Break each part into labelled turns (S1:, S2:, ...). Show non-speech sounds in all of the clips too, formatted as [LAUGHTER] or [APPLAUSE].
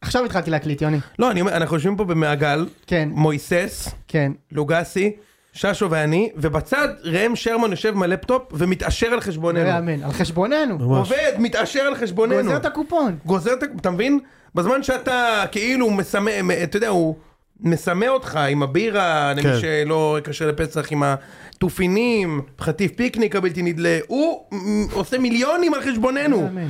S1: עכשיו התחלתי להקליט, יוני.
S2: לא, אני אומר, אנחנו יושבים פה במעגל,
S1: כן.
S2: מויסס,
S1: כן.
S2: לוגסי, ששו ואני, ובצד ראם שרמן יושב עם הלפטופ ומתעשר על
S1: לא
S2: חשבוננו.
S1: יאמן. על חשבוננו.
S3: ממש.
S2: עובד, מתעשר על חשבוננו.
S1: גוזר את הקופון.
S2: גוזר את ה... אתה מבין? בזמן שאתה כאילו מסמא, אתה יודע, הוא מסמא אותך עם הבירה, למי
S3: כן.
S2: שלא קשה לפסח, עם התופינים, חטיף פיקניק הבלתי נדלה, הוא מ- עושה מיליונים על
S1: לא [LAUGHS]
S2: חשבוננו.
S1: יאמן.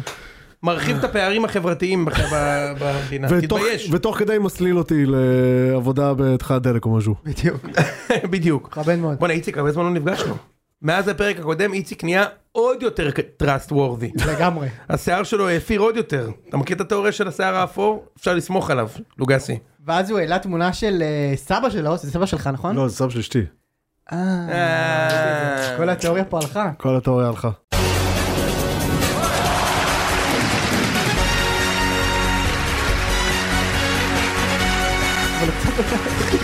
S2: מרחיב את הפערים החברתיים בח- ב- במדינה,
S1: אה,
S3: ותוך-
S2: תתבייש.
S3: ותוך כדי מסליל אותי לעבודה בתחילת דלק או משהו.
S1: בדיוק.
S2: [LAUGHS] בדיוק.
S1: מכבד מאוד.
S2: בואנה איציק, הרבה זמן לא נפגשנו. מאז הפרק הקודם איציק נהיה עוד יותר trust worthy.
S1: לגמרי.
S2: השיער שלו האפיר עוד יותר. אתה מכיר את התיאוריה של השיער האפור? אפשר לסמוך עליו, לוגסי.
S1: ואז הוא העלה תמונה של אה, סבא שלו, זה סבא שלך, נכון?
S3: לא, זה סבא של אשתי.
S1: אה,
S2: אה.
S1: כל התיאוריה פה הלכה.
S3: כל התיאוריה הלכה.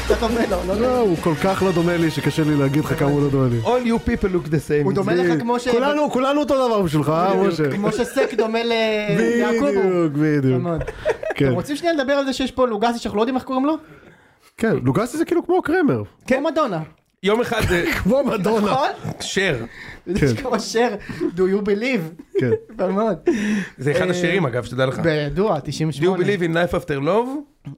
S1: קצת דומה לו, לא
S3: לא,
S1: לא.
S3: הוא כל כך לא דומה לי שקשה לי להגיד לך כמה הוא לא דומה לי.
S2: All you people look the same.
S1: הוא דומה לך כמו ש...
S3: כולנו, כולנו אותו דבר בשבילך, אה, משה?
S1: כמו נכון. שסק דומה ליעקובו.
S3: בדיוק, בדיוק.
S1: מאוד.
S3: כן.
S1: אתם רוצים שנייה לדבר על זה שיש פה לוגסי שאנחנו לא יודעים איך קוראים לו?
S3: כן, לוגסי זה כאילו כמו קרמר.
S1: כמו מדונה.
S2: יום אחד זה
S3: כמו מדונה.
S1: נכון?
S2: שר.
S1: זה כמו שר, do you believe?
S3: כן.
S1: יפה מאוד.
S2: זה אחד
S1: אה,
S2: השירים אגב, שתדע לך.
S1: בידוע,
S2: Do you
S1: 98.
S2: believe in life after love?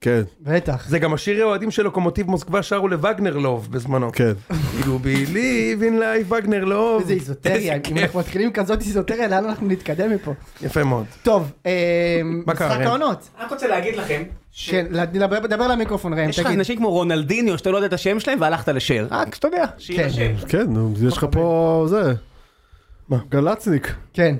S3: כן,
S1: בטח.
S2: זה גם השיר האוהדים של לוקומוטיב מוסקבה שרו לווגנר לוב בזמנו.
S3: כן.
S2: Do you believe in life וגנר לוב?
S1: איזה איזוטריה,
S2: איזה
S1: אם
S2: כיף.
S1: אנחנו מתחילים עם כזאת איזוטריה, לאן אנחנו נתקדם מפה?
S2: יפה מאוד.
S1: טוב, אה,
S2: מה קרה,
S1: משחק
S2: ראם?
S1: העונות.
S4: רק רוצה להגיד לכם, ש-
S1: כן, לדבר- דבר למיקרופון ראם,
S4: יש לך
S1: תגיד.
S4: אנשים כמו רונלדיניו שאתה לא יודע את השם שלהם והלכת לשאר, רק שאתה יודע,
S1: כן.
S4: שיהיה שם.
S3: כן, נו, יש לך פה זה. מה? גלצניק,
S1: כן,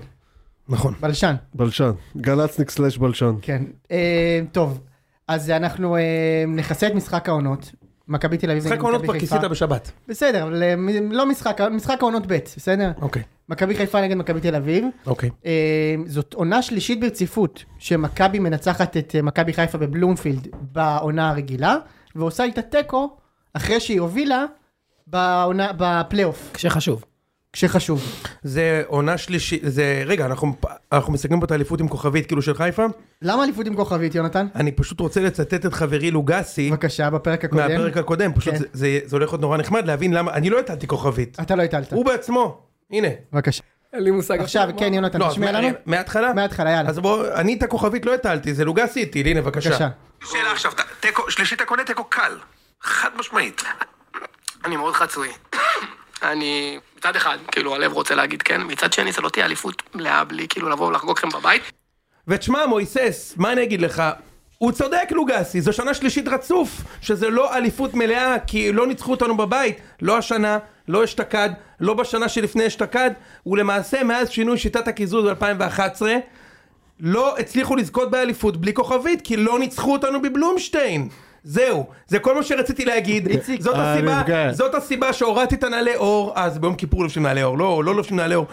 S2: נכון.
S1: בלשן,
S3: בלשן. גלצניק סלאש בלשן.
S1: כן. אה, טוב, אז אנחנו אה, נכסה את משחק העונות. מכבי תל אביב.
S2: משחק
S1: נגד
S2: העונות
S1: מכבי
S2: כבר
S1: חיפה.
S4: אה,
S2: כיסית בשבת.
S1: בסדר, אבל אה, מ- לא משחק, משחק העונות ב', בסדר?
S2: אוקיי.
S1: מכבי חיפה נגד מכבי תל אביב.
S2: אוקיי.
S1: אה, זאת עונה שלישית ברציפות שמכבי מנצחת את אה, מכבי חיפה בבלומפילד בעונה הרגילה, ועושה איתה תיקו אחרי שהיא הובילה בעונה, בפלייאוף,
S4: כשחשוב.
S1: כשחשוב.
S2: זה עונה שלישית, זה, רגע, אנחנו אנחנו מסתכלים פה את האליפות עם כוכבית כאילו של חיפה.
S1: למה אליפות עם כוכבית, יונתן?
S2: אני פשוט רוצה לצטט את חברי לוגסי
S1: בבקשה, בפרק הקודם.
S2: מהפרק הקודם, פשוט
S1: כן.
S2: זה- זה זה הולך להיות נורא נחמד להבין למה, אני לא הטלתי כוכבית.
S1: אתה לא הטלת.
S2: הוא בעצמו, הנה.
S1: בבקשה.
S4: אין לי מושג.
S1: עכשיו, כן, יונתן,
S2: לא, אז
S1: תשמיע לנו.
S2: מה- מההתחלה?
S1: מההתחלה, יאללה.
S2: אז בוא, אני את הכוכבית לא הטלתי, זה לוגסי הטיל, הנה
S1: בבקשה.
S2: בבקשה.
S5: שאלה עכשיו, ת- תיקו, שלישי אתה קונה תיקו קל, חד משמעית.
S6: אני מאוד חצוי. אני מצד אחד, כאילו הלב רוצה להגיד כן, מצד שני זה לא תהיה אליפות מלאה בלי כאילו לבוא ולחגוג לכם בבית.
S2: ותשמע מויסס, מה אני אגיד לך? הוא צודק לוגסי, זו שנה שלישית רצוף, שזה לא אליפות מלאה, כי לא ניצחו אותנו בבית, לא השנה, לא אשתקד, לא בשנה שלפני אשתקד, ולמעשה מאז שינוי שיטת הקיזוז ב-2011, לא הצליחו לזכות באליפות בלי כוכבית, כי לא ניצחו אותנו בבלומשטיין. זהו, זה כל מה שרציתי
S3: [LAUGHS]
S2: להגיד, זאת
S3: אה,
S2: הסיבה,
S3: נפגע.
S2: זאת הסיבה שהורדתי את הנעלי אור, אז ביום כיפור לובשים נעלי אור, לא, לא לובשים נעלי אור,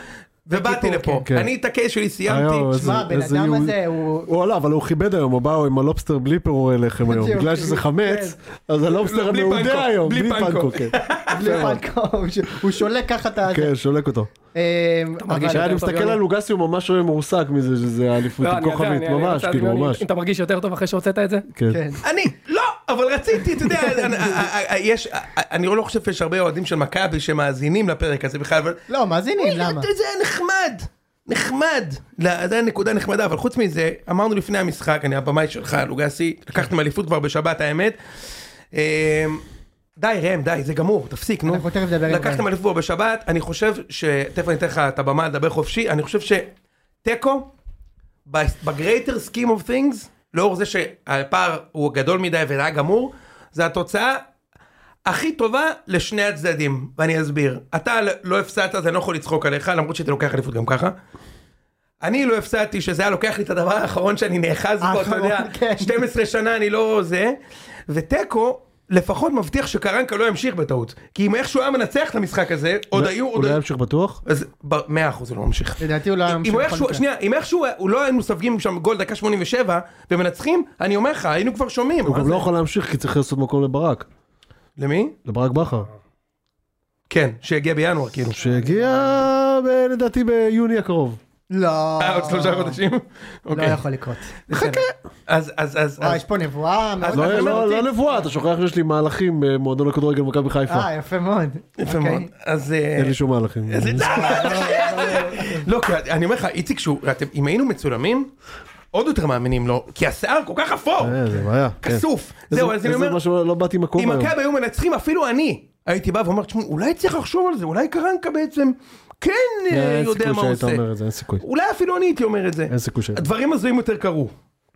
S2: ובאתי
S1: כיפור,
S2: לפה,
S3: כן.
S2: אני את הקייס שלי
S3: היום,
S2: סיימתי,
S3: אה, איזה-
S1: הבן
S3: איזה
S1: אדם
S3: יהודי.
S1: הזה, הוא-
S3: הוא עלה, אבל הוא כיבד היום, הוא בא הוא עם הלובסטר בליפר הוא אליכם היום.
S1: בדיוק.
S3: בגלל שזה חמץ, אז הלובסטר
S2: לא, בלי פנקו,
S3: המעודה היום,
S2: בלי
S3: בלי
S2: פנקו.
S3: פנקו, כן.
S1: בלי
S4: לא.
S1: פלקו, הוא ש- הוא שולק ככה את ה...
S3: כן, שולק אותו.
S1: אה, אבל-
S3: אני מסתכל על לוגסי, הוא ממש מורסק מזה שזה
S2: לא,
S3: האליפות עם כוכבית, ממש, כאילו, ממש.
S7: אם אתה מרגיש יותר טוב אחרי שהוצאת את זה?
S3: כן.
S1: כן.
S2: אני, לא, אבל רציתי, אתה יודע, אני- אני- יש, אני לא חושב שיש הרבה אוהדים של מכבי שמאזינים לפרק הזה בכלל, אבל
S1: לא, מאזינים, למה?
S2: זה היה נחמד, נחמד, לא, זה היה נקודה נחמדה, אבל חוץ מזה, אמרנו לפני המשחק, אני הבמאי שלך, לוגסי, לקחתם אליפות כבר בשבת, האמת. אמ, די ראם, די, זה גמור, תפסיק, נו.
S1: אנחנו תכף נדבר עם
S2: לקחתם
S1: ראם.
S2: אליפות כבר בשבת, אני חושב ש... תכף אני אתן לך את הבמה לדבר חופשי, אני חושב שתיקו, בגרייטר סכים אוף תינגס, לאור זה שהפער הוא גדול מדי והיה גמור, זה התוצאה הכי טובה לשני הצדדים, ואני אסביר. אתה לא הפסדת, אז אני לא יכול לצחוק עליך, למרות שהייתי לוקח אליפות גם ככה. אני לא הפסדתי שזה היה לוקח לי את הדבר האחרון שאני נאחז בו, אתה
S1: האחרון,
S2: יודע,
S1: כן.
S2: 12 שנה אני לא זה, ותיקו לפחות מבטיח שקרנקה לא ימשיך בטעות, כי אם איכשהו היה מנצח את המשחק הזה, עוד היו, עוד
S3: אולי
S2: היו,
S3: לא, ימשיך בטוח?
S2: אז ב- 100% הוא לא ממשיך.
S1: לדעתי הוא לא היה
S2: אם הוא
S1: ממשיך בכל
S2: איכשהו,
S1: מקרה.
S2: שנייה, אם איכשהו הוא לא היינו סופגים שם גול דקה 87 ומנצחים, אני אומר לך, היינו כבר שומעים.
S3: הוא
S2: מה
S3: גם
S2: זה?
S3: לא יכול להמשיך כי צריך לעשות מקום לברק.
S2: למי?
S3: לברק בכר.
S2: כן, שיגיע בינואר כאילו.
S3: שיגיע ב- לדעתי ביוני הקרוב.
S1: לא.
S2: אה, עוד שלושה חודשים?
S1: לא
S2: אוקיי.
S1: יכול לקרות.
S2: חכה. אז, אז, אז,
S1: וואי,
S2: אז,
S1: יש פה נבואה מאוד...
S2: לא,
S3: לא,
S2: אני
S3: לא
S2: אומר,
S3: לא נבואה, אתה שוכח שיש לי מהלכים במועדון הכדורגל במכבי חיפה.
S1: אה, יפה מאוד.
S2: יפה
S1: אוקיי.
S2: מאוד. אז... אה,
S3: אין לי שום מהלכים.
S2: אז- לא, כי אני אומר לך, איציק, שהוא- אתם- אם היינו מצולמים, עוד יותר מאמינים לו, כי השיער כל כך אפור,
S3: אה, זה בעיה. כן.
S2: כסוף.
S3: איזה-
S2: זהו, אז אני
S3: איזה
S2: אומר,
S3: משהו, לא באתי עם
S2: אם
S3: מקום היום.
S2: מכבי היו מנצחים, אפילו אני הייתי בא ואומר, תשמעו, אולי צריך לחשוב על זה, אולי קרנקה בעצם כן אה,
S3: אין
S2: יודע
S3: סיכוי
S2: מה הוא
S3: שהיית
S2: עושה.
S3: אומר את זה, אין סיכוי.
S2: אולי אפילו אני הייתי אומר את זה.
S3: אין סיכוי שהיית.
S2: הדברים הזויים יותר קרו.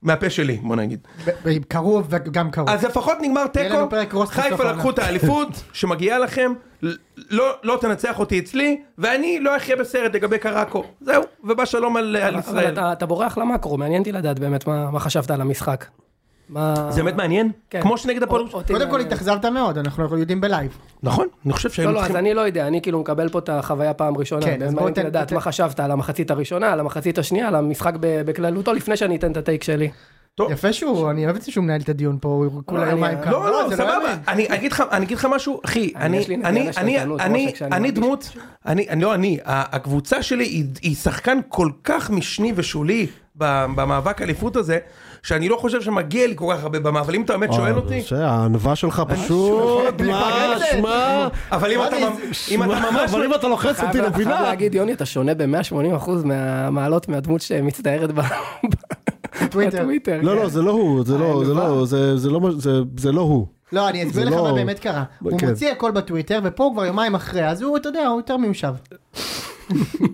S2: מהפה שלי, בוא נגיד.
S1: ב- ב- קרוב וגם קרוב.
S2: אז לפחות נגמר
S1: לנו פרק
S2: תיקו,
S1: רוס בסוף
S2: חיפה
S1: העונה.
S2: לקחו את
S7: [LAUGHS]
S2: האליפות שמגיעה לכם, ל- לא לא תנצח אותי אצלי, ואני לא אחיה בסרט לגבי קראקו. זהו, ובא שלום על על
S7: אבל
S2: ישראל.
S7: אתה- אתה בורח למקרו, מעניין אותי לדעת באמת מה מה חשבת על המשחק. מה-
S2: זה באמת מעניין?
S7: כן.
S2: כמו שנגד הפועל.
S7: אות- אותי
S1: קודם כל
S7: מעניין.
S1: התאכזבת מאוד, אנחנו לא יודעים בלייב.
S2: נכון, אני חושב שהיינו
S7: לא, לא, אז
S2: צריכים...
S7: אני לא יודע, אני כאילו מקבל פה את החוויה פעם ראשונה.
S1: כן, אז
S7: באמת
S1: בוא
S7: מעניין
S1: תן-
S7: אותי לדעת
S1: תן-
S7: מה חשבת על המחצית הראשונה, על המחצית השנייה, על המשחק ב- בכללותו, לפני שאני אתן את הטייק שלי.
S2: טוב.
S1: יפה שהוא, אני אוהב את זה שהוא מנהל את הדיון פה, הוא כולה
S7: אני-
S1: יומיים
S7: לא,
S1: כאן.
S2: לא, לא,
S1: זה
S2: סבבה,
S1: יאמן.
S2: אני אגיד לך, אני אגיד לך משהו, אחי,
S7: אני,
S2: אני,
S7: יש לי נטייה
S2: אני, אני,
S7: לשתלטנות,
S2: אני,
S7: משה, כשאני
S2: אני
S7: מרגיש
S2: דמות, אני, אני- לא אני, ה- הקבוצה שלי היא- היא שחקן כל כך משני ושולי ב- במאבק אליפות הזה, שאני לא חושב שמגיע לי כל כך הרבה במה, אבל אם אתה באמת שואל
S3: אה,
S2: אותי, אה,
S3: זה, הענווה שלך פשוט, מה, שמע,
S2: אבל אם אתה
S1: אני-
S2: ממ- אם אתה
S3: שמע,
S2: אה, ממש...
S3: אבל אם אתה לוחץ אותי לא
S7: חייב חייב
S3: לפינה,
S7: להגיד, יוני, אתה שונה ב-180% מהמעלות מהדמות שמצטיירת ב-
S1: בטוויטר.
S7: בטוויטר.
S3: לא
S7: כן.
S3: לא זה לא הוא, זה
S2: אה,
S3: לא, זה לא, זה- זה לא, מה- זה- זה לא הוא,
S1: לא, אני אסביר
S3: זה
S1: לך
S3: לא-
S1: מה באמת קרה. הוא
S3: כן.
S1: מוציא הכל בטוויטר, ופה הוא כבר יומיים אחרי, אז הוא, אתה יודע, הוא יותר מיושב.
S2: אוקיי.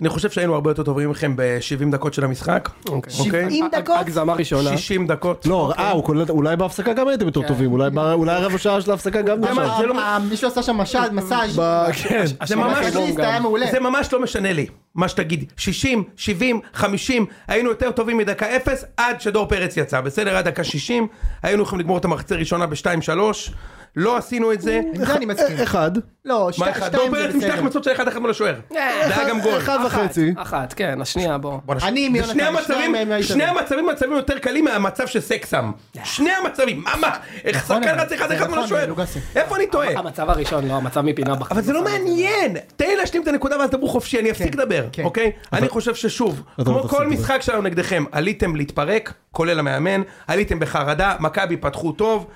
S2: אני חושב שהיינו הרבה יותר טובים מכם ב-70 דקות של המשחק, אוקיי?
S1: שבעים דקות?
S7: אה, הגזמה ראשונה.
S2: 60 דקות.
S3: לא, אה, הוא כולל, אולי בהפסקה גם הייתם יותר טובים, אולי ב- אולי רבע שעה של ההפסקה גם
S2: מה,
S3: נשאר,
S2: כן. זה לא-
S1: אה, מישהו עשה שם משל- מסאז'
S3: כן,
S2: זה ממש לא...
S1: זה היה מעולה.
S2: זה ממש לא משנה לי, מה שתגיד. 60, 70, 50, היינו יותר טובים מדקה 0 עד שדור פרץ יצא. בסדר, עד דקה 60, היינו יכולים לגמור את המחצית הראשונה ב-2-3, לא עשינו את זה.
S1: עם זה אני מסכים.
S3: אחד,
S1: לא, שתי-
S2: מה אחד? דור
S1: שתיים זה
S2: פרץ עם שתי
S1: בסדר.
S2: החמצות של 1-1 מול השוער. זה היה גם גול.
S3: אחד וחצי,
S7: אחת, כן, השנייה, בוא.
S2: בואנה, ש-
S1: אני עם
S2: זה
S1: יונתן,
S2: שני
S1: שניים
S2: המצבים,
S1: מהם היו
S2: שני
S1: טובים. אה.
S2: המצבים, מצבים יותר קלים מהמצב שסקסם. שני המצבים, מה, מה, איך
S1: נכון,
S2: שחקן
S1: אבל-
S2: רץ אחד
S1: זה
S2: אחד מול
S1: נכון,
S2: השוער?
S1: לוגסי.
S2: איפה אני טועה?
S7: המצב הראשון, לא, המצב מפינה בחיים.
S2: אבל זה לא מעניין, תן לי להשלים את הנקודה ואז דברו חופשי, אני אפסיק
S1: נכון, כן,
S2: לדבר,
S1: כן.
S2: אוקיי? אני חושב ששוב,
S3: לא
S2: כמו
S3: תפסיק
S2: כל
S3: לדבר.
S2: משחק שלנו נגדכם, עליתם להתפרק, כולל המאמן, עליתם בחרדה, מכבי פתחו טוב.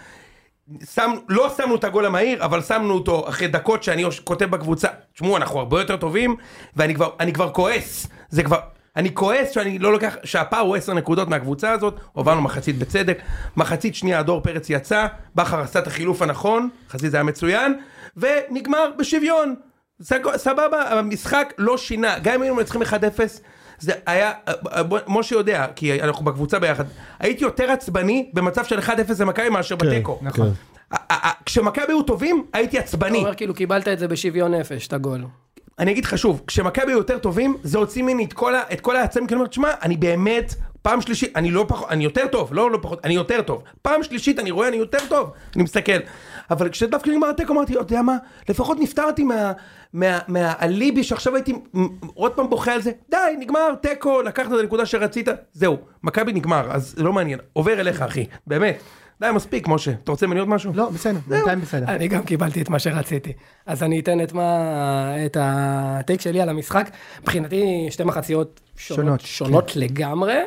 S2: שם, לא שמנו את הגול המהיר, אבל שמנו אותו אחרי דקות שאני יוש- כותב בקבוצה, תשמעו, אנחנו הרבה יותר טובים, ואני כבר, אני כבר כועס, זה כבר, אני כועס שאני לא לוקח, שהפער הוא 10 נקודות מהקבוצה הזאת, הובלנו מחצית בצדק, מחצית שנייה הדור פרץ יצא, בכר עשה את החילוף הנכון, חזיז היה מצוין, ונגמר בשוויון. סג- סבבה, המשחק לא שינה, גם אם היינו מנצחים 1-0, זה היה, בוא- משה יודע, כי אנחנו בקבוצה ביחד, הייתי יותר עצבני במצב של 1-0 למכבי מאשר
S3: כן,
S2: בתיקו.
S3: נכון.
S2: ה- ה- ה- כשמכבי היו טובים, הייתי
S7: אתה
S2: עצבני.
S7: אומר כאילו קיבלת את זה בשוויון נפש, את הגול.
S2: אני אגיד לך שוב, כשמכבי היו יותר טובים, זה הוציא ממני את כל ה- את כל העצבים, כי אני אומר, תשמע, אני באמת, פעם שלישית, אני לא פחות, אני יותר טוב, לא לא פחות, אני יותר טוב. פעם שלישית אני רואה, אני יותר טוב, אני מסתכל. אבל כשדווקא נגמר התיקו, אמרתי, אתה יודע מה, לפחות נפטרתי מה- מה- מהאליבי שעכשיו הייתי מ- מ- עוד פעם בוכה על זה, די, נגמר, תיקו, לקחת את הנקודה שרצית, זהו, מכבי נגמר, אז זה לא מעניין, עובר אליך, אחי, באמת. די, מספיק, משה, אתה רוצה ממני עוד משהו?
S1: לא, בסדר, בינתיים בסדר.
S7: אני גם קיבלתי את מה שרציתי. אז אני אתן את מה... את הטייק שלי על המשחק. מבחינתי, שתי מחציות
S1: שונות,
S7: שונות, שונות לגמרי.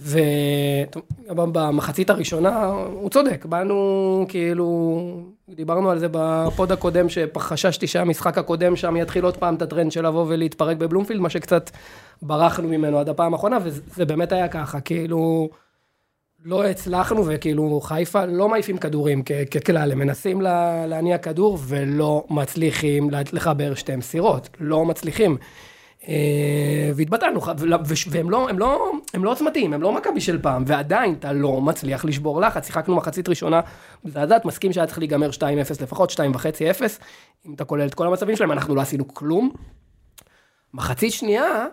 S7: ו... טוב, גם במחצית הראשונה, הוא צודק, באנו כאילו, דיברנו על זה בפוד הקודם, שחששתי שהמשחק הקודם שם יתחיל עוד פעם את הטרנד של לבוא ולהתפרק בבלומפילד, מה שקצת ברחנו ממנו עד הפעם האחרונה, וזה באמת היה ככה, כאילו, לא הצלחנו, וכאילו חיפה לא מעיפים כדורים כ- ככלל, הם מנסים לה, להניע כדור ולא מצליחים לה- לחבר שתי מסירות, לא מצליחים. אה, והתבטלנו, ח- ול- וש- והם לא, הם לא, הם לא עוצמתיים, הם לא מכבי של פעם, ועדיין אתה לא מצליח לשבור לחץ, שיחקנו מחצית ראשונה, מזעזעת, מסכים שהיה צריך להיגמר 2-0 לפחות, 2.5-0, אם אתה כולל את כל המצבים שלהם, אנחנו לא עשינו כלום. מחצית שנייה,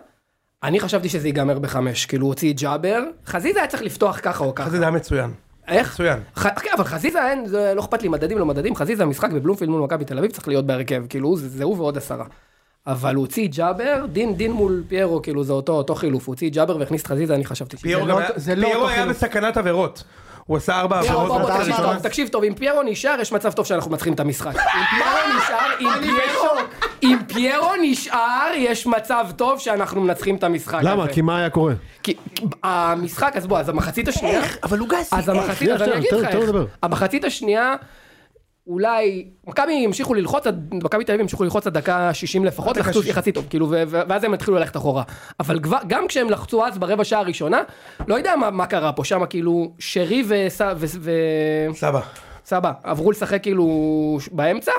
S7: אני חשבתי שזה ייגמר בחמש, כאילו הוא הוציא את ג'אבר, חזיזה היה צריך לפתוח ככה או ככה.
S2: אז זה היה מצוין.
S7: איך?
S2: מצוין.
S7: ח... כן, אבל חזיזה אין, זה לא אכפת לי מדדים לא מדדים, חזיזה המשחק בבלומפילד מול מכבי תל אביב צריך להיות בהרכב, כאילו הוא- זה, זה הוא ועוד עשרה. אבל הוא הוציא את ג'אבר, דין דין מול פיירו, כאילו זה אותו, אותו חילוף, הוא הוציא את ג'אבר והכניס את חזיזה, אני חשבתי שזה...
S2: פיירו
S1: לא
S2: גם
S1: אותו-
S2: היה-
S1: זה לא
S2: פיירו
S1: אותו
S2: היה
S1: חילוף.
S2: בסכנת עבירות. הוא עשה ארבע
S7: פיירו,
S2: עבירות.
S7: לא, בוא, בוא,
S2: בדקה
S7: תקשיב
S2: הראשונה. [LAUGHS]
S7: טוב, תקשיב טוב, אם פיירו נשאר, יש מצב טוב שאנחנו מנצחים את המשחק. אם פיירו נשאר, אם פיירו... אם פיירו נשאר, יש מצב טוב שאנחנו מנצחים את המשחק הזה.
S3: למה? כי מה היה קורה?
S7: כי המשחק, אז בוא, אז המחצית השנייה...
S2: אבל הוא גסי.
S7: אז המחצית,
S3: שנייה,
S7: אז אני
S3: שנייה,
S7: אגיד
S3: תן-
S7: לך
S3: תן לו
S7: איך.
S3: לדבר.
S7: המחצית השנייה, אולי, מכבי המשיכו ללחוץ, עד- מכבי תל אביב המשיכו ללחוץ עד דקה 60 לפחות, לחצו יחסית טוב, כאילו, ו- ו- ואז הם התחילו ללכת אחורה. אבל כבר- גם כשהם לחצו אז ברבע שעה הראשונה, לא יודע מה- מה קרה פה, שם כאילו, שרי וס- ו- ו-
S2: סבא.
S7: סבא, עברו לשחק כאילו ש- באמצע,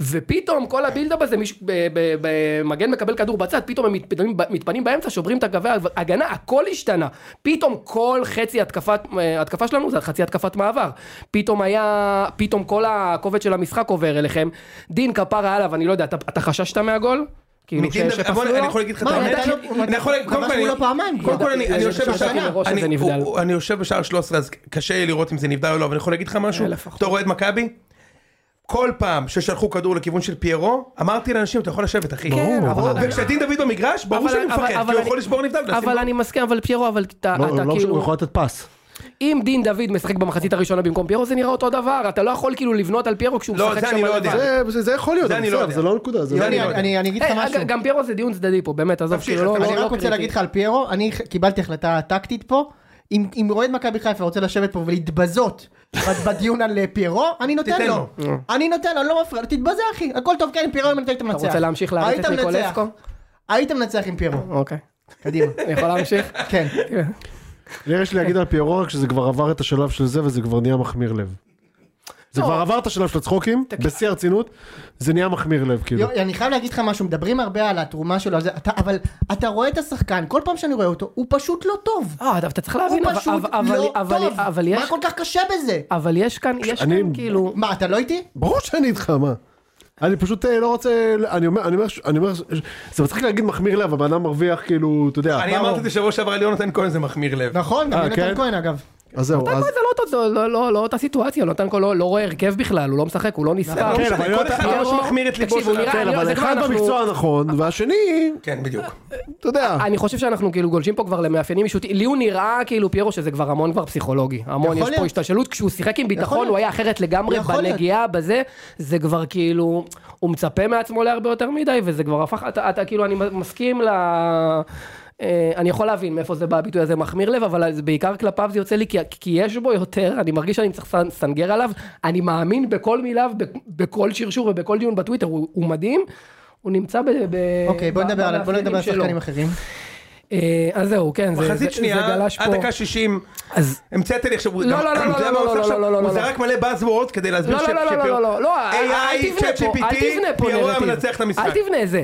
S7: ופתאום כל הבילדאפ הזה, מישהו- ב- ב- ב- מגן מקבל כדור בצד, פתאום הם מתפנים, מתפנים באמצע, שוברים את הקווי ההגנה, הכל השתנה. פתאום כל חצי התקפת, אה, התקפה שלנו זה חצי התקפת מעבר. פתאום היה, פתאום כל הכובד של המשחק עובר אליכם. דין כפרה עליו, אני לא יודע, אתה, אתה חששת מהגול? כאילו, ש-
S2: מדין-
S7: שפסלו
S2: בוא,
S7: לו?
S2: אני יכול להגיד לך את
S1: מה,
S2: האמת?
S1: נתן
S7: לא-
S1: לו-
S2: אני יכול להגיד- קודם כל
S1: כבשנו
S2: אני-
S1: לו פעמיים.
S2: קודם כל אני אני
S7: ידעתי,
S2: יושב
S7: ידעתי
S2: בשער,
S7: מראש שזה
S2: אני-
S7: נבדל.
S2: הוא- אני יושב בשער 13 אז קשה לי לראות אם זה נבדל או לא, אבל אני יכול להגיד לך משהו? אתה רואה את מכבי? כל פעם ששלחו כדור לכיוון של פיירו, אמרתי לאנשים, אתה יכול לשבת אחי.
S7: כן, אבל-
S2: וכשדין דוד במגרש, ברור
S7: אבל-
S2: שאני
S7: אבל-
S2: מפחד,
S7: אבל
S2: כי הוא
S7: אני-
S2: יכול לשבור נבדל. ולשים
S7: אבל אני מסכים, אבל פיירו, אבל אתה,
S3: לא,
S7: אתה
S3: לא משנה,
S7: כאילו...
S3: הוא יכול לתת פס.
S7: אם דין דוד משחק במחצית הראשונה במקום פיירו זה נראה אותו דבר, אתה לא יכול כאילו לבנות על פיירו כשהוא
S2: לא,
S7: משחק
S2: זה
S7: שם
S2: אני לא
S7: לבד.
S2: יודע.
S3: זה- זה- זה יכול להיות,
S2: זה
S3: אבל
S2: אני לא
S3: בסדר,
S2: יודע.
S3: זה לא נקודה. זה
S2: זה
S3: לא-
S2: אני
S1: אני-
S2: לא יודע.
S1: אני אני אגיד לך
S7: אה,
S1: משהו.
S7: אגב, גם פיירו זה דיון צדדי פה, באמת, עזוב,
S2: תמשיך,
S7: כאילו לא...
S2: תמשיך.
S7: לא-
S1: אני
S7: לא
S1: רק רוצה
S7: קריטי.
S1: להגיד לך על פיירו, אני ח- קיבלתי החלטה טקטית פה, אם אם אוהד מכבי חיפה רוצה לשבת פה ולהתבזות בד- בדיון על אה, פיירו, אני נותן
S2: תיתן
S1: לו.
S3: אה.
S1: אני נותן לו, לא מפריע, תתבזה אחי, הכל טוב, כן, עם פיירו אם אתה היית מנצח.
S7: רוצה להמשיך להריץ
S1: היית
S7: את
S1: מנצח.
S7: ניקולסקו?
S1: היית מנצח עם פיירו,
S7: אוקיי.
S3: [LAUGHS]
S1: קדימה.
S7: אני יכול להמשיך?
S1: כן.
S3: לי יש לי להגיד על פיירו רק שזה כבר עבר את השלב של זה וזה כבר נהיה מחמיר לב. זה
S7: לא.
S3: כבר עבר את השלב של הצחוקים, בשיא הרצינות, זה נהיה מחמיר לב כאילו.
S1: יו, אני חייב להגיד לך משהו, מדברים הרבה על התרומה שלו, על זה, אתה- אבל אתה רואה את השחקן, כל פעם שאני רואה אותו, הוא פשוט לא טוב.
S7: אה, אבל אתה צריך
S1: הוא
S7: להבין, אבל-
S1: פשוט
S7: אבל- אבל-
S1: לא
S7: אבל-
S1: טוב.
S7: אבל
S1: מה
S7: יש...
S1: כל כך קשה בזה?
S7: אבל יש כאן, יש
S3: אני-
S7: כאן כאילו...
S1: מה, אתה לא איתי?
S3: ברור שאני איתך, מה? אני פשוט אה, לא רוצה, אני אומר, אני אומר, ש- אני אומר, ש- זה מצחיק להגיד מחמיר לב, הבן אדם מרוויח כאילו, אתה יודע,
S2: אני
S3: פעם-
S2: אמרתי את זה שבוע שעבר על יונתן כהן זה מחמיר לב.
S1: נכון, גם
S3: אה,
S1: יונתן
S3: כן?
S1: כהן אגב.
S3: אז זהו, אז...
S7: זה לא אותו- זה לא- לא- לא אותה סיטואציה, נותן כל לא רואה הרכב בכלל, הוא לא משחק, הוא לא
S1: נכון.
S7: נסחר.
S2: לא
S3: כן,
S2: משנה,
S3: אבל
S2: כל
S3: יונתן-
S2: אחד ממש
S7: פיירו-
S2: מחמיר את ליבו
S7: תקשיב, הוא
S2: של
S7: נראה-
S2: האחר.
S3: כן,
S7: אני-
S3: אבל
S7: זה כבר
S3: אחד
S7: אנחנו-
S3: במקצוע הנכון, והשני,
S2: כן, בדיוק.
S3: אתה יודע,
S7: אני חושב שאנחנו כאילו גולשים פה כבר למאפיינים אישותיים, לי הוא נראה כאילו פיירו שזה כבר המון כבר פסיכולוגי, המון
S1: יכול
S7: יש פה
S1: להיות.
S7: השתלשלות, כשהוא שיחק עם
S1: יכול
S7: ביטחון הוא
S1: להיות.
S7: היה אחרת לגמרי
S1: יכול להיות.
S7: בנגיעה, בזה, זה כבר כאילו, הוא מצפה מעצמו להרבה יותר מדי וזה כבר הפך, אתה אתה כאילו, אני מסכים ל... אה, אני יכול להבין מאיפה זה בא הביטוי הזה מחמיר לב, אבל זה בעיקר כלפיו זה יוצא לי כי, כי יש בו יותר, אני מרגיש שאני צריך לסנ- לסנגר עליו, אני מאמין בכל מילה, ב- בכל שרשור ובכל דיון בטוויטר, הוא, הוא מדהים, הוא נמצא ב... ב-
S1: אוקיי, בוא
S7: ב-
S1: נדבר על בוא נדבר על
S7: במאפיינים שלו.
S1: שחקנים אחרים.
S7: אה, אז זהו, כן, זה, זה,
S2: מחצית
S7: זה
S2: שנייה,
S7: גלש פה.
S2: עד דקה 60,
S7: אז...
S2: המצאת לי עכשיו, הוא
S7: לא,
S2: גם-
S7: לא, לא,
S2: אתה
S7: לא,
S2: יודע
S7: לא,
S2: מה הוא
S7: לא,
S2: עושה
S7: לא,
S2: עכשיו?
S7: לא, לא,
S2: הוא
S7: לא.
S2: זרק מלא buzzwords כדי להסביר
S7: לא,
S2: ש-
S7: לא, לא,
S2: שפיר-
S7: לא, לא, לא, לא, אל
S2: AI,
S7: אל תבנה פה,
S2: ChatGPT,
S7: אל תבנה פה
S2: פיירו
S7: נרטיב.
S2: המנצח את המשחק.
S7: אל תבנה את זה.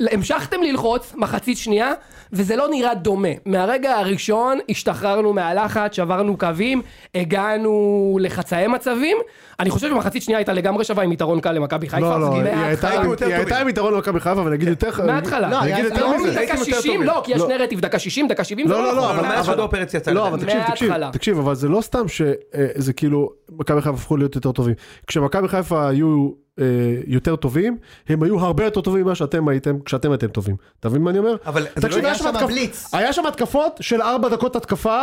S7: המשכתם ללחוץ, מחצית שנייה, וזה לא נראה דומה. מהרגע הראשון השתחררנו מהלחץ, שברנו קווים, הגענו לחצאי מצבים. אני חושב שמחצית שנייה הייתה לגמרי שווה עם יתרון קל למכבי חיפה.
S3: לא, לא,
S7: אז
S3: היא
S7: מההתחלה-
S3: הייתה-
S2: היינו יותר
S3: היא הייתה
S2: טובים.
S3: עם יתרון למכבי חיפה, אבל נגיד יותר,
S7: מההתחלה.
S1: לא,
S3: אני אגיד
S1: היה-
S3: יותר
S1: היה-
S3: מזה,
S7: מדקה
S2: הייתם יותר
S7: 60,
S2: טובים.
S7: לא, כי יש
S3: לא.
S7: נרטיב, דקה 60, דקה 70 זה נכון,
S3: לא, לא, לא,
S2: אבל מאז שעודו
S3: אבל-
S2: פרץ יצא
S3: לא,
S2: לדעתי.
S3: אבל תקשיב, תקשיב,
S7: מההתחלה.
S3: תקשיב, אבל זה לא סתם שזה כאילו, מכבי חיפה הפכו להיות יותר טובים. כשמכבי חיפה היו אה, יותר טובים, הם היו הרבה יותר טובים ממה שאתם הייתם, כשאתם הייתם טובים. אתה מבין מה אני אומר?
S2: אבל זה
S3: תקשיב,
S2: לא
S3: היה
S1: היה
S3: שם
S1: שם
S3: התקפ-
S1: בליץ.
S3: היה שם התקפות של ארבע דקות התקפה,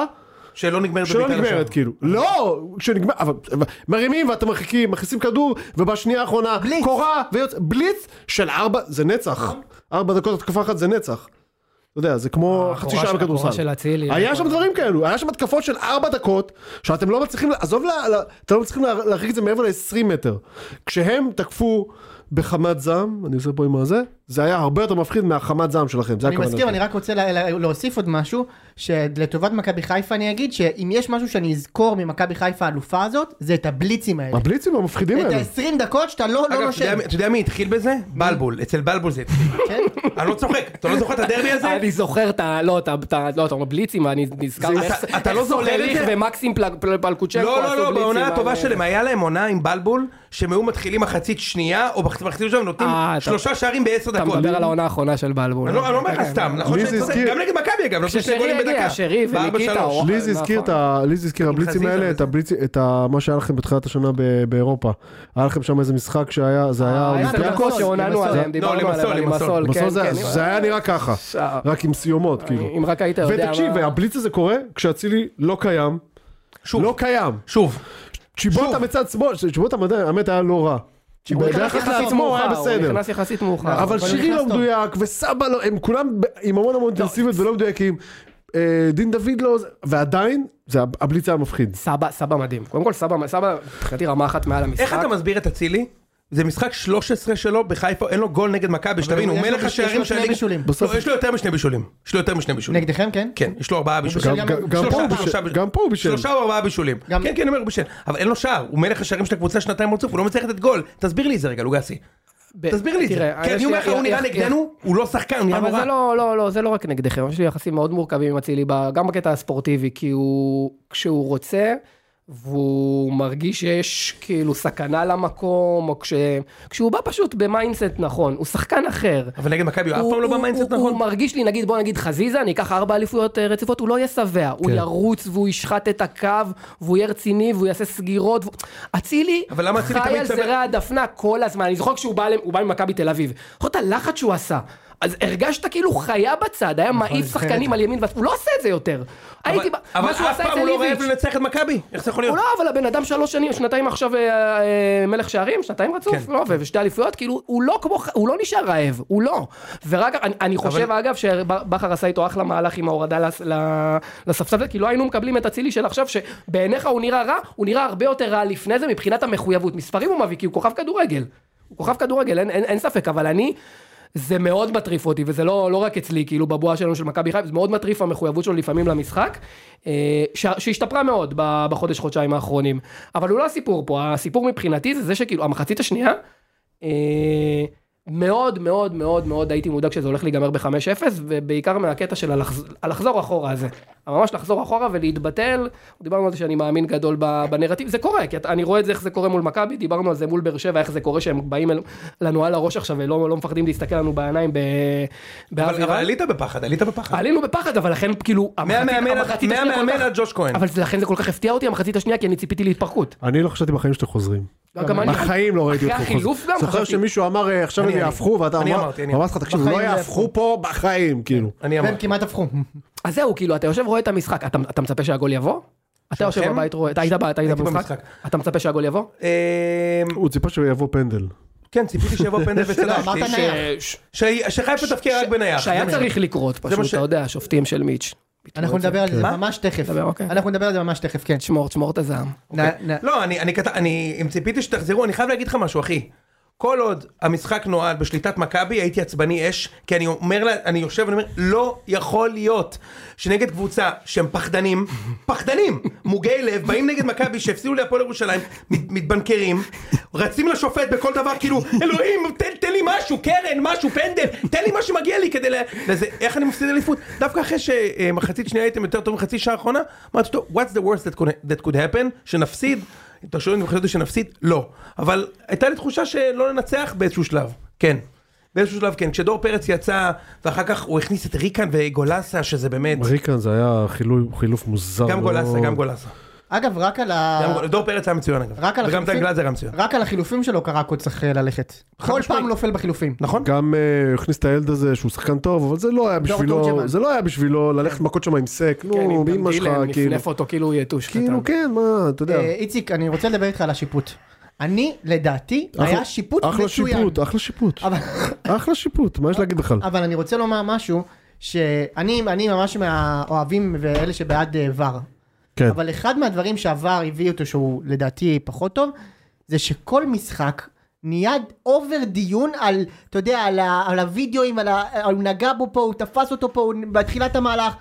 S2: שלא נגמרת
S3: שלא
S2: בבית"ר
S3: נגמרת
S2: שם.
S3: כאילו. לא, שנגמר, אבל אבל מרימים ואתם מרחיקים, מכניסים כדור, ובשנייה האחרונה,
S1: בליץ. נכון.
S3: קורה, ויוצא, בליץ של ארבע, זה נצח. ארבע דקות התקפה אחת זה נצח. אתה יודע, זה כמו חצי
S7: אה, הקורה
S3: שעה
S7: של-
S3: בכדורסל.
S7: הקורה של אצילי. נכון.
S3: היה שם דברים כאלו, היה שם התקפות של ארבע דקות, שאתם לא מצליחים, עזוב, לה- לה- אתם לא מצליחים לה- להרחיק את זה מעבר ל-20 מטר. כשהם תקפו בחמת זעם, אני עושה פה עם הזה, זה היה הרבה יותר מפחיד מהחמת זעם שלכם, זה
S1: אני
S3: הכוונה.
S1: מסכים,
S3: שלי.
S1: אני רק רוצה לה- לה- להוסיף עוד משהו, שלטובת מכבי חיפה אני אגיד שאם יש משהו שאני אזכור ממכבי חיפה האלופה הזאת, זה את הבליצים האלה.
S3: הבליצים המפחידים
S1: את
S3: האלה.
S1: ה-20 דקות שאתה לא לא
S2: אגב, אתה
S1: נושם.
S2: יודע- אתה יודע מי התחיל בזה? בלבול, אצל בלבול זה התחיל.
S1: כן?
S2: אני לא צוחק, אתה לא זוכר את הדרבי הזה?
S7: אני זוכר את ה... לא, את ה... את ה- לא, אתה אומר בליצים, אני נזכר
S2: זה-
S7: איך-
S2: אתה- אתה
S7: איך
S2: לא זוכר את
S7: סולליך
S2: זה?
S7: ומקסים פל- פל- פלקוצ'נקו
S2: לא,
S7: עשו
S2: לא, לא,
S7: בליצים
S2: בעונה
S7: על- אה,
S2: הטובה שלהם, היה להם עונה עם בלבול, שהם היו מתחילים מחצית שנייה, או מחצית ראשונה, נותנים
S7: אה, אתה-
S2: שלושה שערים בעשר
S7: אתה
S2: דקות.
S7: מדבר על העונה האחרונה של בלבול.
S2: אני לא אני לא אומר לך
S7: כן,
S2: סתם, נכון?
S3: לי
S2: שאני
S3: זה
S2: צודק?
S3: הזכיר-
S2: גם נגד מכבי אגב, נפלו שני
S7: כששרי
S2: גולים
S7: יגיע,
S2: בדקה.
S7: שרי
S2: בארבע,
S7: וניקיטה,
S2: שלוש.
S7: או- לא, נכון.
S3: לי זה הזכיר את ה... לי זה הזכיר הבליצים
S2: חזיזה
S3: האלה,
S2: וזה.
S3: את הבליצים, את ה... מה שהיה לכם בתחילת השנה ב- באירופה. היה לכם שם איזה משחק שהיה, זה היה
S7: אה, היה את
S3: אולימפיאקוס?
S7: המסול שעוננו
S1: למסול.
S7: עליהם, דיברנו
S2: לא, למסול,
S7: עליהם, עם
S2: למסול.
S7: הסול, כן,
S3: בסוף זה היה-
S7: כן.
S3: זה היה נראה ככה,
S7: שעה.
S3: רק עם סיומות, כאילו.
S7: אם רק היית יודע
S3: ותקשיב,
S7: מה-
S3: והבליץ הזה קורה כשאצילי לא קיים.
S2: שוב,
S3: לא קיים.
S2: שוב.
S3: צ'יבוטה מצד שמאל, צ'יבוטה מדע- האמת היה לא רע.
S7: שהוא נכנס
S3: ביחס
S7: יחסית
S3: לעצמו הוא היה
S7: מאוחר, אה, הוא
S3: בסדר.
S7: נכנס יחסית מאוחר.
S3: אבל
S1: אבל הוא
S3: שירי
S1: נכנס טוב.
S3: לא מדויק, וסבא לא, הם כולם ב- עם המון
S7: לא.
S3: המון אינטנסיביות ולא מדויקים. אה, דין דוד לא, ועדיין, זה הב- הבליץ היה מפחיד.
S7: סבא, סבא מדהים. קודם כל סבא, סבא, מבחינתי רמה אחת מעל המשחק.
S2: איך אתה מסביר את אצילי? זה משחק 13 שלו בחיפה, אין לו גול נגד מכבי, שתבין, הוא
S1: יש לו-
S2: מלך
S1: יש לו
S2: השערים
S1: שני
S2: של הליגה.
S1: בישולים.
S2: לא, יש לו יותר משני בישולים. יש לו יותר משני בישולים.
S1: נגדכם, כן?
S2: כן, יש לו ארבעה בישולים.
S1: בישל
S3: גם-
S1: גם-
S3: גם- גם
S2: שלושה-
S3: פה הוא בישל-
S2: שלושה בישולים.
S3: גם פה הוא בישל.
S2: שלושה או ארבעה בישולים.
S1: גם-
S2: כן, כן, אני אומר, הוא בישל. אבל אין לו שער, הוא מלך השערים של הקבוצה שנתיים רצוף, הוא לא מצליח לתת גול. תסביר לי את זה רגע, לוגסי.
S7: ב-
S2: תסביר לי את זה.
S7: תראה,
S2: כי
S7: יש
S2: אני
S7: לי-
S2: אומר לך, הוא נראה
S7: יח- יח-
S2: נגדנו, הוא לא שחקן, הוא נראה
S7: אבל
S2: נורא.
S7: זה לא, לא, לא, זה לא רק נגדכם, יש לי יחסים מאוד מורכבים עם אצילי, ב- גם בקטע הספורטיבי, כי הוא, כשהוא רוצה, והוא מרגיש שיש כאילו סכנה למקום, או כש, כשהוא בא פשוט במיינדסט נכון, הוא שחקן אחר.
S2: אבל נגד מכבי הוא אף
S7: הוא-
S2: פעם לא
S7: הוא-
S2: במיינדסט
S7: הוא-
S2: נכון.
S7: הוא מרגיש לי, נגיד, בוא נגיד חזיזה, אני אקח ארבע אליפויות אה, רציפות, הוא לא יהיה שבע.
S2: כן.
S7: הוא ירוץ והוא ישחט את הקו, והוא יהיה רציני והוא יעשה סגירות. והוא- אצילי
S2: אבל למה אצילי
S7: חי
S2: תמיד
S7: על
S2: שבע?
S7: זרי הדפנה כל הזמן. אני זוכר כשהוא בא ל- הוא בא ממכבי תל אביב. זוכר את הלחץ שהוא עשה. אז הרגשת כאילו חיה בצד, היה מעיף
S1: זוכר את
S7: שחקנים
S1: זה.
S7: על ימין, ועל- הוא לא עושה את זה יותר. הייתי, ב-
S2: נכון, אבל
S7: מה שהוא
S2: אף
S7: עשה
S2: פעם
S7: אצל
S2: הוא לא
S7: איביץ'.
S2: רעב לנצח את מכבי, איך זה יכול להיות?
S7: הוא לא, אבל הבן אדם שלוש שנים, שנתיים עכשיו אה, אה, מלך שערים, שנתיים רצוף,
S2: כן.
S7: לא, ו- ושתי אליפויות, כאילו, הוא לא כמו, ח- הוא לא נשאר רעב, הוא לא. ורק, אני, אני חושב,
S2: אבל-
S7: אגב, שבכר עשה איתו אחלה מהלך עם ההורדה לס, ל- לספסל, כי לא היינו מקבלים את אצילי של עכשיו, שבעיניך הוא נראה רע, הוא נראה הרבה יותר רע לפני זה מבחינת המחויבות. מספרים הוא מביא, כי הוא כוכב כדורגל. הוא כוכב כדורגל, אין, אין, אין ספק, אבל אני... זה מאוד מטריף אותי, וזה לא, לא רק אצלי, כאילו בבועה שלנו של מכבי חיפה, זה מאוד מטריף המחויבות שלו לפעמים למשחק, אה, ש- שהשתפרה מאוד ב- בחודש-חודשיים האחרונים. אבל הוא לא הסיפור פה, הסיפור מבחינתי זה זה שכאילו, המחצית השנייה, אה, מאוד מאוד מאוד מאוד הייתי מודאג שזה הולך להיגמר ב-5-0, ובעיקר מהקטע של הלחז- הלחזור אחורה הזה. ממש לחזור אחורה ולהתבטל, דיברנו על זה שאני מאמין גדול ב- בנרטיב, זה קורה, כי את- אני רואה את זה, איך זה קורה מול מכבי, דיברנו על זה מול באר שבע, איך זה קורה שהם באים אל- לנו על הראש עכשיו ולא לא מפחדים להסתכל לנו בעיניים ב-
S2: אבל אבל
S7: באווירה.
S2: עלית בפחד, עלית בפחד.
S7: עלינו בפחד, אבל לכן כאילו, המחצית-
S2: מהמאמן עד-
S7: המחצית השנייה כל
S2: מהמאמן
S7: כך-
S2: עד ג'וש כהן.
S7: אבל זה- לכן זה כל כך הפתיע אותי המחצית השנייה, כי אני ציפיתי להתפרקות.
S3: אני לא חשבתי בחיים שאתם חוזרים.
S7: גם אני-
S3: בחיים לא ראיתי
S7: אחרי
S3: אתכם חוזרים.
S7: החילוף גם
S3: זוכר
S7: חשבתי.
S3: שמישהו אמר "אה, עכשיו
S2: אני-
S3: הם
S2: אני-
S3: יהפכו, ואתה
S2: אני
S3: אמר-
S2: אמרתי, אני
S3: אמרתי לך, תקשיב,
S1: בחיים לא
S3: לא יהפכו
S1: יהפכו.
S3: פה בחיים, כאילו.
S2: אני
S1: והם
S2: אמרתי.
S1: כמעט הפכו.
S7: אז זהו, כאילו, אתה יושב רואה את המשחק, אתה, אתה מצפה שהגול יבוא? אתה יושב
S2: שלכם?
S7: בבית רואה, אתה היית, ב- אתה היית
S2: הייתי
S7: במשחק?
S2: במשחק.
S7: אתה מצפה שהגול יבוא?
S2: אמ,
S3: הוא ציפה שיבוא פנדל.
S2: כן, ציפיתי
S7: [LAUGHS]
S2: שיבוא פנדל
S7: לא,
S1: אמרת
S2: וצדקתי.
S1: נייח.
S2: אה, ש- שחיפה תפקיע רק בנייח.
S7: שהיה
S2: זה
S7: צריך לקרות,
S2: מה
S7: פשוט,
S2: ש-
S7: אתה יודע, השופטים של מיץ'.
S1: אנחנו נדבר על זה
S2: מה?
S1: ממש תכף.
S7: נדבר, אוקיי.
S1: אנחנו נדבר על זה ממש תכף, כן.
S7: תשמור, תשמור את הזעם.
S1: נ- נ-
S2: לא, אני, אני, כת... אני, אם ציפיתי שתחזרו, אני חייב להגיד לך משהו, אחי. כל עוד המשחק נועד בשליטת מכבי, הייתי עצבני אש, כי אני אומר לה, אני יושב ואני אומר, לא יכול להיות שנגד קבוצה שהם פחדנים, [LAUGHS] פחדנים, מוגי לב, באים נגד מכבי שהפסידו להפועל ירושלים, מת, מתבנקרים, רצים לשופט בכל דבר, כאילו, אלוהים, תן, תן לי משהו, קרן, משהו, פנדל, תן לי מה שמגיע לי כדי ל... לזה, איך אני מפסיד אליפות? דווקא אחרי שמחצית שנייה הייתם יותר טובים מחצי שעה האחרונה, אמרתי לו, what's the worst that could, that could happen, שנפסיד? אתה שואל אם חשבתי שנפסיד? לא. אבל הייתה לי תחושה שלא ננצח באיזשהו שלב, כן. באיזשהו שלב כן, כשדור פרץ יצא, ואחר כך הוא הכניס את ריקן וגולסה, שזה באמת,
S3: ריקן זה היה חילוף- חילוף מוזר.
S2: גם
S3: לא-
S2: גולסה, גם גולסה.
S1: אגב, רק על ה...
S2: גם גול- דור פרץ היה מצוין אגב.
S1: רק על
S2: וגם
S1: החילופים-
S2: דן גלזר היה מצוין.
S1: רק על החילופים שלו קרקו צריך אה, ללכת. כל
S2: משמעית.
S1: פעם נופל בחילופים.
S2: נכון?
S3: גם אה, הוא הכניס את הילד הזה שהוא שחקן טוב, אבל זה לא היה בשבילו,
S1: תורג'מן.
S3: זה לא היה בשבילו ללכת מכות שם עם סק, נו, אמא שלך, כאילו.
S7: נפנף אותו כאילו הוא יתוש.
S3: כאילו,
S7: קטן.
S3: כן, מה, אתה יודע.
S1: אה, איציק, אני רוצה לדבר איתך על השיפוט. אני, לדעתי,
S3: אחלה-
S1: היה שיפוט מצוין.
S3: אחלה שיפוט, אחלה שיפוט.
S1: אבל-
S3: אחלה שיפוט, מה יש להגיד בכלל?
S1: אבל אני רוצה לומר משהו, שאני אני ממש מהאוהבים ואלה שבעד אה, ור.
S3: כן.
S1: אבל אחד מהדברים שעבר הביא אותו שהוא לדעתי פחות טוב, זה שכל משחק נהיה אובר דיון על, אתה יודע, על, ה, על הוידאוים, על ה, על הוא נגע בו פה, הוא תפס אותו פה, הוא בתחילת המהלך.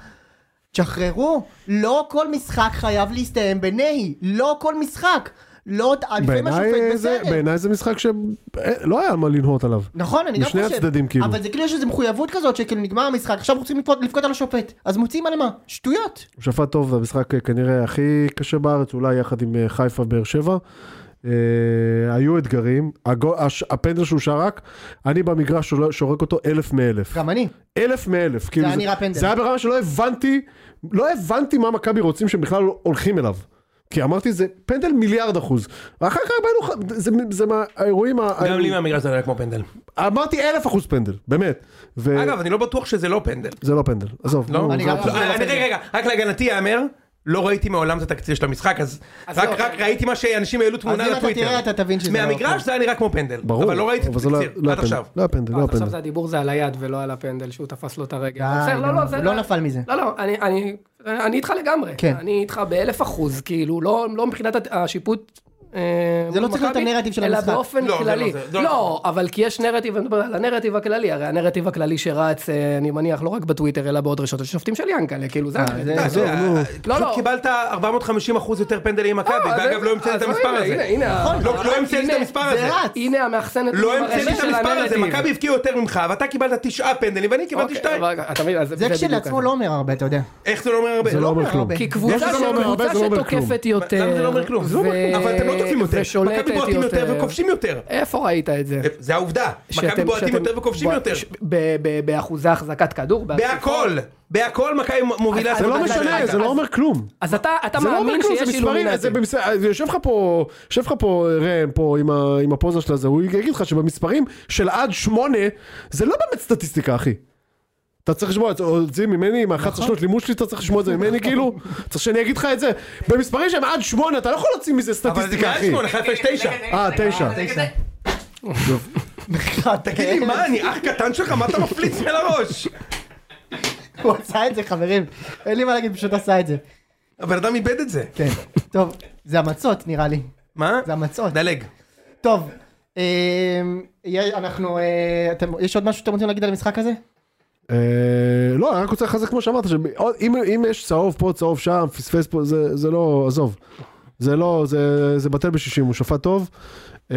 S1: תשחררו, לא כל משחק חייב להסתיים בנהי, לא כל משחק. לא, לפעמים השופט
S3: בעיניי זה-
S1: בסדר.
S3: בעיניי זה משחק שלא היה מה לנהות עליו.
S1: נכון, אני גם חושב.
S3: משני הצדדים, כאילו.
S1: אבל זה כאילו יש איזו מחויבות כזאת, שכאילו נגמר המשחק, עכשיו רוצים לבכות- לבכות על השופט. אז מוצאים על מה? שטויות.
S3: הוא שפט טוב, זה המשחק אה, כנראה הכי קשה בארץ, אולי יחד עם אה, חיפה באר שבע. אה, היו אתגרים, הגו- הש- הפנדל שהוא שרק, אני במגרש שול- שורק אותו אלף מאלף.
S1: גם אני.
S3: אלף מאלף. כאילו
S1: היה נראה פנדל.
S3: זה היה ברמה שלא הבנתי, לא הבנתי מה מכבי רוצים שהם בכלל הולכים אליו. כי אמרתי זה פנדל מיליארד אחוז. ואחר כך באנו, זה, זה מהאירועים, ה-
S2: גם לי מהמגרש זה היה כמו פנדל.
S3: אמרתי אלף אחוז פנדל, באמת. ו...
S1: אה,
S2: אגב, אני לא בטוח שזה לא פנדל.
S3: זה לא פנדל, עזוב.
S2: לא?
S3: נו,
S1: אני
S3: זה-
S1: גם-
S2: לא, אני- רגע, רגע, רק להגנתי יאמר, לא ראיתי מעולם את התקציר של המשחק, אז
S7: אז
S2: רק
S7: לא.
S2: רק ראיתי מה שאנשים העלו תמונה
S1: אם אתה
S2: לטוויטר.
S1: תראה, אתה תבין שזה לא הפנדל.
S7: אוקיי.
S2: מהמגרש זה היה נראה כמו פנדל.
S3: ברור.
S2: אבל לא ראיתי את
S3: אבל זה לא-
S2: התקציר,
S3: לא
S2: עד
S3: הפנדל.
S2: עכשיו.
S3: לא הפנדל, לא
S7: לא, עכשיו זה
S3: הפנדל.
S7: הדיבור זה על היד ולא על הפנדל שהוא תפס לו את הרגל.
S1: די,
S7: בסדר,
S1: נו,
S7: זה-
S1: הוא לא נפל מזה.
S7: לא, לא, אני- אני- אני איתך לגמרי.
S1: כן.
S7: אני איתך באלף אחוז, כאילו, לא לא מבחינת הת- השיפוט. אה,
S1: זה לא צריך להיות
S7: מכבי,
S1: הנרטיב של המשחק.
S7: אלא באופן
S2: לא, זה לא
S7: כללי.
S2: זה, זה לא
S7: לא, אבל כי יש נרטיב, אני מדבר על הנרטיב הכללי, הרי הנרטיב הכללי שרץ, אה, אני מניח, לא רק בטוויטר, אלא בעוד רשתות של שופטים של ינקלה, כאילו, זה...
S1: זה-
S3: כן,
S7: הנרטיב.
S1: עזוב,
S2: אה,
S1: נו.
S7: לא,
S2: פשוט
S7: לא.
S2: קיבלת 450 אחוז יותר פנדלים ממכבי,
S7: אה, אז
S2: ואגב
S7: זה-
S2: לא המצאתי את
S7: אז
S2: המספר
S7: הנה,
S2: הזה.
S7: הנה, הנה.
S2: לא, לא המצאתי את
S7: הנה,
S2: המספר הזה.
S1: נכון, זה רץ.
S7: הנה המאחסנת.
S2: לא
S7: הראשית
S2: המצאתי את
S7: של
S2: המספר הזה,
S7: הנרטיב.
S2: מכבי הפקיעו יותר ממך, ואתה קיבלת תשעה פנדלים ואני קיבלתי
S7: אוקיי,
S2: שתיים.
S7: אבל אתה מבין, אז
S1: זה
S7: בדיוק
S1: כשלעצמו
S7: ככה.
S1: לא אומר הרבה, אתה יודע.
S2: איך זה לא אומר הרבה?
S3: זה לא אומר
S1: אומר
S3: כלום.
S1: הרבה.
S7: כי
S3: יש
S7: קבוצה
S3: לזה לא אומר הרבה,
S7: שקבוצה
S3: זה לא אומר כלום.
S7: שתוקפת
S2: מה- למה זה לא
S7: יותר,
S2: אומר כלום?
S7: ו-
S2: אבל אתם לא תוקפים יותר.
S7: ושולטת
S2: מכבי בועטים יותר וכובשים יותר.
S7: איפה ראית את זה?
S2: זה העובדה. מכבי
S7: שאתם-
S2: בועטים
S7: שאתם-
S2: יותר וכובשים
S7: בוע-
S2: יותר.
S7: ש- ב- ב- באחוזי החזקת כדור?
S2: בהכל, בהכל מכבי מובילה.
S7: אז-
S2: את
S3: זה לא
S2: מכבי
S3: משנה,
S2: בליגה.
S3: זה לא אומר כלום.
S7: אז אתה אתה
S3: זה לא אומר
S7: מאמין
S3: כלום, זה
S7: שיש
S3: מספרים,
S7: אילומינטי.
S3: זה במס- אה, יושב לך פה, יושב לך פה אה, ראם, פה עם ה- עם הפוזה של הזה, הוא יגיד לך שבמספרים של עד שמונה, זה לא באמת סטטיסטיקה, אחי. אתה צריך לשמוע את זה או את זה ממני, עם ה-11
S7: נכון.
S3: שנות לימוד שלי, אתה צריך לשמוע את זה
S7: [LAUGHS]
S3: ממני, כאילו? צריך שאני אגיד לך את זה? במספרים שהם עד שמונה, אתה לא יכול להוציא מזה
S2: אבל זה
S3: סטטיסטיקה,
S2: מעל
S3: אחי.
S2: שמונה, חיפה יש תשע.
S3: אה, תשע.
S1: [LAUGHS]
S2: תגיד לי, מה, אני אח קטן שלך? מה אתה מפליץ מעל הראש?
S1: הוא עשה את זה, חברים. אין לי מה להגיד, פשוט עשה את זה.
S2: הבן אדם איבד את זה.
S1: כן. טוב, זה המצות נראה לי.
S2: מה?
S1: זה המצות.
S2: דלג.
S1: טוב, אה, יה- אנחנו... אה, אתם- יש עוד משהו שאתם רוצים להגיד על המשחק הזה?
S3: אה, לא, אני רק רוצה לחזק כמו שאמרת, שאם יש צהוב פה, צהוב שם, פספס פה, זה, זה לא, עזוב. זה לא, זה, זה בטל בשישים, הוא שפט טוב. אה,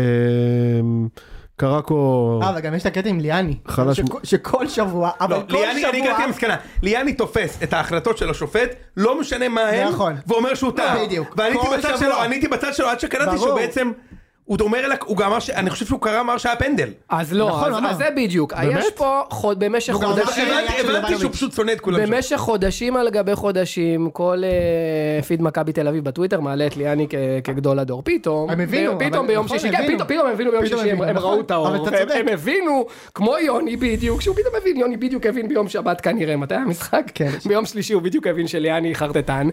S3: קראקו,
S1: אה, וגם יש את הקטע עם ליאני.
S3: חלש
S1: שכ- שכל שבוע, אבל
S2: לא,
S1: כל
S2: ליאני, אני הגעתי
S1: שבוע...
S2: למסקנה, ליאני תופס את ההחלטות של השופט, לא משנה מה הן,
S1: נכון.
S2: ואומר שהוא טעה.
S1: בדיוק.
S2: ואני הייתי
S1: כל
S2: בצד
S1: שבוע.
S2: שלו, אני הייתי בצד שלו עד שקלטתי
S1: ברור.
S2: שהוא בעצם, הוא אומר, לה- הוא גם אמר, ש- אני חושב שהוא קרא, אמר שהיה פנדל.
S7: אז לא,
S1: נכון,
S7: אז-
S1: הוא אמר.
S7: אז זה בדיוק. יש פה חוד- במשך
S1: הוא גם אמר
S7: חודשים...
S1: שהיה
S2: הבנתי-
S1: יד של
S2: הבנתי
S1: יובנוביץ'.
S2: שהוא פשוט שונא את כולם שם.
S7: במשך חודשים על גבי חודשים, כל אה, פיד מכבי תל אביב בטוויטר מעלה את ליאני כ- כגדול הדור. פתאום,
S1: הם הבינו,
S7: ב- פתאום
S1: אבל-
S7: ביום
S1: נכון,
S7: שישי, כן,
S1: הבינו.
S7: פתאום- פתאום הם הבינו ביום
S1: פתאום
S7: שישי, הם
S1: הבינו,
S7: הם
S1: נכון.
S7: ראו את האור,
S1: אבל אתה
S7: והם-
S1: צודק.
S7: הם הבינו, כמו יוני בדיוק, שהוא פתאום הבין, יוני בדיוק הבין ביום שבת כנראה, מתי היה המשחק?
S1: כן.
S7: ביום שלישי הוא בדיוק הבין שליאני חרטטן.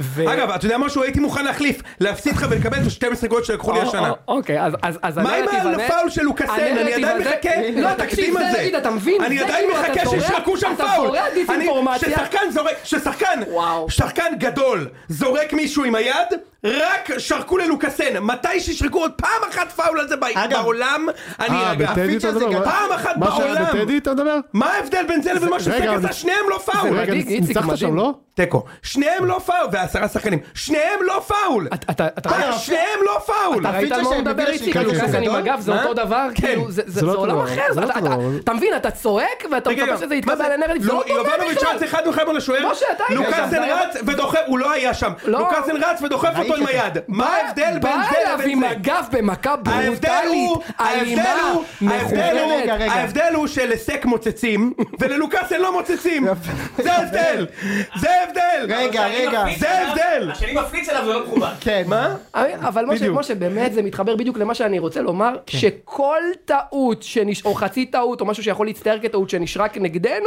S7: ו-
S2: אגב, אתה יודע משהו? הייתי מוכן להחליף, להפסיד לך ולקבל את ה-12 גול שלקחו לי
S7: או-
S2: השנה.
S7: או- אוקיי, אז- אז אז
S2: מה עם
S7: הנרטיב הזה-
S2: הפאול של לוקאסן? אני
S7: הנרטיב
S2: עדיין
S7: הזה-
S2: מחכה
S7: לא,
S2: לתקדים
S7: תקשיב,
S2: הזה.
S7: זה נגיד, אתה מבין?
S2: אני
S7: זה
S2: עדיין
S7: כאילו, אתה
S2: מחכה
S7: זורע-
S2: שישרקו שם
S7: אתה
S2: פאול.
S7: זורע
S2: אני-
S7: דיסאינפורמציה.
S2: ששחקן זורק, ששחקן,
S7: וואו.
S2: שחקן גדול, זורק מישהו עם היד, רק שרקו ללוקאסן. מתי שישרקו עוד פעם אחת פאול על זה ב-
S1: אגב-
S2: בעולם, אני
S3: אה,
S2: ארגע.
S3: בטדי אתה
S1: הפיצ'ר זה
S3: מדבר?
S1: גם-
S2: פעם אחת
S3: מה שהיה
S2: בעולם.
S3: בטדי אתה מדבר?
S2: מה ההבדל בין זה לבין מה
S3: זה-
S2: שסגל
S3: רגע,
S2: עשה?
S3: זה-
S2: שניהם לא פאול.
S3: רגע,
S7: מדאיג, איציק,
S3: ניצחת שם,
S7: מדהים.
S3: לא?
S2: תיקו. שניהם לא פאול, ועשרה שחקנים. שניהם לא פאול.
S7: אתה- אתה- אתה-
S2: אה, שניהם לא פאול.
S7: אתה ראית על
S1: הפיצ'ר
S7: מה הוא
S1: שהם
S7: מדבר
S1: בגלל
S7: איציק?
S1: שהם
S7: כאילו
S3: כן,
S7: ככה
S3: כן.
S7: עם הגב זה
S2: מה?
S7: אותו דבר?
S2: כן.
S7: כאילו זה-
S3: זה
S7: זה
S3: לא
S7: זה
S3: אותו
S7: עולם
S3: דבר,
S7: אחר?
S3: זה לא
S7: אתה-
S3: אותו
S7: אתה-
S3: דבר.
S7: אתה מבין? אתה צועק ואתה
S2: רגע,
S7: מצפה שזה
S2: מה
S7: יתקבל
S2: זה?
S7: על הנרטיב. זה לא
S2: לא,
S7: דומה
S2: יובנוביץ'
S7: בכלל.
S2: רץ אחד מלחם על השוער,
S7: משה, אתה היית שם,
S2: לוקאסן
S7: זה היה-
S2: רץ ודוחף, הוא לא היה שם,
S7: לא.
S2: לוקאסן רץ ודוחף
S1: ראיתי
S2: אותו עם
S1: את זה.
S2: היד, מה ההבדל בין
S7: בא
S2: זה
S7: אליו
S2: לבין
S7: עם
S2: זה?
S7: הגב במכה
S2: ההבדל
S7: ברוטלית,
S2: הוא, ההבדל
S7: אלימה,
S2: הוא, ההבדל הוא-
S1: רגע,
S7: מכוונת.
S1: רגע.
S2: ההבדל הוא שלסק מוצצים וללוקאסן לא מוצצים,
S1: יפה.
S2: זה ההבדל, זה ההבדל,
S1: רגע, רגע.
S2: זה ההבדל,
S8: השני מפליץ עליו ולא מכובד.
S1: כן.
S2: מה?
S7: אה, אבל משה,
S2: בדיוק.
S7: משה, באמת זה מתחבר בדיוק למה שאני רוצה לומר, שכל טעות, שנש- או חצי טעות, או משהו שיכול להצטייר כטעות שנשרק נגדנו,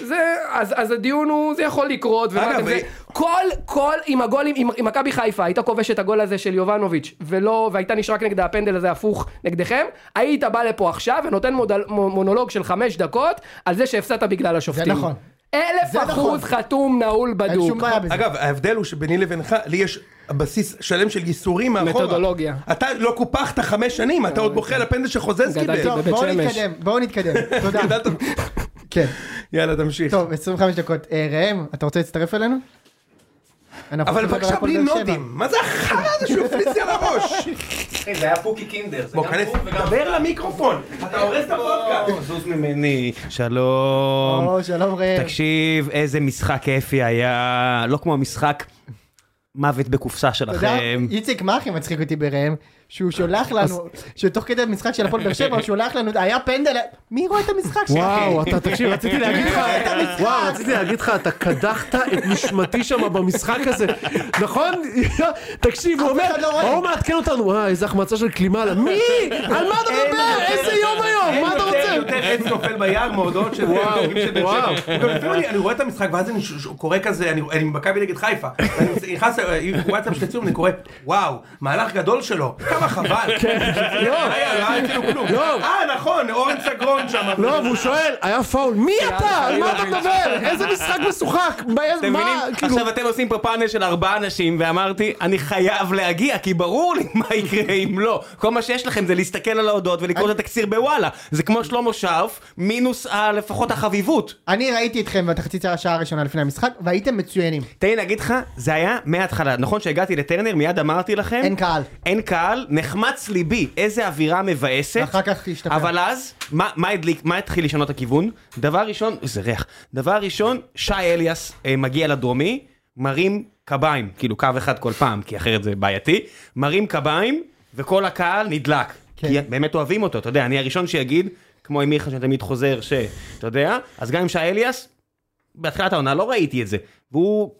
S7: זה, אז, אז הדיון הוא, זה יכול לקרות, ומה
S2: אגב,
S7: אתם זה,
S2: אה,
S7: כל, כל, אם הגול, אם אם מכבי חיפה הייתה כובשת את הגול הזה של יובנוביץ', ולא, והייתה נשרק נגדה הפנדל הזה הפוך נגדכם, היית בא לפה עכשיו ונותן מודל, מו- מונולוג של חמש דקות, על זה שהפסדת בגלל השופטים.
S1: נכון.
S7: אלף
S1: זה נכון.
S7: אחוז חתום נעול בדוק.
S1: אין שום בעיה בזה.
S2: אגב, ההבדל הוא שביני לבינך, לי יש בסיס שלם של ייסורים מאחורה.
S7: מתודולוגיה. לא, כן.
S2: אתה לא קופחת חמש שנים, אתה עוד בוכה על הפנדל שחוזז
S7: גדלתי.
S2: קיבל.
S1: כאילו, טוב,
S7: בבית
S1: בואו
S7: שמש.
S1: נתקדם, בואו
S2: [LAUGHS]
S1: נתקדם. תודה. כן.
S2: יאללה, תמשיך.
S1: טוב, 25 דקות. אה, ראם, אתה רוצה להצטרף אלינו? אנחנו רוצים
S2: אבל
S1: לדבר על
S2: בבקשה
S1: הפועל
S2: בלי
S1: באר שבע.
S2: נודים, מה זה החרא הזה שהוא הפליץ לי על הראש?
S4: כן,
S8: אחי, זה היה פוקי קינדר. זה
S2: בוא,
S8: גם
S2: כנס,
S8: הוא וגם-
S2: דבר למיקרופון, אתה הורס את הפודקאסט.
S8: בוא, זוז ממני, שלום.
S1: או, שלום
S4: אוקיי.
S1: ראם.
S8: תקשיב, איזה משחק כיפי היה, לא כמו המשחק מוות בקופסה
S1: אתה יודע,
S8: שלכם.
S1: איציק, מה הכי מצחיק אותי בראם? שהוא שולח לנו, שתוך כדי המשחק של הפועל באר שבע, הוא שולח לנו, היה פנדל, מי רואה את המשחק שלך?
S3: וואו, אתה
S4: [LAUGHS]
S3: תקשיב, רציתי להגיד לך,
S1: רואה את המשחק.
S3: וואו, רציתי להגיד לך, אתה קדחת את נשמתי שם במשחק הזה, נכון? [LAUGHS] תקשיב, הוא אומר,
S1: אחד לא רואה.
S3: ההוא מעדכן אותנו, אה, איזה החמצה של קלימלה, מי? על מה אתה מדבר? איזה יום היום? [LAUGHS] מה אתה
S2: אין
S3: רוצה?
S2: יותר עץ נופל ביער מהודעות של
S3: וואו,
S2: דברים של באר
S3: וואו.
S2: שבע. גם לפעמים אני- אני רואה את המשחק ואז אני ש- ש- קורא כזה, אני אני מכבי נגד חיפה, ואני נכנס לוואטסאפ של הציום, אני קורא, וואו, מהלך גדול שלו, כמה חבל. [LAUGHS] לא היה, לא היה כאילו כלום.
S3: כן. לא.
S2: אה, נכון, אורן סגרון שם.
S3: לא, והוא שואל, היה פאול, מי אתה? על מה אתה מדבר? איזה משחק משוחק? מה-
S4: אתם מבינים?
S3: מה, כאילו,
S4: עכשיו אתם עושים פה פאנל של ארבעה אנשים, ואמרתי, אני חייב להגיע, כי ברור לי מה יקרה אם לא. כל מה שיש לכם זה להסתכל על ההודעות ולקרוא את התקציר בוואלה. זה כמו שלמה שרף, מינוס ה- לפחות החביבות.
S1: אני ראיתי אתכם בתחצית השעה הראשונה לפני המשחק, והייתם מצוינים.
S4: תן לי להגיד לך, זה היה מההתחלה. נכון שהגעתי לטרנר, מיד אמרתי לכם...
S1: אין קהל.
S4: אין קהל, נחמץ ליבי, איזה אווירה מבאסת.
S1: ואחר כך השתפר.
S4: אבל אז, מה, מה הדליק, מה התחיל לשנות הכיוון? דבר ראשון, זה ריח. דבר ראשון, שי אליאס אה, מגיע לדרומי, מרים קביים, כאילו קו אחד כל פעם, כי אחרת זה בעייתי, מרים קביים, וכל הקהל נדלק.
S1: כן.
S4: כן. כי באמת אוהבים אותו, אתה יודע, אני הראשון שיגיד, כמו עם מיכה שתמיד חוזר, שאתה יודע, אז גם עם שי אליאס, בהתחלת העונה לא ראיתי את זה. והוא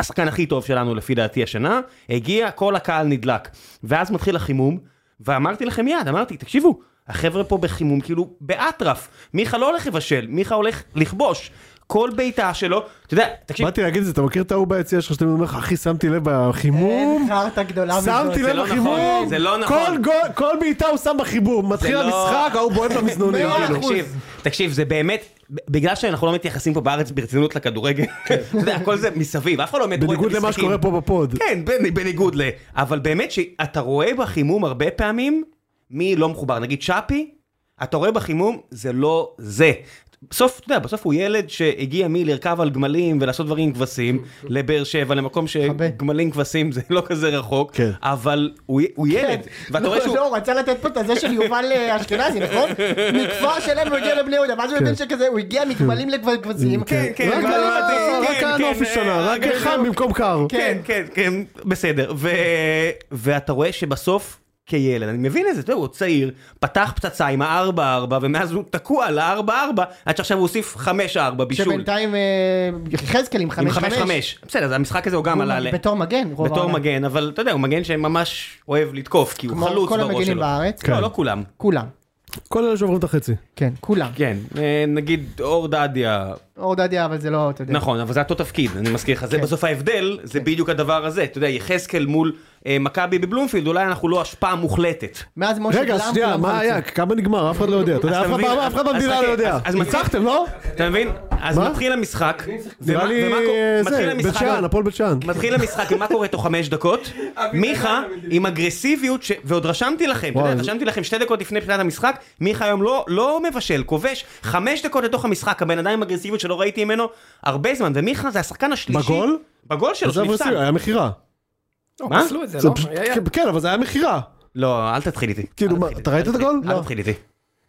S4: השחקן הכי טוב שלנו לפי דעתי השנה, הגיע, כל הקהל נדלק. ואז מתחיל החימום, ואמרתי לכם מיד, אמרתי, תקשיבו, החבר'ה פה בחימום כאילו באטרף. מיכה לא הולך לבשל, מיכה הולך לכבוש. כל בעיטה שלו, אתה יודע, תקשיב,
S3: באתי להגיד את זה, אתה מכיר את ההוא ביציע שלך שאתה אומר לך, אחי, שמתי לב בחימום?
S1: אין חרטא גדולה
S3: שמתי
S4: זה
S3: לב
S4: לא
S3: בחיבור,
S4: נכון, זה לא נכון.
S3: כל גול- כל בעיטה הוא שם בחיבור, מתחיל
S4: לא-
S3: המשחק, ההוא בועט למזנונים,
S1: מאה
S3: כאילו.
S1: אחוז.
S4: תקשיב, תקשיב, זה באמת, בגלל שאנחנו לא מתייחסים פה בארץ ברצינות לכדורגל, אתה יודע, הכל זה מסביב, אף אחד לא באמת רואה את
S3: כן. בניגוד למה
S4: המשחקים.
S3: שקורה פה בפוד.
S4: כן, בנ- בניגוד ל... אבל באמת שאתה רואה בחימום הרבה פעמים מי לא מחובר. נגיד שפי, אתה רואה בחימום, זה לא זה. בסוף, אתה יודע, בסוף הוא ילד שהגיע מלרכב על גמלים ולעשות דברים עם כבשים לבאר שבע, למקום שגמלים כבשים זה לא כזה רחוק,
S3: כן.
S4: אבל הוא, הוא ילד, כן. ואתה
S1: לא,
S4: רואה שהוא...
S1: לא, הוא רצה לתת פה את הזה של יובל אה, אשכנזי,
S4: [LAUGHS]
S1: נכון? מכפר שלם הוא הגיע לבני יהודה, ואז הוא הבין שכזה, הוא הגיע מגמלים לכבשים. לא
S4: כן, כן,
S1: רק
S4: גם
S1: על ה-
S4: הבנתי.
S3: רק
S4: כן,
S3: הנוף
S4: כן,
S3: השתנה,
S4: אה,
S3: רק
S4: רק
S3: חם במקום קר.
S4: כן, כן, כן, בסדר. ו... ואתה רואה שבסוף, כילד, אני מבין את זה, אתה יודע, הוא צעיר, פתח פצצה עם ה-4-4, ומאז הוא תקוע על ה-4-4, עד שעכשיו הוא הוסיף 5-4 בישול.
S1: שבינתיים אה, יחזקאל עם
S4: עם
S1: 5-5.
S4: 5-5. בסדר, אז המשחק הזה הוא גם
S1: הוא
S4: עלה ל...
S1: בתור מגן, רוב
S4: בתור
S1: העונה.
S4: מגן, אבל אתה יודע, הוא מגן שממש אוהב לתקוף, כי הוא
S1: כמו
S4: חלוץ
S1: כל
S4: בראש
S1: המגנים
S4: שלו.
S1: בארץ.
S4: לא, לא כולם.
S1: כולם.
S3: כל אלה שעוברים את החצי.
S1: כן, כולם.
S4: כן, אה, נגיד אור דדיה,
S1: אור דדיה, אבל זה לא, אתה יודע.
S4: נכון, אבל זה אותו תפקיד, אני מזכיר לך, זה
S1: כן.
S4: בסוף ההבדל, זה בדיוק הדבר הזה. אתה יודע, יחזקאל מול אה, מכבי בבלומפילד, אולי אנחנו לא השפעה מוחלטת.
S1: מאז משה
S3: רגע,
S1: גלאם
S3: שנייה,
S1: כולם
S3: מה
S1: חלוצים.
S3: היה? כמה נגמר? אף אחד לא יודע. אתה יודע,
S4: אז
S3: אף אחד
S4: אתה מבין?
S3: אף אחד במדינה לא
S4: אז חכה,
S3: יודע.
S4: אז- אז מתחיל-
S3: ניצחתם, לא?
S4: אתה מבין? אז
S3: מה?
S4: מתחיל המשחק.
S3: נראה
S4: ומה-
S3: לי,
S4: ומה קורה-
S3: אה,
S4: מתחיל
S3: זה, בית
S4: המשחק-
S3: שאן, הפועל בית שאן.
S4: מתחיל המשחק, ומה קורה תוך חמש דקות? מיכה עם אגרסיביות, ש- ועוד רשמתי לכם, אתה
S3: וואי,
S4: יודע,
S3: זה-
S4: רשמתי לכם שתי דקות לפני פתיחת המשחק, מיכה היום לא- לא מבשל, כובש, חמש דקות לתוך המשחק, הבן אדם עם אגרסיביות שלא ראיתי ממנו הרבה זמן, ומיכה זה השחקן השלישי.
S3: בגול?
S4: בגול שלו,
S3: זה
S4: שנפסל.
S3: אברסיבי, היה מכירה.
S7: לא,
S4: מה?
S7: פסלו את זה,
S3: זה
S7: לא?
S3: פשוט-
S7: היה- היה.
S3: כן, כן, אבל זה היה מכירה.
S4: לא, אל תתחיל איתי.
S3: כאילו,
S4: אל
S3: מה,
S4: תתחיל
S3: אתה ראית את
S4: איתי.
S3: הגול?
S4: אל
S3: לא.
S4: תתחיל איתי.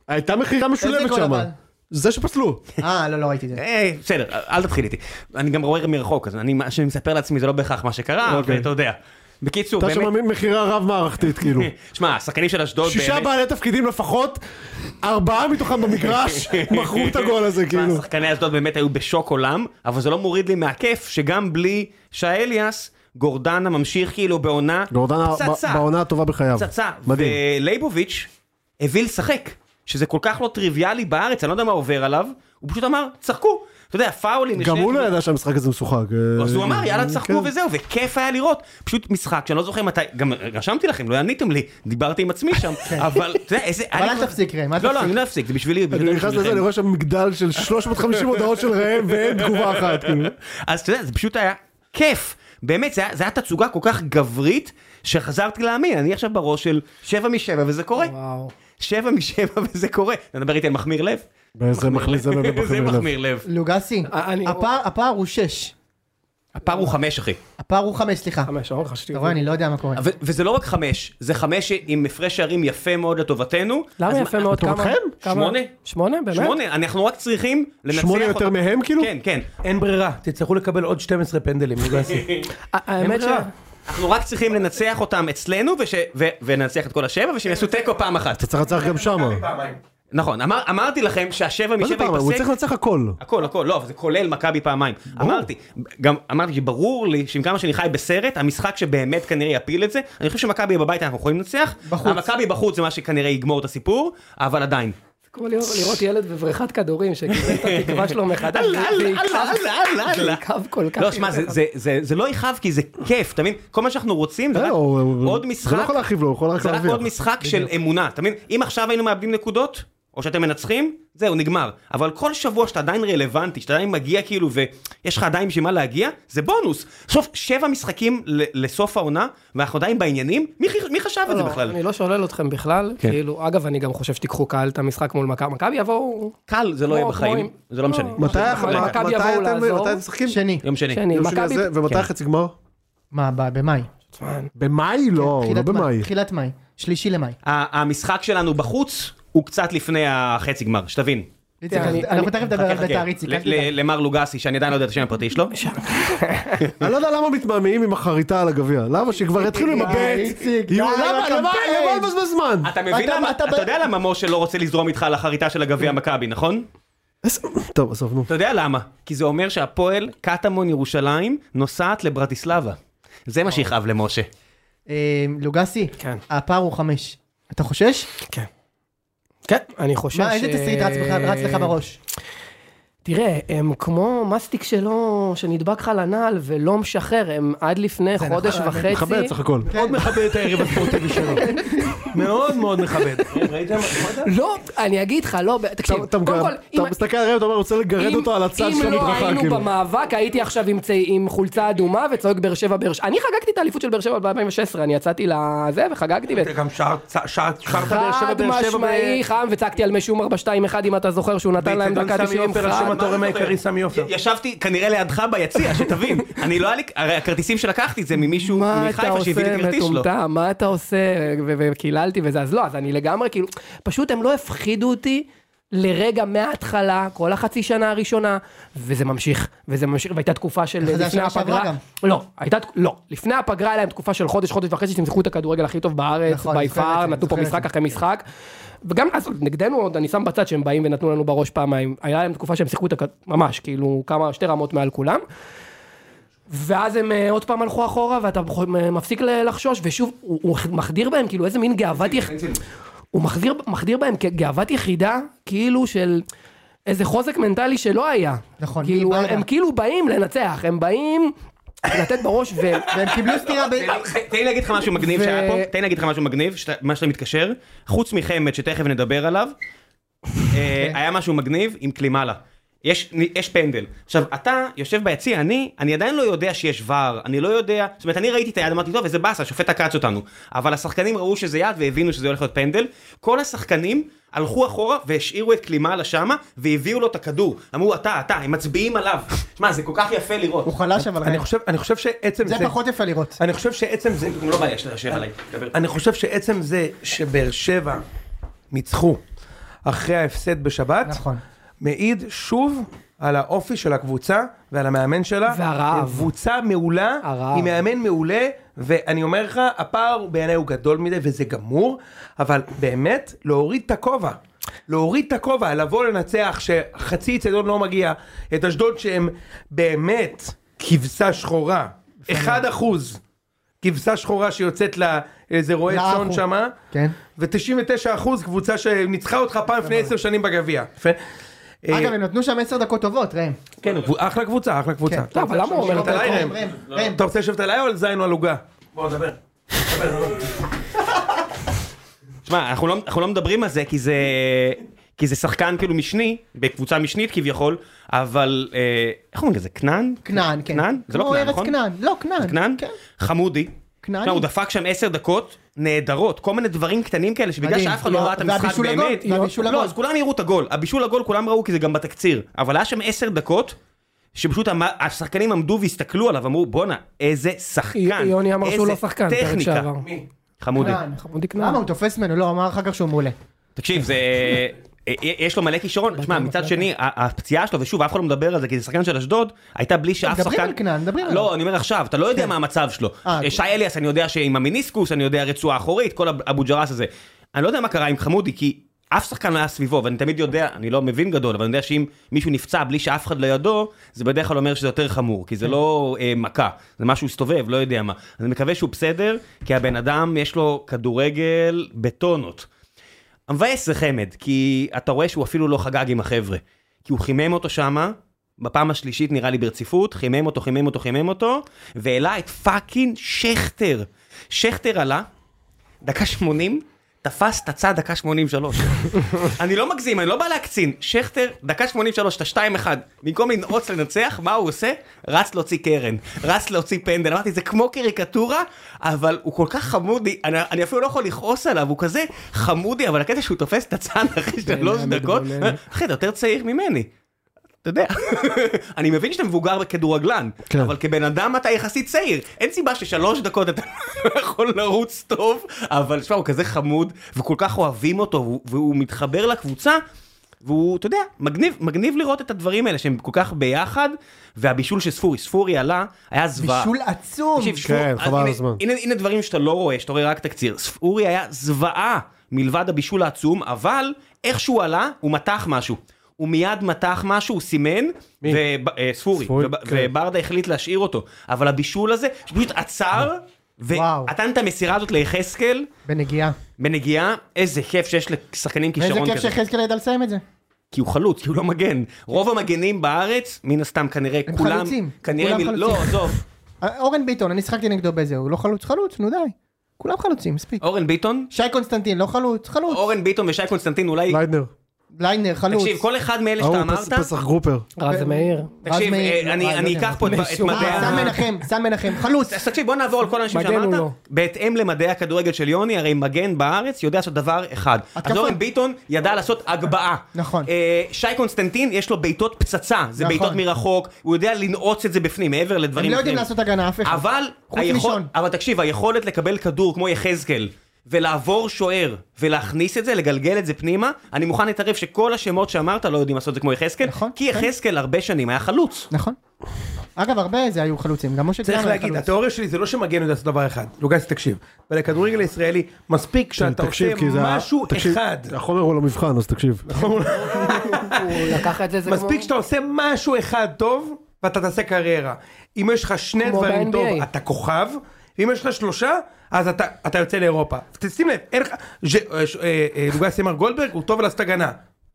S3: הייתה מכירה משולבת
S1: גול
S3: שם.
S1: אבל?
S3: זה שפסלו.
S1: אה, לא, לא ראיתי את זה.
S4: אה, בסדר, אל תתחיל איתי. אני גם רואה מרחוק, אז אני, מה שאני מספר לעצמי זה לא בהכרח מה שקרה,
S3: אוקיי.
S4: ואתה יודע. בקיצור,
S3: הייתה
S4: באמת,
S3: שם מכירה רב-מערכתית,
S4: [LAUGHS]
S3: כאילו.
S4: שמע, השחקנים של אשדוד
S3: שישה
S4: באמת,
S3: בעלי תפקידים לפחות, ארבעה מתוכם
S4: [LAUGHS]
S3: במגרש, מכרו את הגול הזה,
S4: שמע,
S3: כאילו.
S4: שחקני אשדוד באמת היו בשוק עולם, אבל זה לא מוריד לי מהכיף שגם בלי שי אליאס, גורדנה ממשיך כאילו בעונה
S3: גורדנה
S4: פצצה.
S3: ב- בעונה הטובה בחייו.
S4: פצצה.
S3: מדהים.
S4: ולייבוביץ' הביא לשחק, שזה כל כך לא טריוויאלי בארץ, אני לא יודע מה עובר עליו, הוא פשוט אמר, צחקו. אתה יודע, פאולים.
S3: גם
S4: לשני
S3: הוא לא
S4: הכיוונים.
S3: ידע שהמשחק הזה משוחק.
S4: אז הוא אמר יאללה
S3: כן.
S4: צחקו וזהו וכיף היה לראות פשוט משחק שאני לא זוכר מתי גם רשמתי לכם לא עניתם לי דיברתי עם עצמי
S3: [LAUGHS]
S4: שם אבל אתה יודע איזה
S1: אבל
S4: אני
S1: אל
S4: כבר-
S1: תפסיק, ראם, אל
S4: לא לא
S1: תפסיק.
S4: אני לא אפסיק זה בשבילי
S3: כן. אני
S4: בשביל-
S3: נכנס לזה, אני רואה שם מגדל של 350 הודעות של ראם ואין תגובה אחת. כאילו.
S4: אז אתה יודע זה פשוט היה כיף באמת זה היה- זה היה תצוגה כל כך גברית שחזרתי להאמין אני עכשיו בראש של שבע משבע וזה קורה
S7: וואו.
S4: שבע משבע [LAUGHS] וזה קורה נדבר איתי על מחמיר לב
S3: וזה מכניס זה באמת
S4: [LAUGHS] זה
S3: בחמיר לב.
S4: מחמיר לב
S1: לוגסי,
S3: אה,
S7: אני-
S1: הפער- הפער הוא 6.
S4: הפער הוא חמש אחי
S1: הפער הוא 5, סליחה.
S7: חמש, אורן, חשבתי.
S1: אתה רואה, אני לא יודע מה קורה.
S4: ו- וזה לא רק חמש זה חמש עם הפרש שערים יפה מאוד לטובתנו
S7: למה
S4: אז
S7: יפה
S4: מה-
S7: מאוד? כמה?
S3: לטובתכם?
S7: כמה?
S4: שמונה.
S7: שמונה, באמת?
S4: שמונה, אנחנו רק צריכים לנצח
S3: שמונה יותר
S4: אותם.
S3: מהם כאילו?
S4: כן, כן.
S3: [LAUGHS]
S2: אין ברירה, תצטרכו לקבל עוד 12 פנדלים, לוגסי.
S7: ה- האמת ש...
S2: ברירה.
S4: אנחנו רק צריכים לנצח אותם אצלנו, וש- ו- וננצח את כל השבע, ושהם יעשו תיקו פעם אחת.
S3: אתה צריך לנצח גם שמה.
S4: נכון, אמר- אמרתי לכם שהשבע
S3: מה
S4: משבע
S3: זה פעם? הוא
S4: ייפסק.
S3: צריך לנצח הכל.
S4: הכל, הכל, לא, אבל זה כולל מכבי פעמיים. אמרתי, גם אמרתי שברור לי שעם כמה שאני חי בסרט, המשחק שבאמת כנראה יפיל את זה, אני חושב שמכבי בבית אנחנו יכולים לנצח,
S1: בחוץ.
S4: המכבי בחוץ זה מה שכנראה יגמור את הסיפור, אבל עדיין.
S7: כמו לראות לראות ילד בבריכת כדורים שקיבל את התקווה שלו מחדש,
S4: אללה,
S7: זה
S4: אללה,
S7: יכאב-
S4: אללה, אללה,
S7: זה
S4: אללה.
S7: יכאב כל כך.
S4: לא, שמע, זה- זה- זה- זה לא יכאב כי זה כיף, אתה מבין? כל מה שאנחנו רוצים זה
S3: לא,
S4: רק
S3: הוא- הוא-
S4: עוד
S3: זה לא
S4: משחק,
S3: יכול להרחיב לו, הוא יכול רק
S4: זה רק עוד
S3: להרוויח.
S4: משחק של אמונה, אתה מבין? אם עכשיו היינו מאבדים נקודות, או שאתם מנצחים, זהו, נגמר. אבל כל שבוע שאתה עדיין רלוונטי, שאתה עדיין מגיע כאילו, ויש לך עדיין בשביל מה להגיע, זה בונוס. סוף, שבע משחקים ל- לסוף העונה, ואנחנו עדיין בעניינים, מי חי- מי חשב את זה
S7: לא,
S4: בכלל?
S7: אני לא שולל אתכם בכלל,
S4: כן.
S7: כאילו, אגב, אני גם חושב שתיקחו קהל את המשחק מול מכבי, מכבי יבואו,
S4: קל זה לא יהיה
S7: כמו-
S4: בחיים,
S7: כמו עם-
S4: זה לא משנה. לא
S3: מתי
S7: לא,
S3: החמה-
S7: מכבי
S3: מתי
S7: יבואו
S3: אתם-
S7: לעזור.
S3: מתי אתם משחקים?
S1: שני.
S4: יום שני.
S7: שני,
S3: יום שני
S7: מכבי,
S3: הזה, ומתי
S4: כן.
S3: החצי גמר?
S1: מה, ב- במאי.
S3: במאי לא, לא
S1: כן, תחילת
S3: במאי.
S1: מאי, תחילת מאי. שלישי למאי.
S4: ה- המשחק שלנו בחוץ, הוא קצת לפני החצי גמר, שתבין.
S1: איציק,
S7: אני-
S1: אז אנחנו
S7: אני-
S1: תכף נדבר
S4: חכה,
S1: על
S4: חכה.
S1: אה, בית"ר, איציק.
S4: ל-
S1: אל תדאג.
S4: ל- למר לוגסי, שאני עדיין לא יודע את השם הפרטי שלו.
S3: אני לא יודע למה מתמהמהים עם החריטה על הגביע. למה? שכבר יתחילו עם
S1: די,
S3: הבט.
S1: איציק,
S3: יהיו-
S1: די,
S3: למה? למה?
S1: לקמפיין.
S3: למה לבזבז זמן?
S4: אתה מבין
S1: אתה-
S4: למה,
S1: אתה-
S4: אתה יודע למה משה לא רוצה לזרום איתך על החריטה של הגביע מכבי, נכון?
S3: איזה- טוב, עזוב, נו.
S4: אתה יודע למה? כי זה אומר שהפועל קטמון ירושלים נוסעת לברטיסלבה. זה מה שיכאב למשה.
S1: אה, לוגסי,
S4: כן.
S1: הפער הוא חמש. אתה חושש?
S7: כן, אני חושב
S1: מה, איזה תסריט רץ בך- רץ לך
S4: אה,
S1: בראש?
S7: תראה, הם כמו מסטיק שלא, שנדבק חלנל ולא משחרר, הם עד לפני חודש וחצי.
S3: מכבד סך הכל.
S2: מאוד מכבד את הערב הספורטיבי שלו. מאוד מאוד מכבד.
S7: לא, אני אגיד לך, לא, ב- תקשיב,
S3: אתה- אתה
S7: קודם
S3: מגרד-
S7: כל,
S3: אתה
S7: אם-
S3: מסתכל עליהם, אתה אומר, רוצה לגרד אותו על הצד של
S7: אם לא
S3: המדרכה,
S7: היינו
S3: כאילו.
S7: במאבק, הייתי עכשיו עם, צי, עם חולצה אדומה וצועק באר שבע באר שבע. אני חגגתי את האליפות של באר שבע ב-2016, אני יצאתי לזה וחגגתי. ו-
S3: אה,
S2: גם שרת באר שבע
S7: חד
S2: באר שבע.
S7: משמעי חם, וצעקתי על משום 4-2-1 אם אתה זוכר שהוא נתן להם דקה 90
S2: השם
S7: חד.
S2: התורם העיקרי סמי עופר.
S4: ישבתי כנראה לידך ביציע, שתבין. אני לא היה לי, הרי הכרטיסים שלקחתי זה ממישהו
S7: מה אתה
S4: מחיפה שהביא לי
S7: עושה
S4: את הכרטיס שלו.
S7: מטומטם, מה אתה עושה, ו- וקיללתי וזה, אז לא, אז אני לגמרי כאילו, פשוט הם לא הפחידו אותי לרגע מההתחלה, כל החצי שנה הראשונה, וזה ממשיך, וזה ממשיך, והייתה תקופה של
S1: ככה זה
S7: לפני
S1: השנה שעברה
S7: הפגרה,
S1: גם.
S7: לא, הייתה, תק- לא, לפני הפגרה היה להם תקופה של חודש, חודש וחצי, שתמזכו את הכדורגל הכי טוב בארץ,
S1: נכון,
S7: בי
S1: זוכר את זה,
S7: פאר,
S1: אני
S7: נתנו פה
S1: זוכר את
S7: משחק
S1: זה.
S7: אחרי משחק. וגם אז נגדנו עוד, אני שם בצד שהם באים ונתנו לנו בראש פעמיים, היה להם תקופה שהם שיחקו את הכדור, ממש, כאילו כמה, שתי רמות מעל כולם. ואז הם אה, עוד פעם הלכו אחורה, ואתה בכל- מ- מפסיק ל- לחשוש, ושוב, הוא הוא מחדיר בהם, כאילו איזה מין גאוות יחידה, הוא מחדיר, מחדיר בהם כגאוות יחידה, כאילו של איזה חוזק מנטלי שלא היה.
S1: נכון,
S7: כאילו,
S1: מי
S7: הם,
S1: בא
S7: הם
S1: לה?
S7: כאילו באים לנצח, הם באים לתת בראש, ו...
S1: [LAUGHS] והם קיבלו סטירה ב...
S4: אה, תן לי להגיד לך משהו מגניב
S7: ו-
S4: שהיה פה, תן לי להגיד לך משהו מגניב, שאתה- מה שאתה מתקשר, חוץ מחמד שתכף נדבר עליו, אה, היה משהו מגניב עם קלימלה. יש, יש פנדל. עכשיו, אתה יושב ביציע, אני, אני עדיין לא יודע שיש ור, אני לא יודע, זאת אומרת, אני ראיתי את היד, אמרתי, טוב, איזה באסה, השופט עקץ אותנו. אבל השחקנים ראו שזה יד והבינו שזה הולך להיות פנדל. כל השחקנים הלכו אחורה והשאירו את קלימלה שמה, והביאו לו את הכדור. אמרו, אתה, אתה, הם מצביעים עליו. שמע, זה כל כך יפה לראות.
S1: הוא חלש אבל
S2: אני
S1: ראם.
S2: חושב- אני חושב שעצם
S1: זה
S2: זה...
S1: פחות יפה לראות.
S4: אה,
S2: אני חושב שעצם זה...
S4: הוא לא בעיה, יש לה עליי, דבר.
S2: אני חושב שעצם זה שבאר שבע ניצחו אחרי ההפסד בשבת,
S1: נכון.
S2: מעיד שוב על האופי של הקבוצה ועל המאמן שלה.
S7: והרעב.
S2: קבוצה מעולה,
S7: הרעב.
S2: היא מאמן מעולה, ואני אומר לך, הפער בעיניי הוא גדול מדי וזה גמור, אבל באמת, להוריד את הכובע. להוריד את הכובע, לבוא לנצח שחצי אצטדיון לא מגיע, את אשדוד שהם באמת כבשה שחורה, 1% כבשה שחורה שיוצאת ל- לאיזה רועה
S1: לאחו.
S2: צאן שמה,
S1: כן.
S4: אה,
S2: ו-99% קבוצה שניצחה אותך פעם
S3: כן.
S2: לפני 10 שנים בגביע. יפה.
S1: אגב, הם נתנו שם עשר דקות טובות, ראם.
S4: אה,
S2: כן, אחלה קבוצה, אחלה קבוצה.
S1: כן.
S7: לא, אבל למה הוא אומר את
S2: אתה
S7: זה?
S2: עליי, ראם?
S1: ראם,
S4: לא,
S1: ראם.
S2: אתה רוצה לשבת עליי או על זין או על עוגה?
S3: כן,
S4: שמע, אנחנו לא, אנחנו לא מדברים על זה כי זה... כי זה שחקן כאילו משני, בקבוצה משנית כביכול, אבל אה, איך אומרים לזה, כנען?
S1: כנען, כן.
S4: כנען? זה לא
S1: כמו
S4: כנען,
S1: ארץ
S4: נכון?
S1: כנען. לא, כנען.
S4: זה כנען?
S1: כן.
S4: חמודי.
S1: כנעני.
S4: שמע, הוא דפק שם עשר דקות נהדרות, כל מיני דברים קטנים כאלה, שבגלל
S1: מדהים.
S4: שאף אחד לא
S1: לא,
S4: ראה את המשחק
S1: והבישול הגול,
S4: באמת...
S1: והבישול
S4: לא,
S1: הגול.
S4: אז כולם יראו את הגול. הבישול הגול כולם ראו כי זה גם בתקציר, אבל היה שם עשר דקות. שפשוט המ- השחקנים עמדו והסתכלו עליו, אמרו בואנה, איזה שחקן,
S7: יוני אמר שהוא
S4: איזה
S7: לא שחקן, פרק
S4: טכניקה."
S7: שעבר.
S4: חמודי.
S1: כנען. נכון.
S7: חמודי כנען.
S1: למה הוא תופס ממנו? לא, אמר אחר כך שהוא מעולה.
S4: תקשיב, זה... אה, יש לו מלא כישרון, שמע, מצד שני, ה- הפציעה שלו, ושוב, אף אחד לא מדבר על זה, כי זה שחקן של אשדוד, הייתה בלי שאף שחקן...
S1: מדברים על כנען, מדברים עליו.
S4: לא, אני אומר עכשיו, אתה לא יודע מה המצב שלו.
S1: אה,
S4: אה, שי אליאס, אני יודע שעם המיניסקוס, אני יודע רצועה אחורית, כל הב- אבו ג'רס הזה. אני לא יודע מה קרה עם חמודי, כי אף שחקן לא היה סביבו, ואני תמיד יודע, אני לא מבין גדול, אבל אני יודע שאם מישהו נפצע בלי שאף אחד לידו, זה בדרך כלל אומר שזה יותר חמור, כי
S1: כן.
S4: זה לא אה, מכה, זה משהו הסתובב, לא יודע מה. אז אני מקווה שהוא בסדר, כי הבן אדם יש לו כדורגל בטונות. המבאס זה חמד, כי אתה רואה שהוא אפילו לא חגג עם החבר'ה. כי הוא חימם אותו שמה, בפעם השלישית נראה לי ברציפות, חימם אותו, חימם אותו, חימם אותו, והעלה את פאקינג שכטר. שכטר עלה, דקה 80, תפס את הצד דקה 83. אני לא מגזים, אני לא בא להקצין. שכטר, דקה 83, אתה 2-1. במקום לנעוץ לנצח, מה הוא עושה? רץ להוציא קרן, רץ להוציא פנדל. אמרתי, זה כמו קריקטורה, אבל הוא כל כך חמודי, אני, אני אפילו לא יכול לכעוס עליו, הוא כזה חמודי, אבל הקטע שהוא תופס את הצד אחרי שלוש דקות,
S7: מתבונן.
S4: אחי, אתה יותר צעיר ממני. אתה יודע, [LAUGHS] אני מבין שאתה מבוגר כדורגלן,
S3: כן.
S4: אבל כבן אדם אתה יחסית צעיר. אין סיבה ששלוש דקות אתה [LAUGHS] לא יכול לרוץ טוב, אבל שמע, הוא כזה חמוד, וכל כך אוהבים אותו, והוא- והוא מתחבר לקבוצה, והוא, אתה יודע, מגניב, מגניב לראות את הדברים האלה שהם כל כך ביחד, והבישול של ספורי, ספורי עלה, היה זוועה.
S1: בישול עצום.
S4: תקשיב, ספור-
S3: כן,
S4: אז
S3: חבל על
S4: הנה-
S3: הזמן.
S4: הנה, הנה דברים שאתה לא רואה, שאתה רואה רק תקציר. ספורי היה זוועה מלבד הבישול העצום, אבל איך שהוא עלה, הוא מתח משהו. הוא מיד מתח משהו, הוא סימן, וב- אה, ספורי,
S3: ספורי,
S4: וב-
S3: כן.
S4: וברדה החליט להשאיר אותו. אבל הבישול הזה, שפשוט עצר,
S1: וואו.
S4: ונתן את המסירה הזאת ליחזקאל,
S1: בנגיעה.
S4: בנגיעה, איזה כיף שיש לשחקנים
S1: ואיזה
S4: כישרון
S1: כיף
S4: כזה.
S1: שיחזקאל ידע לסיים את זה.
S4: כי הוא חלוץ, כי הוא לא מגן. רוב המגנים בארץ, מן הסתם כנראה
S1: הם
S4: כולם...
S1: חלוצים.
S4: כנראה...
S1: כולם
S4: מ- לא,
S1: חלוצים.
S4: עזוב.
S1: אה, אורן ביטון, אני שחקתי נגדו בזה, הוא לא חלוץ? חלוץ, נו די. כולם חלוצים, מספיק.
S4: אורן ביטון?
S1: שי קונסטנטין, לא חלוץ, חלוץ.
S4: אורן ביטון ושי קונסטנטין אולי
S3: ליידנר.
S1: ליינר, חלוץ.
S4: תקשיב, כל אחד מאלה שאתה
S3: ההוא,
S4: אמרת,
S3: פס- פסח גרופר.
S7: רז מאיר.
S4: תקשיב,
S1: רז מאיר,
S4: אה,
S1: לא,
S4: אני-
S1: רז לא
S4: אני
S1: יודע,
S4: אקח פה את את מדעי
S1: אה, סן
S4: ה...
S1: מנחם, סן מנחם, חלוץ.
S4: אז תקשיב, בוא נעבור על כל האנשים
S7: מגן הוא
S4: שאמרת.
S7: לא.
S4: בהתאם למדעי הכדורגל של יוני, הרי מגן בארץ יודע לעשות דבר אחד.
S1: התקפה.
S4: אז אורן ביטון ידע לעשות הגבהה.
S1: נכון.
S4: אה, שי קונסטנטין, יש לו בעיטות פצצה. זה
S1: נכון.
S4: בעיטות מרחוק, הוא יודע לנעוץ את זה בפנים, מעבר לדברים
S1: הם
S4: אחרים.
S1: לא יודעים לעשות הגנה, אף אחד.
S4: אבל,
S1: חוץ
S4: היכול-
S1: מלישון.
S4: אבל תקשיב, היכולת לקבל כדור כמו יחזקאל, ולעבור שוער, ולהכניס את זה, לגלגל את זה פנימה, אני מוכן להתערב שכל השמות שאמרת לא יודעים לעשות את זה כמו יחזקאל,
S1: נכון,
S4: כי
S1: כן.
S4: יחזקאל הרבה שנים היה חלוץ.
S1: נכון. אגב, הרבה זה היו חלוצים, גם משה
S2: צריך
S1: גרמן היה
S2: להגיד,
S1: חלוץ.
S2: התיאוריה שלי זה לא שמגן יודע לעשות דבר אחד. לוגסי, תקשיב. ולכדורגל הישראלי, מספיק שאתה עושה
S3: כן, תקשיב, כי זה... ה-
S2: משהו
S3: תקשיב,
S2: אחד.
S3: החומר הוא על המבחן, אז תקשיב.
S7: הוא לקח את זה, זה
S2: מספיק שאתה עושה משהו אחד טוב, ואתה תעשה קריירה. אם יש לך שני
S7: כמו
S2: דברים
S7: ב-NBA.
S2: טוב, אתה כוכב, ואם יש לך שלושה, אז אתה, אתה יוצא לאירופה. אז שים לב, אין לך... ז'- אה, ש- אה, אה, לוגסי אמר גולדברג, הוא טוב לעשות הגנה.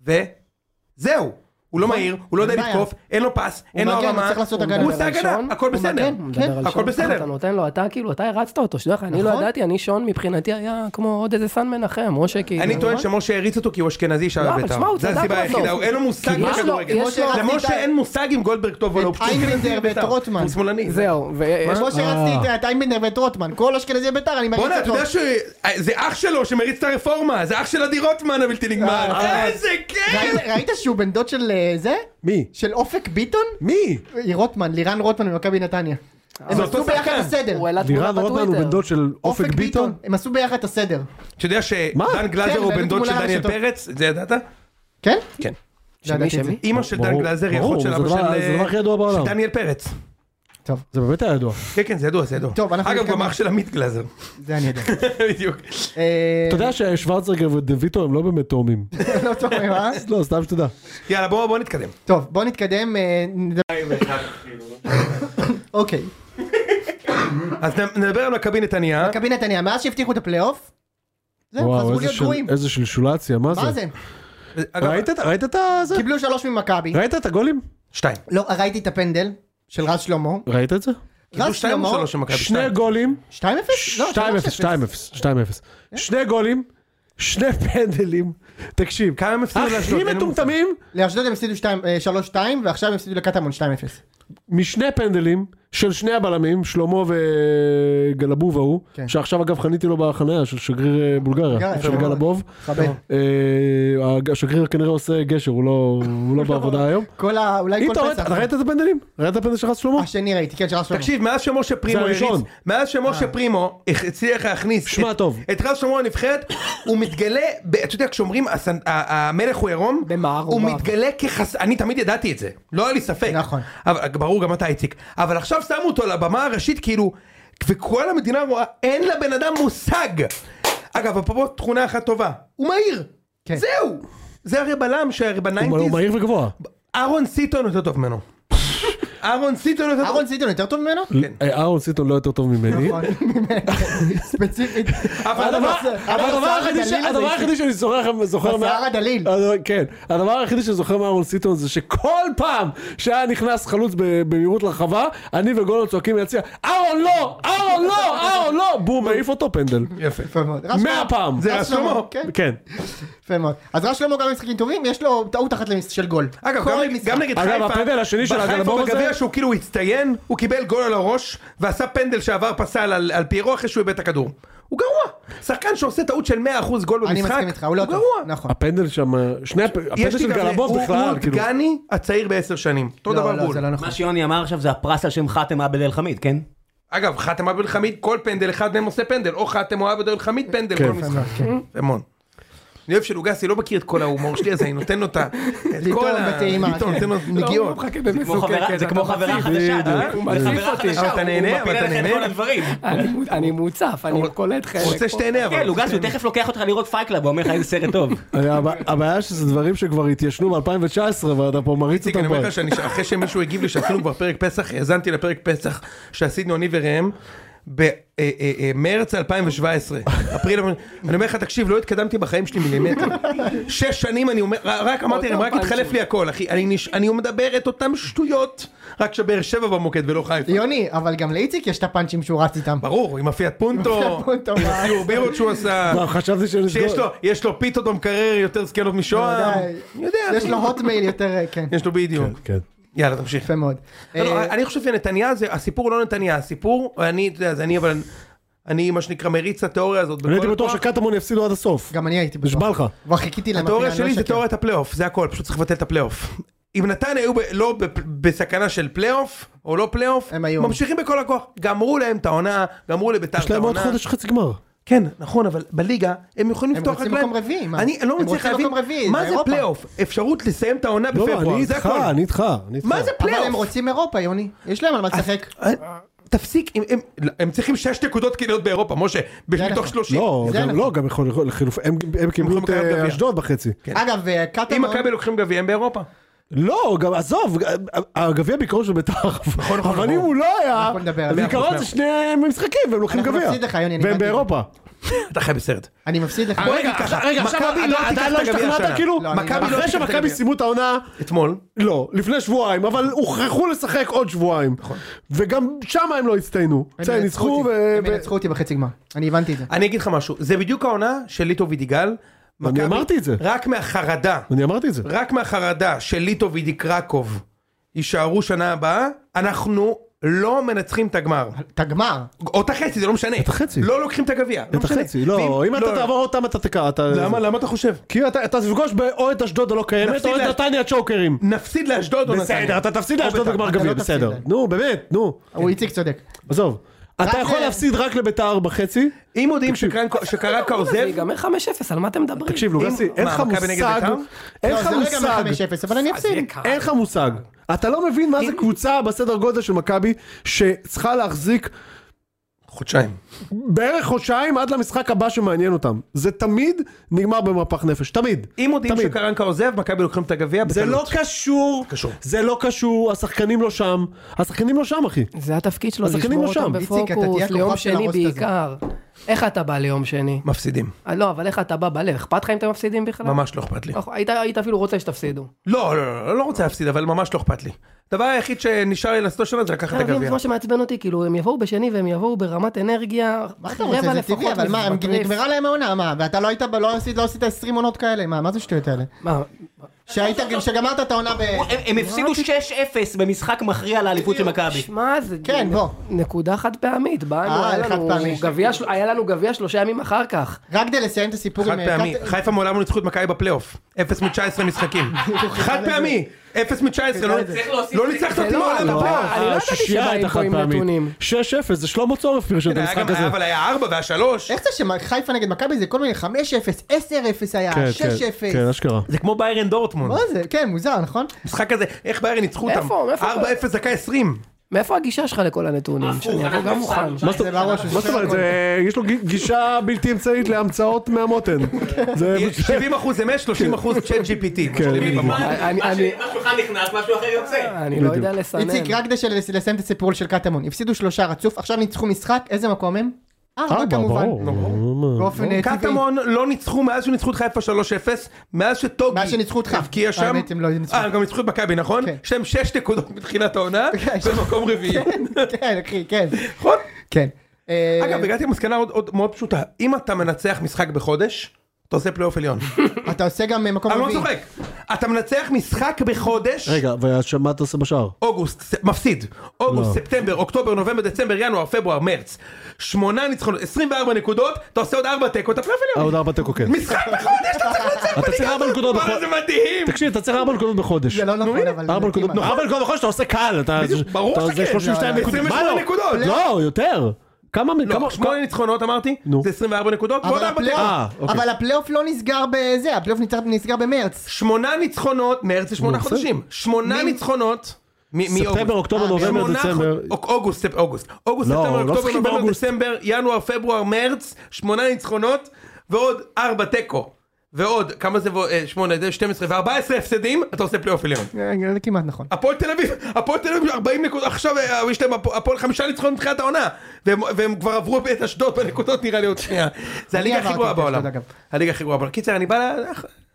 S2: וזהו. הוא לא מהיר, הוא לא יודע
S1: נכון. אין בעיה.
S2: לתקוף, אין לו פס,
S1: הוא
S2: אין לו
S1: מגן, הוא
S2: הרמה,
S1: צריך לעשות הגנה.
S2: הוא עושה הגנה,
S7: הראשון,
S2: הכל
S1: הוא
S2: בסדר.
S1: מגן.
S7: מדבר על
S1: כן,
S7: שון,
S2: הכל בסדר.
S7: אתה נותן לו, אתה כאילו, אתה הרצת אותו, שתדע לך, אני לא
S1: נכון.
S7: ידעתי, אני שון מבחינתי היה כמו עוד איזה סן מנחם, או שכאילו...
S2: אני טוען שמשה הריץ אותו כי הוא אשכנזי
S7: לא,
S2: שער
S7: אבל
S2: בית"ר.
S7: שמע, הוא
S2: זה
S7: צדק
S2: הסיבה
S7: בסוף.
S2: היחידה, הוא- אין לו מושג
S7: כי יש לו-
S2: בכדורגל.
S7: יש לו-
S2: למשה אין מושג אם גולדברג טוב או לא, הוא
S1: את
S2: פשוט אשכנזי
S1: איינבינדר ואת
S2: בית"ר.
S1: רוטמן.
S2: הוא שמאלני.
S7: זהו, ויש...
S1: כמו
S3: אה.
S1: שרצתי את- אה, את איימבנדר ואת רוטמן, כל אשכנזי בית"ר, אני מריץ
S2: בואנה, אתה
S1: אותו.
S2: יודע שזה אח שלו שמריץ את הרפורמה, זה אח של אדי רוטמן הבלתי נגמר.
S1: אה,
S2: איזה כיף!
S1: ראית- ראית שהוא בן דוד של אה, זה?
S3: מי?
S1: של אופק ביטון?
S3: מי?
S1: היא רוטמן, לירן רוטמן ממכבי נתניה. הם
S2: זה
S1: עשו
S2: אותו
S1: ביחד
S2: שחקן.
S1: הסדר.
S7: הוא העלה תמונה
S3: לירן
S7: בטוויטר.
S3: רוטמן הוא בן דוד של אופק ביטון?
S1: הם עשו ביחד את הסדר.
S2: אתה יודע שדן גלאזר
S1: כן,
S2: הוא
S1: והעלו
S2: בן דוד של
S1: תמונה
S2: דניאל
S1: לרשתות.
S2: פרץ? זה ידעת?
S1: כן?
S2: כן.
S1: לא ידעתי את זה.
S7: שמי?
S2: אימא של דן
S3: ברור,
S2: גלאזר היא
S3: ברור,
S2: אחות של
S3: זה
S2: אבא
S3: הדבר-
S2: של אה,
S3: זה הדבר הכי ידוע
S2: של
S3: בעולם.
S2: דניאל פרץ.
S3: זה באמת היה ידוע.
S2: כן, כן, זה ידוע, זה ידוע.
S1: טוב, אנחנו
S2: אגב,
S1: נתקדם.
S2: גם אח של עמית גלאזר.
S1: זה אני יודע.
S2: [LAUGHS] בדיוק.
S1: אה,
S3: אתה יודע ששוורצרגר ודה ויטו הם לא באמת תאומים.
S1: [LAUGHS] לא טוב, אה?
S3: לא, סתם שתדע.
S2: יאללה, בואו בואו נתקדם.
S1: טוב, בוא נתקדם. אה, נדבר- [LAUGHS] אוקיי.
S2: אז נ- נדבר על מכבי נתניה.
S1: מכבי נתניה, מאז שהבטיחו את הפלייאוף, זהו,
S3: וואו,
S1: חזרו
S3: איזה
S1: להיות
S3: של-
S1: גרועים.
S3: איזה שלשולציה, מה
S1: מה
S3: זה?
S1: זה?
S2: אגב,
S3: ראית את- ראית את ה... זה?
S1: קיבלו שלוש ממכבי.
S3: ראית את הגולים?
S2: שתיים.
S1: לא, ראיתי את הפנדל של רז שלמה.
S3: ראית את זה?
S2: קיבלו
S1: רז
S2: שתיים
S1: שלמה,
S2: או שלוש של מכבי?
S3: שני
S2: שתיים.
S3: גולים,
S1: 2-0? לא,
S3: 2-0, 2-0, 2-0. שני גולים, שני פנדלים. תקשיב,
S2: כמה הם הפסידו לאשדוד?
S3: הכי
S2: לא אין לי מושג.
S3: מטומטמים
S1: לאשדוד הם הפסידו שתיים- אה, 3-2 ועכשיו הם הפסידו לקטמון 2-0.
S3: משני פנדלים של שני הבלמים, שלמה וגלבוב ההוא,
S1: כן.
S3: שעכשיו אגב חניתי לו בחניה של שגריר אה, בולגריה,
S1: בולגריה,
S3: של
S1: יפה מאוד.
S3: גלבוב.
S1: חבל.
S3: אה, הג- השגריר כנראה עושה גשר, הוא לא, הוא לא בעבודה היום.
S1: כל ה... אולי
S3: אם
S1: כל
S3: אתה רואה,
S1: פסח.
S3: אתה ראית את הפנדלים? ראית את הפנדל של רץ שלמה?
S1: השני ראיתי, כן, שרס שלמה.
S2: תקשיב, מאז שמשה פרימו הריץ,
S3: הראשון. אה.
S2: מאז שמשה פרימו הצליח להכניס
S3: שמע
S2: את-
S3: טוב.
S2: את רז שלמה לנבחרת, הוא מתגלה, ב- אתה יודע, כשאומרים הסנ- ה- המלך הוא עירום,
S7: במער
S2: הוא
S7: רובב.
S2: מתגלה כחס... אני תמיד ידעתי את זה, לא היה לי ספק.
S1: נכון.
S2: אבל- ברור, גם אתה איציק. אבל עכשיו שמו אותו לבמה הראשית, כאילו, וכל המדינה רואה, אין לבן אדם מושג. אגב, אפרופו תכונה אחת טובה, הוא מהיר.
S1: כן.
S2: זהו. זה הרי בלם שהרי
S3: הוא הוא
S2: בניינטיז,
S3: מהיר וגבוה.
S2: אהרון סיטון יותר
S1: [LAUGHS]
S2: טוב ממנו. אהרון סיטון יותר טוב.
S1: אהרון סיטון יותר טוב ממנו? [LAUGHS]
S3: אה, אהרון סיטון לא יותר טוב ממני.
S1: נכון. ספציפית.
S2: אבל
S3: הדבר-
S1: אבל
S3: הדבר
S1: שיער
S3: היחידי ש-
S1: הדליל הזה,
S3: הדבר היחידי שאני זוכר זוכר מה-
S1: השיער הדליל.
S3: הדבר- כן, הדבר היחידי שאני זוכר מאהרון סיטון זה שכל פעם שהיה נכנס חלוץ ב- במהירות לרחבה, אני וגולן צועקים מהיציע, אהרון לא, אהרון לא, אהרון לא, בום, מעיף אותו פנדל.
S2: יפה.
S1: יפה מאוד. רז
S3: מאה
S1: שלמה.
S3: פעם.
S2: זה
S1: רז
S2: רז שלמה.
S1: כן,
S3: כן.
S1: יפה מאוד. אז רז שלמה גם במשחקים טובים, יש לו טעות אחת למש- של גול.
S2: אגב,
S1: כל
S2: גם, נגד-
S1: משחק.
S2: גם נגד
S3: אגב,
S2: חיפה,
S3: הפנדל השני של הגלבוב
S2: בחיפה
S3: הזה-
S2: בגביע שהוא כאילו הצטיין, הוא קיבל גול על הראש, ועשה פנדל שעבר פסל על, על פיירו אחרי שהוא איבד את הכדור. הוא גרוע. שחקן שעושה טעות של 100% גול במשחק,
S1: אני מסכים איתך, הוא לא טוב.
S2: גרוע.
S1: נכון.
S3: הפנדל שם, אה, שני הפ-
S2: יש
S3: הפנדל
S2: לי
S3: של
S2: גם-
S3: גלבוב
S2: הוא- הוא
S3: בכלל, כאילו.
S2: דגני הצעיר בעשר שנים. אותו
S1: לא,
S2: דבר
S1: לא,
S2: בול.
S1: זה לא נכון.
S4: מה שיוני אמר עכשיו זה הפרס על שם חאתם עבד אל חמיד, כן?
S2: אגב, חתם עבד חמיד, כל פנדל, אחד מהם עושה פנדל, או חתם או עבד חמיד פנדל,
S3: כן.
S2: כל משחק.
S1: כן.
S2: המון. אני אוהב שלוגסי לא מכיר את כל ההומור שלי, אז אני נותן לו את ה... את כל
S1: לטעון
S2: ה-
S1: בטעימה,
S2: לטעון,
S1: כן.
S2: נותן לו נגיעות.
S4: זה כמו חברה- זה כמו חברה חדשה, אתה-
S7: הוא
S4: זה
S7: מציף
S4: חברה
S7: אותי.
S4: חדשה,
S2: אבל אתה
S4: הוא-
S2: נהנה,
S4: הוא
S2: אבל
S4: מפיל
S2: אתה
S4: עליך את
S2: נהנה.
S4: כל הדברים.
S7: אני מ- אני מוצף, אני קולט חלק.
S2: רוצה שתהנה, אבל...
S4: כן, לוגסי, הוא תכף לוקח אותך לראות פייקלאב, הוא אומר לך איזה סרט טוב.
S3: הבע- הבעיה שזה דברים שכבר התיישנו ב-2019 ואתה פה מריץ
S2: איציק, אני
S3: אותם.
S2: אומר
S3: פה.
S2: לך שאני- אחרי שמישהו הגיב לי שעשינו כבר פרק פסח, האזנתי לפרק פסח שעשינו אני וראם. אה, במרץ 2017, אפריל, אני אומר לך, תקשיב, לא התקדמתי בחיים שלי מילימטר. שש שנים אני אומר, רק אמרתי להם, רק התחלף לי הכל, אחי, אני נש- אני מדבר את אותם שטויות, רק שבאר שבע במוקד ולא חיפה.
S1: יוני, אבל גם לאיציק יש את הפאנצ'ים שהוא רץ איתם.
S2: ברור, עם הפיאט
S1: [LAUGHS]
S2: פונטו,
S1: פונטו,
S2: עם
S1: מה?
S2: הסיור בירות שהוא עשה,
S3: לא, חשבתי
S2: שיש לו-
S3: שנסגור.
S2: יש לו פיתות במקרר יותר זקנות משוהם,
S1: די.
S2: אה, יודע,
S1: יש לו הוטמייל יותר, אה,
S2: [LAUGHS]
S1: כן.
S2: יש לו בדיוק.
S3: כן.
S2: יאללה, תמשיך.
S1: יפה מאוד.
S2: לא, לא,
S1: אה,
S2: אני חושב שנתניה זה, הסיפור הוא לא נתניה, הסיפור, אני, אתה יודע, זה אני אבל, אני מה שנקרא מריץ את התיאוריה הזאת.
S3: אני הייתי
S2: בכל
S3: בטוח
S2: הכוח.
S3: שקטמון יפסידו עד הסוף.
S1: גם אני הייתי בטוח.
S3: נשבע לך.
S1: כבר חיכיתי להם.
S2: התיאוריה
S1: אפילו, אני
S2: שלי
S1: לא
S2: זה
S1: אשקר.
S2: תיאוריית הפלייאוף, זה הכל, פשוט צריך לבטל את הפלייאוף. אם נתניה היו ב- לא ב- בסכנה של פלייאוף, או לא פלייאוף,
S1: הם היו.
S2: ממשיכים בכל הכוח. גמרו להם את העונה, גמרו לביתר את
S3: יש להם עוד
S2: העונה.
S3: חודש חצי גמר.
S2: כן, נכון, אבל בליגה, הם יכולים
S1: הם
S2: לפתוח
S1: רוצים
S2: רגליים.
S1: מקום רביעי, מה?
S2: אני
S1: הם
S2: לא מצליח
S1: רוצים
S2: להבין,
S1: מקום רביעי,
S2: מה זה
S1: באירופה.
S2: פלייאוף? אפשרות לסיים את העונה
S3: לא, אני
S2: בפברואר, זה
S3: איתך,
S2: הכל.
S3: אני איתך, אני איתך.
S2: מה זה
S1: אבל הם
S2: פלייאוף?
S1: רוצים אירופה, יוני. יש להם על מה לשחק.
S2: אה, תפסיק, הם- הם- הם צריכים שש נקודות כדי להיות באירופה, משה,
S1: נכון.
S2: מתוך שלושים.
S3: לא,
S1: זה
S3: גם-
S1: אנחנו.
S3: לא, גם יכול יכול- לחילוף, הם- הם קיבלו את
S2: יכולים לקחת
S3: אה,
S2: גביע.
S3: אשדוד בחצי.
S1: אגב, אה,
S2: כן. אם
S1: קטמון,
S2: מכבי לוקחים גביע הם באירופה.
S3: לא, גם עזוב, הגביע בעיקרון של בית"ר,
S2: נכון,
S3: אבל אם
S2: ברור.
S3: הוא לא היה,
S1: אנחנו נדבר על
S3: אז
S1: זה.
S3: בעיקרון זה שני משחקים, והם לוקחים
S1: אנחנו
S3: גביע.
S1: נפסיד לך, יוני, אני
S3: והם
S1: הבנתי.
S3: באירופה.
S2: אתה חי בסרט.
S1: אני מפסיד לך.
S2: בוא נגיד ככה,
S3: אה, רגע, עכשיו
S2: מכבי לא
S3: אתה-
S2: תיקח
S3: אתה
S2: את
S3: לא
S2: הגביע
S3: השתכנעת
S2: השנה.
S3: כאילו,
S1: לא, אני
S2: מכבי לא
S3: אחרי
S2: תיקח את
S3: שמכבי
S2: הגביע.
S3: סיימו את העונה,
S2: אתמול.
S3: לא, לפני שבועיים, אבל הוכרחו לשחק עוד שבועיים. וגם שם הם לא הצטיינו.
S1: נכון. הם
S3: בסדר,
S1: ינצחו
S3: ניצחו
S1: אותי.
S3: ו-
S1: הם ינצחו אותי בחצי גמר. אני הבנתי את זה.
S2: אני אגיד לך משהו, זה בדיוק העונה של ליטו וידיגל. מכבי-
S3: אמרתי את זה.
S2: רק מהחרדה,
S3: אני אמרתי את זה.
S1: לא
S2: רק מהחרדה של ליטו וידי קרקוב יישארו שנה הבאה, אנחנו לא מנצחים את הגמר.
S1: את הגמר.
S2: או את החצי, זה לא משנה. את
S3: החצי.
S2: לא לוקחים את הגביע. לא
S3: את
S2: משנה.
S3: החצי, לא,
S2: ואם-
S3: אם אתה תעבור אותם אתה תקע, אתה...
S2: למה, למה אתה חושב?
S3: כי כאילו, אתה אתה תפגוש ב- או את אשדוד הלא קיימת,
S2: נפסיד
S3: או את
S2: לה-
S3: נתניה הצ'וקרים.
S2: נפסיד לאשדוד או נתניה.
S3: בסדר, אתה תפסיד
S2: או
S3: לאשדוד
S2: בית"ר.
S3: בגמר
S1: אתה לא
S3: גביע,
S1: תפסיד
S3: בסדר.
S1: להם.
S3: נו, באמת, נו,
S2: כן.
S1: הוא איציק צודק.
S3: עזוב. אתה יכול
S1: ל-
S3: להפסיד רק לביתר בחצי?
S2: אם יודעים
S3: תקשיב.
S2: שקרנקו- שקרקו
S7: לא זה
S2: עוזב,
S7: ייגמר 5-0, על מה אתם מדברים?
S3: תקשיב, לוגסי,
S2: מה,
S3: אין לך
S2: מכבי נגד
S3: מושג,
S2: בית"ר?
S3: אין
S1: לא,
S3: לך
S1: זה לא ייגמר
S3: מושג,
S1: 5-0, אבל אני אפסיד.
S3: אין לך מושג. אתה לא מבין מה זה קבוצה בסדר גודל של מכבי, שצריכה להחזיק
S2: חודשיים.
S3: בערך חודשיים עד למשחק הבא שמעניין אותם. זה תמיד נגמר במפח נפש, תמיד.
S2: אם מודיעים
S3: תמיד.
S2: שקרנקה עוזב, מכבי לוקחים את הגביע
S3: זה לא
S2: בקלות.
S3: קשור,
S2: קשור.
S3: זה לא קשור, השחקנים לא שם, השחקנים לא שם אחי.
S7: זה התפקיד שלו,
S3: השחקנים
S7: לשמור
S3: לא שם.
S7: אותם
S1: איציק, אתה תהיה
S7: בפוקוס,
S1: הכוכב
S7: ליום
S1: של
S7: שני
S1: הרוסט הזה.
S7: בעיקר. איך אתה בא ליום שני?
S2: מפסידים.
S7: אה, לא, אבל איך אתה בא בלב? אכפת לך אם אתם מפסידים בכלל?
S2: ממש לא אכפת לי.
S7: לא, היית- היית אפילו רוצה שתפסידו.
S2: לא, לא, לא, לא, לא רוצה להפסיד, אבל ממש לא אכפת לי. הדבר היחיד שנשאר לי לעשות השנה זה לקחת את
S7: אתה מבין,
S2: הגביע.
S7: זה מה שמעצבן אותי, כאילו, הם יבואו בשני והם יבואו ברמת אנרגיה,
S1: מה אתה רוצה?
S7: רבע
S1: זה
S7: לפחות
S1: טבעי, אבל מה, הם-
S7: מטריף.
S1: נגמרה להם העונה, מה? ואתה לא היית, ב- לא עשית לא עשית 20 עונות כאלה, מה? מה זה שטויות האלה?
S7: מה,
S1: שהיית,
S3: אה,
S1: שגמרת את העונה ב...
S4: הם הם הפסידו 6-0 במשחק מכריע לאליפות של מכבי.
S7: שמע, זה
S1: כן, בוא.
S7: נקודה חד פעמית, באנו,
S1: אה,
S7: היה
S1: חד
S7: לנו
S1: פעמי.
S7: גביע של- היה לנו גביע שלושה ימים אחר כך.
S1: רק כדי לסיים את הסיפור אה,
S2: חד פעמי.
S1: קט-
S2: חיפה מעולם לא ניצחו את מכבי בפלייאוף. 0 מ-19
S7: [LAUGHS]
S2: משחקים. חד פעמי. 0 מ-19. לא ניצחת אותי מעולם בפלייאוף.
S7: אני לא ידעתי שבאים פה עם נתונים.
S3: 6-0, זה שלמה צורף פרשן את
S2: היה
S3: המשחק
S2: גם-
S3: הזה.
S2: אבל היה 4 והיה 3.
S1: איך זה שחיפה נגד מכבי זה כל מיני 5-0, 10-0 היה, 6-0.
S3: כן, כן, כן, אשכרה.
S2: זה כמו ביירן דורטמונד.
S1: מה זה? כן, מוזר, נכון?
S3: אה,
S2: המשחק הזה, איך ביירן ניצחו אותם?
S7: איפה? מאיפה?
S2: 4-0 דקה 20.
S7: מאיפה הגישה שלך לכל הנתונים? שאני אבוא גם מוכן.
S3: מה זאת-
S1: זה לא בראש,
S3: אה, מה זאת אומרת, זה- יש לו ג- גישה בלתי אמצעית להמצאות מהמותן.
S2: [LAUGHS]
S3: זה
S2: 70% אמת, 30% צ'אט
S7: כן,
S2: GPT. משלימים במוח.
S7: אני- אני-
S4: אחד נכנס, משהו אחר יוצא.
S7: אני לא יודע לסנן.
S1: איציק, רק כדי של- לסיים את הסיפור של קטמון. הפסידו שלושה רצוף, עכשיו ניצחו משחק, איזה מקום הם? ארבע
S3: ארבע,
S1: כמובן.
S3: אה, ברור.
S1: באופן אה, טבעי.
S2: קטמון לא ניצחו מאז שניצחו את חיפה 3-0, מאז שטוגי
S1: מאז שניצחו אותך.
S2: הבקיע שם,
S1: האמת, הם לא ניצחו.
S2: אה, הם גם ניצחו את מכבי נכון?
S1: כן.
S2: יש להם 6 נקודות מתחילת העונה,
S1: [LAUGHS] כן.
S2: במקום רביעי,
S1: כן, אחי, כן.
S2: נכון?
S1: כן. [LAUGHS] אה,
S2: אגב הגעתי למסקנה עוד- עוד מאוד פשוטה, אם אתה מנצח משחק בחודש, אתה עושה
S1: [LAUGHS]
S2: פלייאוף עליון,
S1: אתה עושה גם אה, מקום
S2: אני לא
S1: רביעי.
S2: צוחק, אתה מנצח משחק בחודש,
S3: רגע, ומה אתה עושה בשער?
S2: אוגוסט, ס- מפסיד, אוגוסט,
S3: לא.
S2: ספטמבר, אוקטובר, נובמבר, דצמבר, ינואר, פברואר, מרץ, 8 ניצחונות, 24 נקודות, אתה עושה עוד 4 תיקו, אתה פלייאוף
S3: אה,
S2: עליון,
S3: עוד ארבע תיקו, כן.
S2: משחק בחודש אתה צריך לנצח,
S3: אתה צריך ארבע נקודות
S2: וואלה,
S3: בחודש.
S2: זה מדהים,
S3: תקשיב, אתה צריך ארבע נקודות בחודש.
S1: זה לא נכון, אבל...
S3: ארבע נקודות
S1: כמעט.
S3: ארבע נקודות בחודש אתה עושה קל, אתה...
S2: בדיוק, ברור
S3: אתה-
S2: שכן,
S3: זה 32
S2: זה
S3: נקודות.
S2: 28
S3: מה לא?
S2: נקודות.
S3: לא, יותר. כמה... כמה-
S2: לא, שמונה ניצחונות אמרתי,
S3: נו.
S2: זה 24 נקודות, ועוד
S1: אבל
S2: ארבע
S1: הפלייאוף-
S2: תיקו.
S3: אה, אוקיי.
S1: אבל הפלייאוף לא נסגר בזה, הפלייאוף נסגר- נסגר במרץ.
S2: שמונה ניצחונות, מרץ זה שמונה
S3: נו,
S2: חודשים, שמונה ניצחונות. מ- מאוגוסט.
S3: ספטמבר, אוקטובר,
S2: אה,
S3: נובמבר,
S2: שמונה
S3: דצמבר.
S2: חוד- אוק- אוגוסט, ספ- אוגוסט. אוגוסט,
S3: לא,
S2: ספטמבר,
S3: לא
S2: אוקטובר,
S3: משחקים
S2: נובמבר,
S3: באוגוסט.
S2: דצמבר, ינואר, פברואר, מרץ, שמונה ניצחונות, ועוד ארבע תיקו. ועוד, כמה זה, בו- אה, שמונה, זה 12 ו-14 הפסדים, אתה עושה פלייאוף עליון.
S1: אה, זה כמעט נכון.
S2: הפועל תל אביב, הפועל תל אביב 40 נקודות, עכשיו אה, יש להם הפ- הפועל חמישה ניצחונות מתחילת העונה, והם, והם כבר עברו את אשדוד בנקודות נראה לי עוד שנייה. זה הליגה
S1: עברתי
S2: הכי גרועה
S1: את אשדוד,
S2: בעולם.
S1: אגב.
S2: הליגה הכי גרועה בעולם. קיצר, אני בא ל...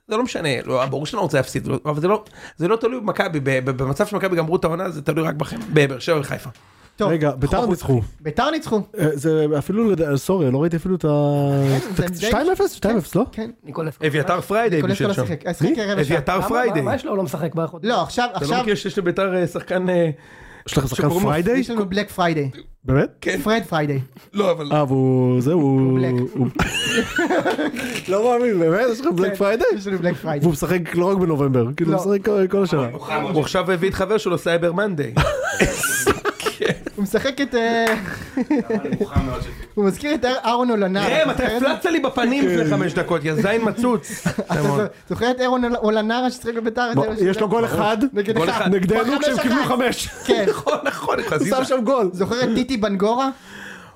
S2: זה לא משנה, לא, ברור שאני לא רוצה להפסיד, לא- אבל זה לא, זה לא תלוי במכבי, ב- ב- במצב שמכבי גמרו את העונה זה תלוי רק בכם, בבאר שבע וחיפה.
S1: טוב,
S3: רגע, ביתר
S1: חוץ.
S3: ניצחו.
S1: ביתר ניצחו.
S3: אה, זה אפילו, לד- אה, סורי, לא ראיתי אפילו את ה...
S1: כן, זה די-
S3: תק- 2-0? 2-0, לא?
S1: כן.
S7: ניקולסקו.
S2: אביתר פריידי
S1: ניקולסקו
S2: בשביל
S1: לא
S2: אה, שם.
S1: שיחק. אה, שיחק רבע שעה.
S2: אביתר
S7: למה?
S2: פריידי.
S7: מה יש לו? הוא לא משחק באחות.
S1: לא, עכשיו,
S2: אתה לא
S1: עכשיו,
S2: מכיר שיש לביתר אה, שחקן... אה,
S1: כן.
S3: יש לכם שחקן
S2: שקוראים לו-
S3: פריידיי?
S1: יש לנו בלק פריידי.
S3: באמת?
S2: כן.
S1: פרד פריידי.
S2: [LAUGHS] לא, אבל...
S3: אה, והוא... זהו, הוא...
S1: בלק.
S3: הוא- לא מאמין, באמת? יש לכם בלק פריידיי?
S1: יש לנו בלק פריידי.
S3: והוא משחק לא רק בנובמבר,
S1: כן.
S3: כאילו
S1: לא.
S3: הוא משחק כל- כל השנה.
S2: הוא עכשיו הביא את חבר שלו סייבר מנדי.
S1: הוא משחק את... אה, [LAUGHS] הוא מזכיר את אהרון אולנר.
S2: ראם, אתה הפלצת לי בפנים לפני חמש דקות, יא זין מצוץ.
S1: זוכר את אהרון אולנר ששיחק בביתר?
S3: בוא, יש לו גול אחד
S1: נגד
S2: גול
S1: אחד.
S2: אחד.
S3: נגדנו
S1: חמש
S3: כשהם קיבלו
S1: אחת.
S3: חמש.
S1: כן.
S2: נכון, נכון,
S3: הוא
S2: חזיזה.
S3: שם שם גול.
S1: זוכר את טיטי בנגורה?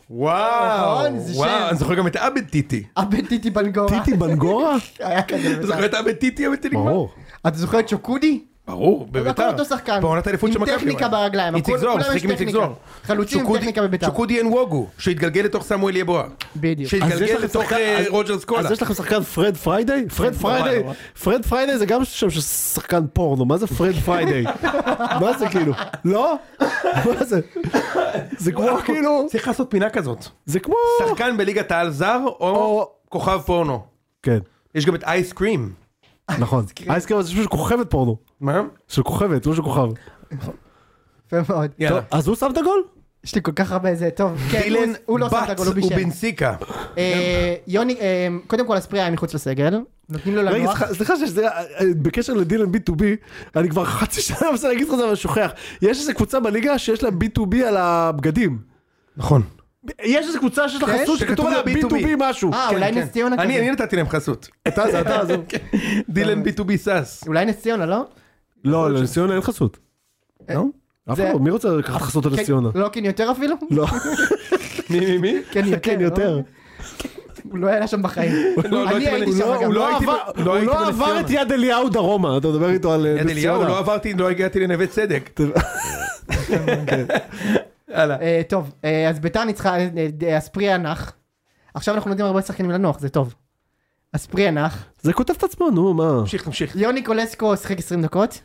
S2: וואו,
S1: נכון, זה שם.
S2: וואו, אני זוכר גם את עבד טיטי.
S1: הבן [LAUGHS] טיטי בנגורה.
S3: טיטי בנגורה?
S1: היה כזה
S2: אתה
S1: בביתר.
S2: זוכר את עבד טיטי, עבד טיטי? נגמר?
S3: ברור.
S1: אתה זוכר את שוקודי?
S2: ברור,
S1: הכל
S2: בביתר.
S1: אותו שחקן.
S2: בעונת האליפות של מכבי.
S1: עם טכניקה
S2: הוא היה.
S1: ברגליים.
S2: איציק
S1: הכל-
S2: זוהר,
S1: כולם
S2: משחק
S1: יש
S2: עם איציק
S1: טכניקה.
S2: זוהר.
S1: חלוצים עם
S2: שוקודי-
S1: טכניקה בביתר.
S2: שוקודי אין ווגו, שהתגלגל לתוך סמואל יבואה.
S1: בדיוק.
S3: אז יש
S2: שהתגלגל
S3: לכם
S2: לתוך
S3: שחקן-
S2: אה,
S3: אז-
S2: רוג'רס קולה.
S3: אז יש לכם שחקן פרד פריידיי? פרד פריידיי,
S2: נורא.
S3: פרד פריידיי זה גם שם של שחקן פורנו, מה זה פרד
S1: [LAUGHS]
S3: פריידיי? מה זה כאילו? לא? מה זה? זה כמו כאילו,
S2: צריך לעשות פינה כזאת.
S3: זה כמו...
S2: שחקן בליגת העל זר או
S3: או-
S2: כוכב פורנו.
S3: כן,
S2: יש גם את אייס קרים.
S3: נכון. אייסקרם זה פשוט כוכבת פורנו.
S2: מה?
S3: של כוכבת, לא של כוכב.
S1: יפה מאוד.
S2: יאללה.
S3: טוב, אז הוא שם את הגול?
S1: יש לי כל כך הרבה זה, טוב. כן,
S2: אילן
S1: הוא- הוא לא שם את
S2: בת
S1: הגול, הוא בישל.
S2: ובנסיקה.
S1: אה, יוני, אה, קודם כל אספריה היה מחוץ לסגל, נותנים לו
S3: רגע,
S1: לנוח.
S3: סליחה- סליחה שזה, בקשר לדילן B2B, אני כבר חצי שנה [LAUGHS] מנסה להגיד לך את זה אבל שוכח. יש איזה קבוצה בליגה שיש לה B2B על הבגדים.
S2: נכון.
S3: יש איזה קבוצה שיש לה
S1: כן?
S3: חסות
S2: שכתוב
S3: שכתוב עליה
S2: לה B2B.
S3: B2B משהו.
S1: אה, אולי נס ציונה
S2: כן, אני
S1: כזה. כן. אוקיי.
S2: אני נתתי להם חסות.
S3: אתה זה
S1: [LAUGHS]
S3: אתה זה.
S2: דילן B2B סאס.
S1: אולי נס ציונה, לא?
S3: לא, לנס ציונה אין חסות.
S2: לא?
S3: אף
S1: זה-
S3: אחד לא, מי רוצה לקחת חסות על נס ציונה?
S1: כן, לא כן יותר אפילו?
S3: לא.
S2: מי מי מי?
S1: כן יותר.
S3: כן,
S1: לא?
S3: יותר.
S1: הוא לא היה שם בחיים.
S2: [LAUGHS] לא, לא
S1: אני
S2: הייתי
S1: הייתי
S2: בנס-
S1: שם
S2: הוא
S1: אגב.
S2: לא
S3: לא
S2: הייתי ב-
S3: עבר-
S2: לא
S3: הוא
S2: הייתי
S3: לא
S2: בנס
S3: עבר
S2: ציונה.
S3: את יד אליהו דרומה, אתה מדבר איתו על אה,
S2: יד
S3: נס
S2: אליהו, לא
S3: ציונה.
S2: עברתי, לא הגעתי לנווה צדק. יאללה.
S1: אה, טוב, אה, אז ביתר ניצחה, אה, אה, אספריה נח. עכשיו אנחנו נותנים הרבה שחקנים לנוח, זה טוב. אספריה נח.
S3: זה כותב את עצמו, נו, מה?
S2: תמשיך, תמשיך.
S1: יוני קולסקו שיחק 20 דקות.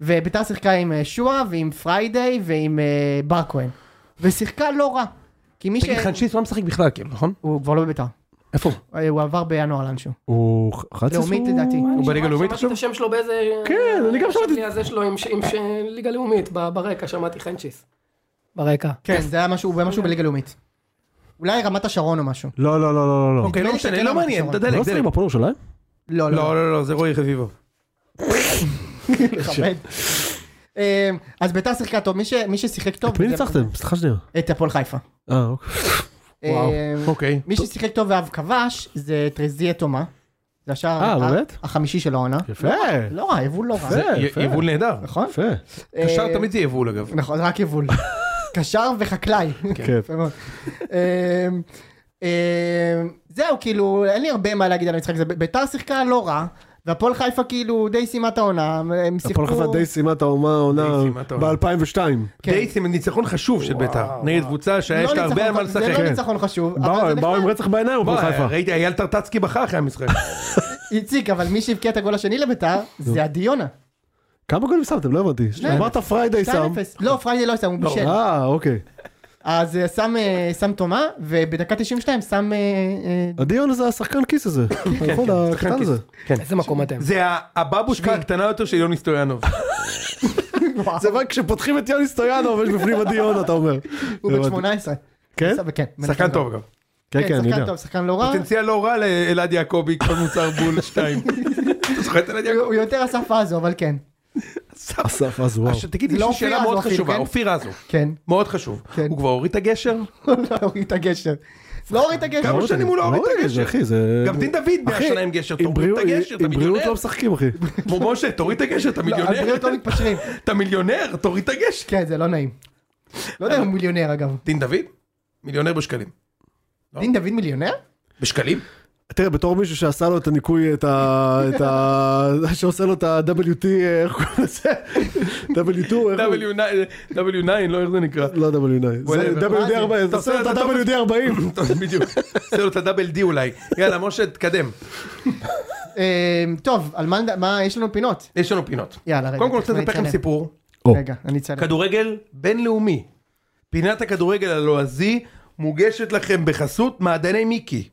S1: וביתר שיחקה עם אה, שועה ועם פריידיי ועם אה, בר כהן. ושיחקה לא רע. כי מי ש...
S2: תגיד, חנשיס לא משחק בכלל, כאילו, נכון?
S1: הוא כבר לא בביתר.
S3: איפה הוא?
S1: אה, הוא עבר בינואר לאנשהו.
S3: הוא 11?
S1: לאומית לדעתי.
S2: הוא בליגה הלאומית
S7: שמעתי
S2: עכשיו?
S7: את השם שלו באיזה...
S3: כן, אני גם שמעתי.
S7: השם הזה שלו עם ש- עם ש- ליגה לאומית, ב- ברקע שמעתי חנצ'יס. ברקע.
S1: כן, זה היה משהו, הוא היה משהו בליגה לאומית. אולי רמת השרון או משהו.
S3: לא, לא, לא, לא, לא.
S2: אוקיי, לא משנה, לא מעניין, אתה
S3: הוא
S2: דלק,
S3: לא צריך
S2: דלק.
S3: עם הפועל ירושלים?
S1: לא, לא,
S2: לא, לא, לא, זה רועי חביבו.
S1: מכבד. אה, אז ביתר שיחקה טוב, מי ש- מי ששיחק טוב...
S3: את מי
S1: לא, זה-
S3: ניצחתם? סליחה שנייה.
S1: את הפועל חיפה.
S3: אה, אוקיי.
S1: אה,
S2: אוקיי.
S1: מי ששיחק טוב ואף כבש זה טרזיה תומה. זה השער
S3: אה,
S1: ה-
S3: באמת? כן.
S1: החמישי של העונה.
S3: יפה.
S1: לא רע, יבול לא רע.
S3: יפה, יפה.
S2: י- אה, יבול נהדר.
S1: נכון?
S3: יפה.
S1: אה,
S2: קשר תמיד זה יבול אגב.
S1: נכון, רק יבול. קשר וחקלאי.
S3: כן.
S1: יפה מאוד. אמ, אמ, זהו, כאילו, אין לי הרבה מה להגיד על המשחק הזה. ביתר שיחקה לא רע, והפועל חיפה כאילו די סיימה את העונה. הם שיחקו...
S3: הפועל חיפה די סיימה את העונה העונה
S2: סיימה את העונה.
S3: ב-2002.
S1: כן.
S2: דייטס עם ניצחון חשוב של ביתר. נגד קבוצה
S1: לא
S2: שיש לה הרבה
S1: ניצחון-
S2: על מה
S1: זה לא
S2: לשחק. כן.
S1: ניצחון חשוב. אבל זה
S3: כן. באו הם באו עם
S1: נחמד.
S3: רצח בעיניים, הפועל
S2: בוא, אה,
S3: חיפה.
S2: ראיתי, אייל טרטצקי בכה
S1: [LAUGHS]
S2: אחרי המשחק.
S1: איציק, אבל מי שהבקיע את הגול השני לביתר, זה עדיונה.
S3: כמה גולים שמתם? לא הבנתי. אמרת פריידי
S1: 2-0.
S3: שם.
S1: לא, פריידי לא שם, הוא בישל.
S3: אה, אוקיי.
S1: אז אה, שם אה, שם תומה, ובדקה 92 שם... אה, אה,
S3: הדיון הזה, השחקן כיס הזה. נכון, הקטן הזה.
S7: איזה
S1: [LAUGHS]
S7: מקום אתם?
S2: זה ה- הבבושקה הקטנה יותר של יוני סטויאנוב.
S3: זה רק כשפותחים את יוני סטויאנוב יש בפנים הדיון, אתה אומר.
S1: הוא בן
S3: הבנתי.
S1: 18.
S3: כן?
S1: שם, כן, מנחם
S2: שחקן
S1: גבע.
S2: טוב גם.
S3: כן, כן, אני
S1: שחקן
S3: יודע.
S1: טוב, שחקן לא רע.
S2: פוטנציאל לא רע לאלעד יעקבי, כל מוצר
S1: [LAUGHS]
S2: בול 2. אתה זוכר את אלעד יעקבי?
S1: הוא יותר אסף עזו, אבל כן.
S3: אסף, אז וואו.
S2: עכשיו תגיד
S1: זה
S2: לי
S1: לא
S2: יש לי שאלה
S1: אופיר
S2: מאוד
S1: רזו אפילו,
S2: חשובה,
S1: כן?
S2: אופיר רזו,
S1: כן. [LAUGHS]
S2: מאוד חשוב.
S1: כן.
S2: הוא כבר הוריד את הגשר?
S1: לא הוריד את הגשר. לא הוריד את הגשר.
S2: כמה שנים הוא לא הוריד את הגשר?
S3: אחי, זה...
S2: גם דין דוד
S3: אחי,
S2: מהשנה עם גשר,
S3: עם
S2: תוריד את
S3: בריאות-
S2: הגשר, אתה
S3: עם בריאות
S2: מיליונר.
S3: לא משחקים, אחי.
S2: כמו משה, תוריד את הגשר, אתה
S1: לא,
S2: מיליונר?
S1: הבריאות לא מתפשרים.
S2: אתה מיליונר, תוריד את הגשר.
S1: כן, זה לא נעים. לא יודע אם הוא מיליונר אגב.
S2: דין דוד? מיליונר בשקלים. לא.
S1: דין דוד מיליונר?
S2: בשקלים?
S3: תראה, בתור מישהו שעשה לו את הניקוי, את ה... את ה... [LAUGHS] שעושה לו את ה-WT, איך קוראים לזה? W2, איך הוא?
S2: W9, W9, לא איך זה נקרא.
S3: לא W9.
S2: whatever.
S3: זה WD40, אתה עושה לו את ה-WD40.
S2: טוב, בדיוק. עושה לו את הדאבל די אולי. יאללה, משה, תקדם.
S1: אה, טוב, על מה נד- מה יש לנו פינות?
S2: יש לנו פינות.
S1: יאללה, רגע.
S2: קודם כל, אני רוצה
S1: אני
S2: לספר לכם
S1: אצלם.
S2: סיפור.
S1: רגע, אני אצלם.
S2: כדורגל בינלאומי. פינת הכדורגל הלועזי מוגשת לכם בחסות מעדני מיקי.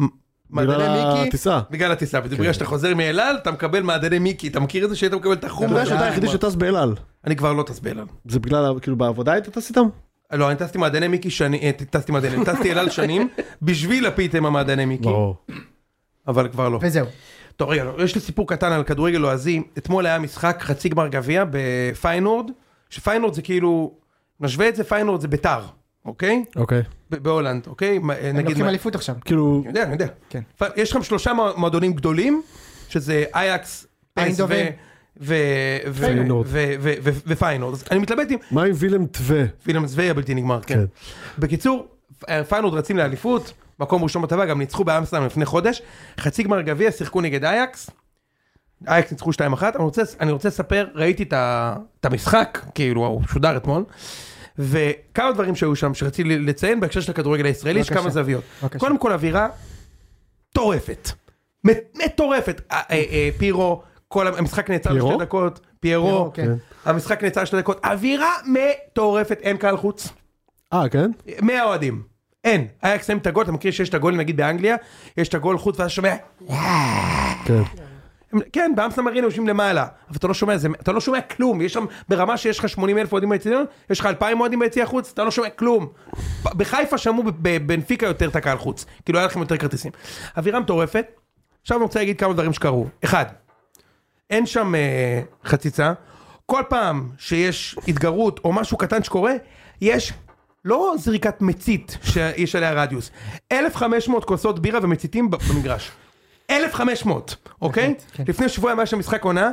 S2: מ- מעדני
S3: בגלל
S2: מיקי,
S3: הטיסה.
S2: בגלל הטיסה,
S3: כן.
S2: בדיוק. בגלל שאתה חוזר מאלעל, אתה מקבל מעדני מיקי, אתה מכיר את זה שהיית מקבל את
S3: אתה
S2: החומר?
S3: יודע שאתה היחידי שטס באל על.
S2: אני כבר לא טס באלעל.
S3: זה בגלל, ה- כאילו, בעבודה היית טס איתם?
S2: לא, אני טסתי מעדני מיקי שנים, אה, טסתי מעדני, טסתי אלעל
S3: [LAUGHS]
S2: שנים, בשביל הפיתם המעדני מיקי, אבל כבר לא.
S1: וזהו.
S2: טוב רגע, לא, יש לי סיפור קטן על כדורגל לועזי, אתמול היה משחק חצי גמר גביע בפיינורד, שפיינורד זה כאילו, נשווה את זה, פיינורד זה ביתר, אוקיי?
S3: אוקיי.
S2: ב- בהולנד, אוקיי? מה, אה,
S1: הם
S2: נגיד,
S1: לוקחים
S2: מה-
S1: אליפות עכשיו.
S3: כאילו,
S2: אני יודע, אני יודע.
S1: כן.
S2: פ- יש לכם שלושה מוע- מועדונים גדולים, שזה אייקס, פס ו...
S1: איינדובן.
S2: ו- ו-
S3: פיינורד.
S2: ו- ו- ו- ופיינורד. אז אני מתלבט אם
S3: מה עם וילם טווה?
S2: פילם זוויה בלתי נגמר, כן.
S3: כן.
S2: בקיצור, פיינורד רצים לאליפות, מקום ראשון בטבע, גם ניצחו באמסטרם לפני חודש, חצי גמר גביע, שיחקו נגד אייקס, אייקס ניצחו 2-1, אני רוצה, אני רוצה לספר, ראיתי את, ה, את המשחק, כאילו, הוא שודר אתמול, וכמה דברים שהיו שם שרציתי לציין בהקשר של הכדורגל הישראלי, יש
S1: בבקשה.
S2: כמה זוויות.
S1: בבקשה.
S2: קודם כל אווירה מטורפת, מט- מטורפת, אה, אה, אה, פירו, כל ה- המשחק נעצר
S3: פירו?
S2: לשתי דקות, פיירו,
S1: פיירו, כן.
S2: המשחק נעצר שתי דקות, אווירה מטורפת, אין קהל חוץ,
S3: אה, כן?
S2: 100 אוהדים, אין, אייקס שמים את הגול, אתה מכיר שיש את הגול נגיד באנגליה, יש את הגול חוץ ואז שומע,
S3: כן.
S2: הם- כן, באמסטרם ארינה יושבים למעלה, אבל אתה לא שומע, זה, אתה לא שומע כלום, יש שם, ברמה שיש לך 80 אלף אוהדים ביציאה, יש לך 2,000 אוהדים ביציאה חוץ, אתה לא שומע כלום. ב- בחיפה שמעו בב- בבנפיקה יותר את הקהל חוץ, כאילו היה לכם יותר כרטיסים. אווירה מטורפת, עכשיו אני רוצה להגיד כמה דברים שקרו. אחד, אין שם אה, חציצה, כל פעם שיש התגרות או משהו קטן שקורה, יש... לא זריקת מצית שיש עליה רדיוס, 1,500 כוסות בירה ומציתים במגרש. 1,500, אוקיי?
S1: כן.
S2: לפני שבועיים היה שם משחק עונה,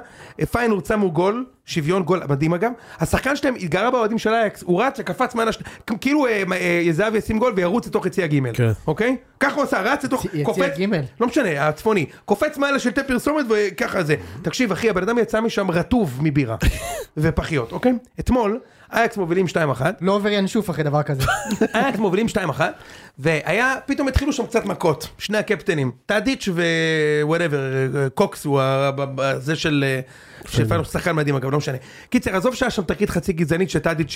S2: פיינור צמו גול, שוויון גול מדהים אגב, השחקן שלהם התגרה באוהדים של אייקס, הוא רץ וקפץ מעל השני, כאילו אה, אה, זהבי ישים גול וירוץ לתוך יציע ג',
S3: כן.
S2: אוקיי? ככה הוא עשה, רץ לתוך,
S1: יציע
S2: קופץ,
S1: ג'.
S2: לא משנה, הצפוני, קופץ מעל השלטי פרסומת
S1: [LAUGHS]
S2: וככה זה. תקשיב אחי, הבן אדם יצא משם רטוב מבירה ופחיות, אוקיי? אתמול אייקס מובילים 2-1.
S1: לא עובר ינשוף אחרי דבר
S2: [LAUGHS]
S1: כזה.
S2: אייקס מובילים 2-1, והיה, פתאום התחילו שם קצת מכות, שני הקפטנים, טאדיץ' ווואטאבר, קוקס הוא ה- ב- ב- זה של, אה, של פאנוס, שחקן מדהים אגב, לא משנה. קיצר, עזוב שהיה שם תקרית חצי גזענית שטאדיץ',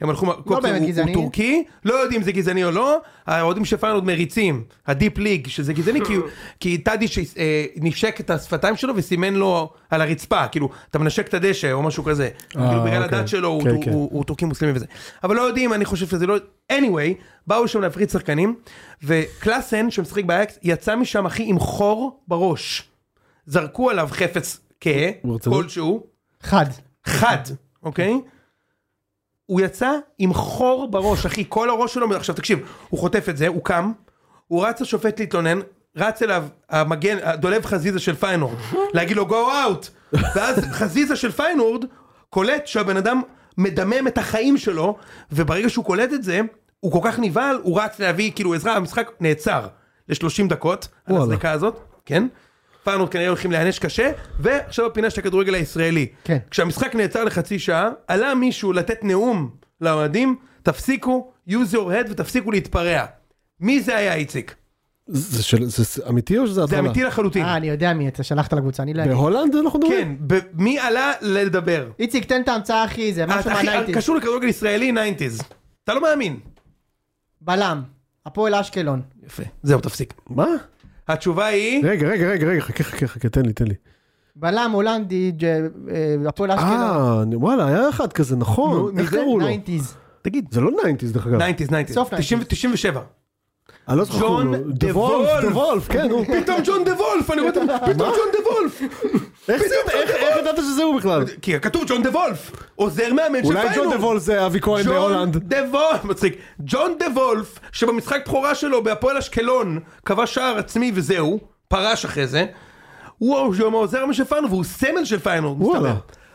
S2: הם הלכו, קוקס
S1: לא באמת
S2: הוא- הוא
S1: גזעני.
S2: טורקי, לא יודעים אם זה גזעני או לא, האוהדים של פאנוס מריצים, הדיפ ליג, שזה גזעני, כי הוא- כי טאדיץ' אה, נשק את השפתיים שלו וסימן לו על הרצפה, כאילו, אתה מנשק את הדשא או משהו כזה, כאילו בגלל
S3: אוקיי.
S2: הדת שלו הוא
S3: כן,
S2: טור-
S3: כן.
S2: הוא- הוא טורקי מוסלמי וזה. אבל לא יודעים, אני חושב שזה לא... anyway, באו שם להפריץ שחקנים, וקלאסן, שמשחק באייקס, יצא משם, אחי, עם חור בראש. זרקו עליו חפץ כהה,
S3: ברצינות?
S2: כלשהו,
S1: חד.
S2: חד, אוקיי? הוא יצא עם חור בראש, אחי, כל הראש שלו, עכשיו תקשיב, הוא חוטף את זה, הוא קם, הוא רץ לשופט להתלונן, רץ אליו המגן, הדולב חזיזה של פיינורד, להגיד לו go out, ואז חזיזה של פיינורד קולט שהבן אדם מדמם את החיים שלו, וברגע שהוא קולט את זה, הוא כל כך נבהל, הוא רץ להביא כאילו עזרה, המשחק נעצר ל-30 דקות, על
S3: וואלה.
S2: הזריקה הזאת, כן? פיינורד כנראה הולכים להיענש קשה, ועכשיו הפינה של הכדורגל הישראלי.
S1: כן.
S2: כשהמשחק נעצר לחצי שעה, עלה מישהו לתת נאום לאוהדים, תפסיקו, use your head ותפסיקו להתפרע. מי זה היה איציק?
S3: זה של- זה- זה אמיתי או שזה
S2: זה
S3: התחלה?
S2: אמיתי לחלוטין.
S1: אה, אני יודע מי אתה שלחת לקבוצה, אני לא יודע.
S3: בהולנד אנחנו מדברים?
S2: כן, ב- מי עלה לדבר?
S1: איציק, תן את ההמצאה, אחי, זה משהו
S2: אה, אתה הכי-
S1: מהניינטיז.
S2: קשור לכדורגל ישראלי 90's. אתה לא מאמין.
S1: בלם, הפועל אשקלון.
S2: יפה. זהו, תפסיק.
S3: מה?
S2: התשובה היא...
S3: רגע, רגע, רגע, רגע, חכה, חכה, חכה, תן לי, תן לי.
S1: בלם הולנדי, ג'- אה, הפועל אשקלון.
S3: אה, וואלה, היה אחד כזה, נכון.
S1: נו,
S3: איך
S1: זה
S3: קראו לו?
S1: 90s.
S2: תגיד.
S3: זה לא ניינטיז, דרך אגב.
S2: 90's, 90's.
S1: סוף 90s.
S2: 97.
S3: אני לא זוכר.
S2: ג'ון דה וולף.
S3: דה וולף, כן, נו.
S2: פתאום ג'ון דה וולף, אני רואה אותו, פתאום ג'ון דה וולף.
S3: איך זה- איך- איך ידעת שזה הוא בכלל?
S2: כי כתוב ג'ון דה וולף, עוזר מאמן של
S3: אולי ג'ון
S2: פיינורד.
S3: דה וולף זה אבי כהן
S2: ג'ון
S3: בהולנד.
S2: דה וולף, מצחיק, ג'ון דה וולף, שבמשחק בכורה שלו בהפועל אשקלון, כבש שער עצמי וזהו, פרש אחרי זה, הוא גם העוזר מאמן של פיינורד, והוא סמל של פיינורד, מסתבר.
S3: וואלה.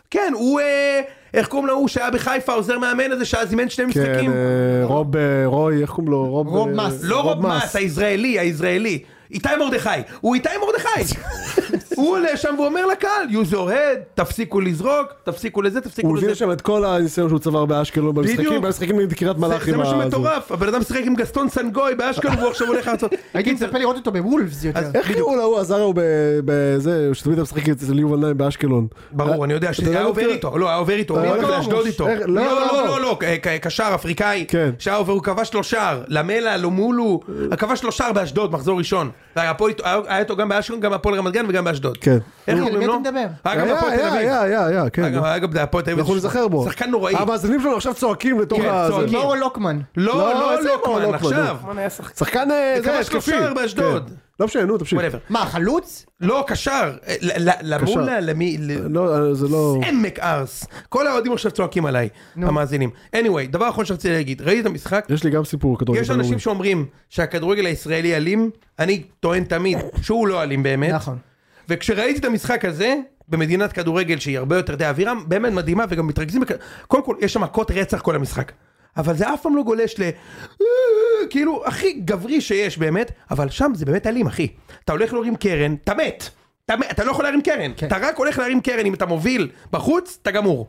S2: כן, הוא, אה, איך קוראים לו, הוא שהיה בחיפה, העוזר מאמן הזה, שאז אימן שני
S3: כן,
S2: משחקים.
S3: אה, רוב, אה, רוי, איך קוראים לו? רוב
S1: רוב
S3: אה,
S1: מס.
S2: לא רוב מס, הישראלי, הישראלי. איתי מרדכי, הוא איתי
S3: [LAUGHS]
S2: מרדכי. הוא עולה שם ואומר לקהל, use your head, תפסיקו לזרוק, תפסיקו לזה, תפסיקו
S3: הוא
S2: לזה.
S3: הביא לשם את כל הניסיון שהוא צבר באשקלון במשחקים,
S2: בדיוק.
S3: במשחקים נגד קריית
S2: זה-
S3: מלאכי.
S2: זה מה
S3: בזה.
S2: שמטורף, הבן אדם שיחק עם גסטון סנגוי באשקלון והוא עכשיו הולך
S3: [LAUGHS]
S2: לעשות.
S1: הייתי
S2: קיצר,
S1: מצפה לראות אותו בוולפס יותר.
S3: איך קראו להוא הזר ההוא ב- בזה, שתמיד היה משחק אצל יובל נעים באשקלון. אה,
S2: ברור, אני יודע
S3: אתה
S2: שהיה
S3: מה
S2: עובר
S3: זה?
S2: איתו, לא, היה עובר איתו, הוא
S3: אה,
S2: הולך
S3: לא,
S2: לאשדוד
S3: לא,
S2: איתו.
S3: איך-
S2: לא,
S3: לא,
S2: לא,
S3: לא.
S2: לא, לא, אה, ק- קשר אפריקאי,
S3: כן.
S2: שהיה עובר, הוא כבש לו שער, למלה, לומולו, כבש לו שער באשדוד, מחזור ראשון. היה פה איתו- היה- היה איתו גם באשקלון, גם בהפועל רמת גן וגם באשדוד.
S3: כן. אה,
S2: איך
S1: אה, על מי
S2: קוראים לו?
S1: אתה מדבר?
S2: היה גם
S3: היה,
S2: בהפועל תל
S3: היה,
S2: אביב.
S3: היה, היה, היה, כן.
S2: אגב, היה גם בהפועל תל אביב.
S3: אנחנו נזכר בו.
S2: שחקן נוראי.
S3: המאזינים שלנו עכשיו צועקים לתוך
S2: כן,
S3: ה...
S2: צועקים.
S1: מאור לוקמן.
S2: לא,
S3: לא,
S2: לא
S3: איזה מאור
S2: לוקמן,
S3: לוקמן,
S2: עכשיו.
S7: מה נהיה שחקן?
S3: שחקן אה,
S2: וכמה
S3: זה,
S2: שלושה
S3: התקפי.
S2: שער באשדוד.
S3: כן. לא משנה, נו, תמשיך.
S2: whatever.
S1: מה, חלוץ?
S2: לא, קשר. אה, ל- ל- למולה, למי... ל-
S3: לא, אה, זה לא...
S2: עמק ארס. כל האוהדים עכשיו צועקים עליי, המאזינים. anyway, דבר אחרון שרציתי להגיד, ראיתי את המשחק,
S3: יש לי גם סיפור כדורגל.
S2: יש אנשים שאומרים שהכדורגל הישראלי אלים, אני טוען תמיד שהוא לא אלים באמת.
S1: נכון.
S2: וכשראיתי את המשחק הזה, במדינת כדורגל שהיא הרבה יותר, אתה יודע, אווירה באמת מדהימה וגם מתרכזים, בכ- קודם כל יש שם מכות רצח כל המשחק. אבל זה אף פעם לא גולש ל... "אה", כאילו, הכי גברי שיש באמת, אבל שם זה באמת אלים, אחי. אתה הולך להרים קרן, אתה מת. אתה, מת, אתה לא יכול להרים קרן. כן. אתה רק הולך להרים קרן, אם אתה מוביל בחוץ, אתה גמור.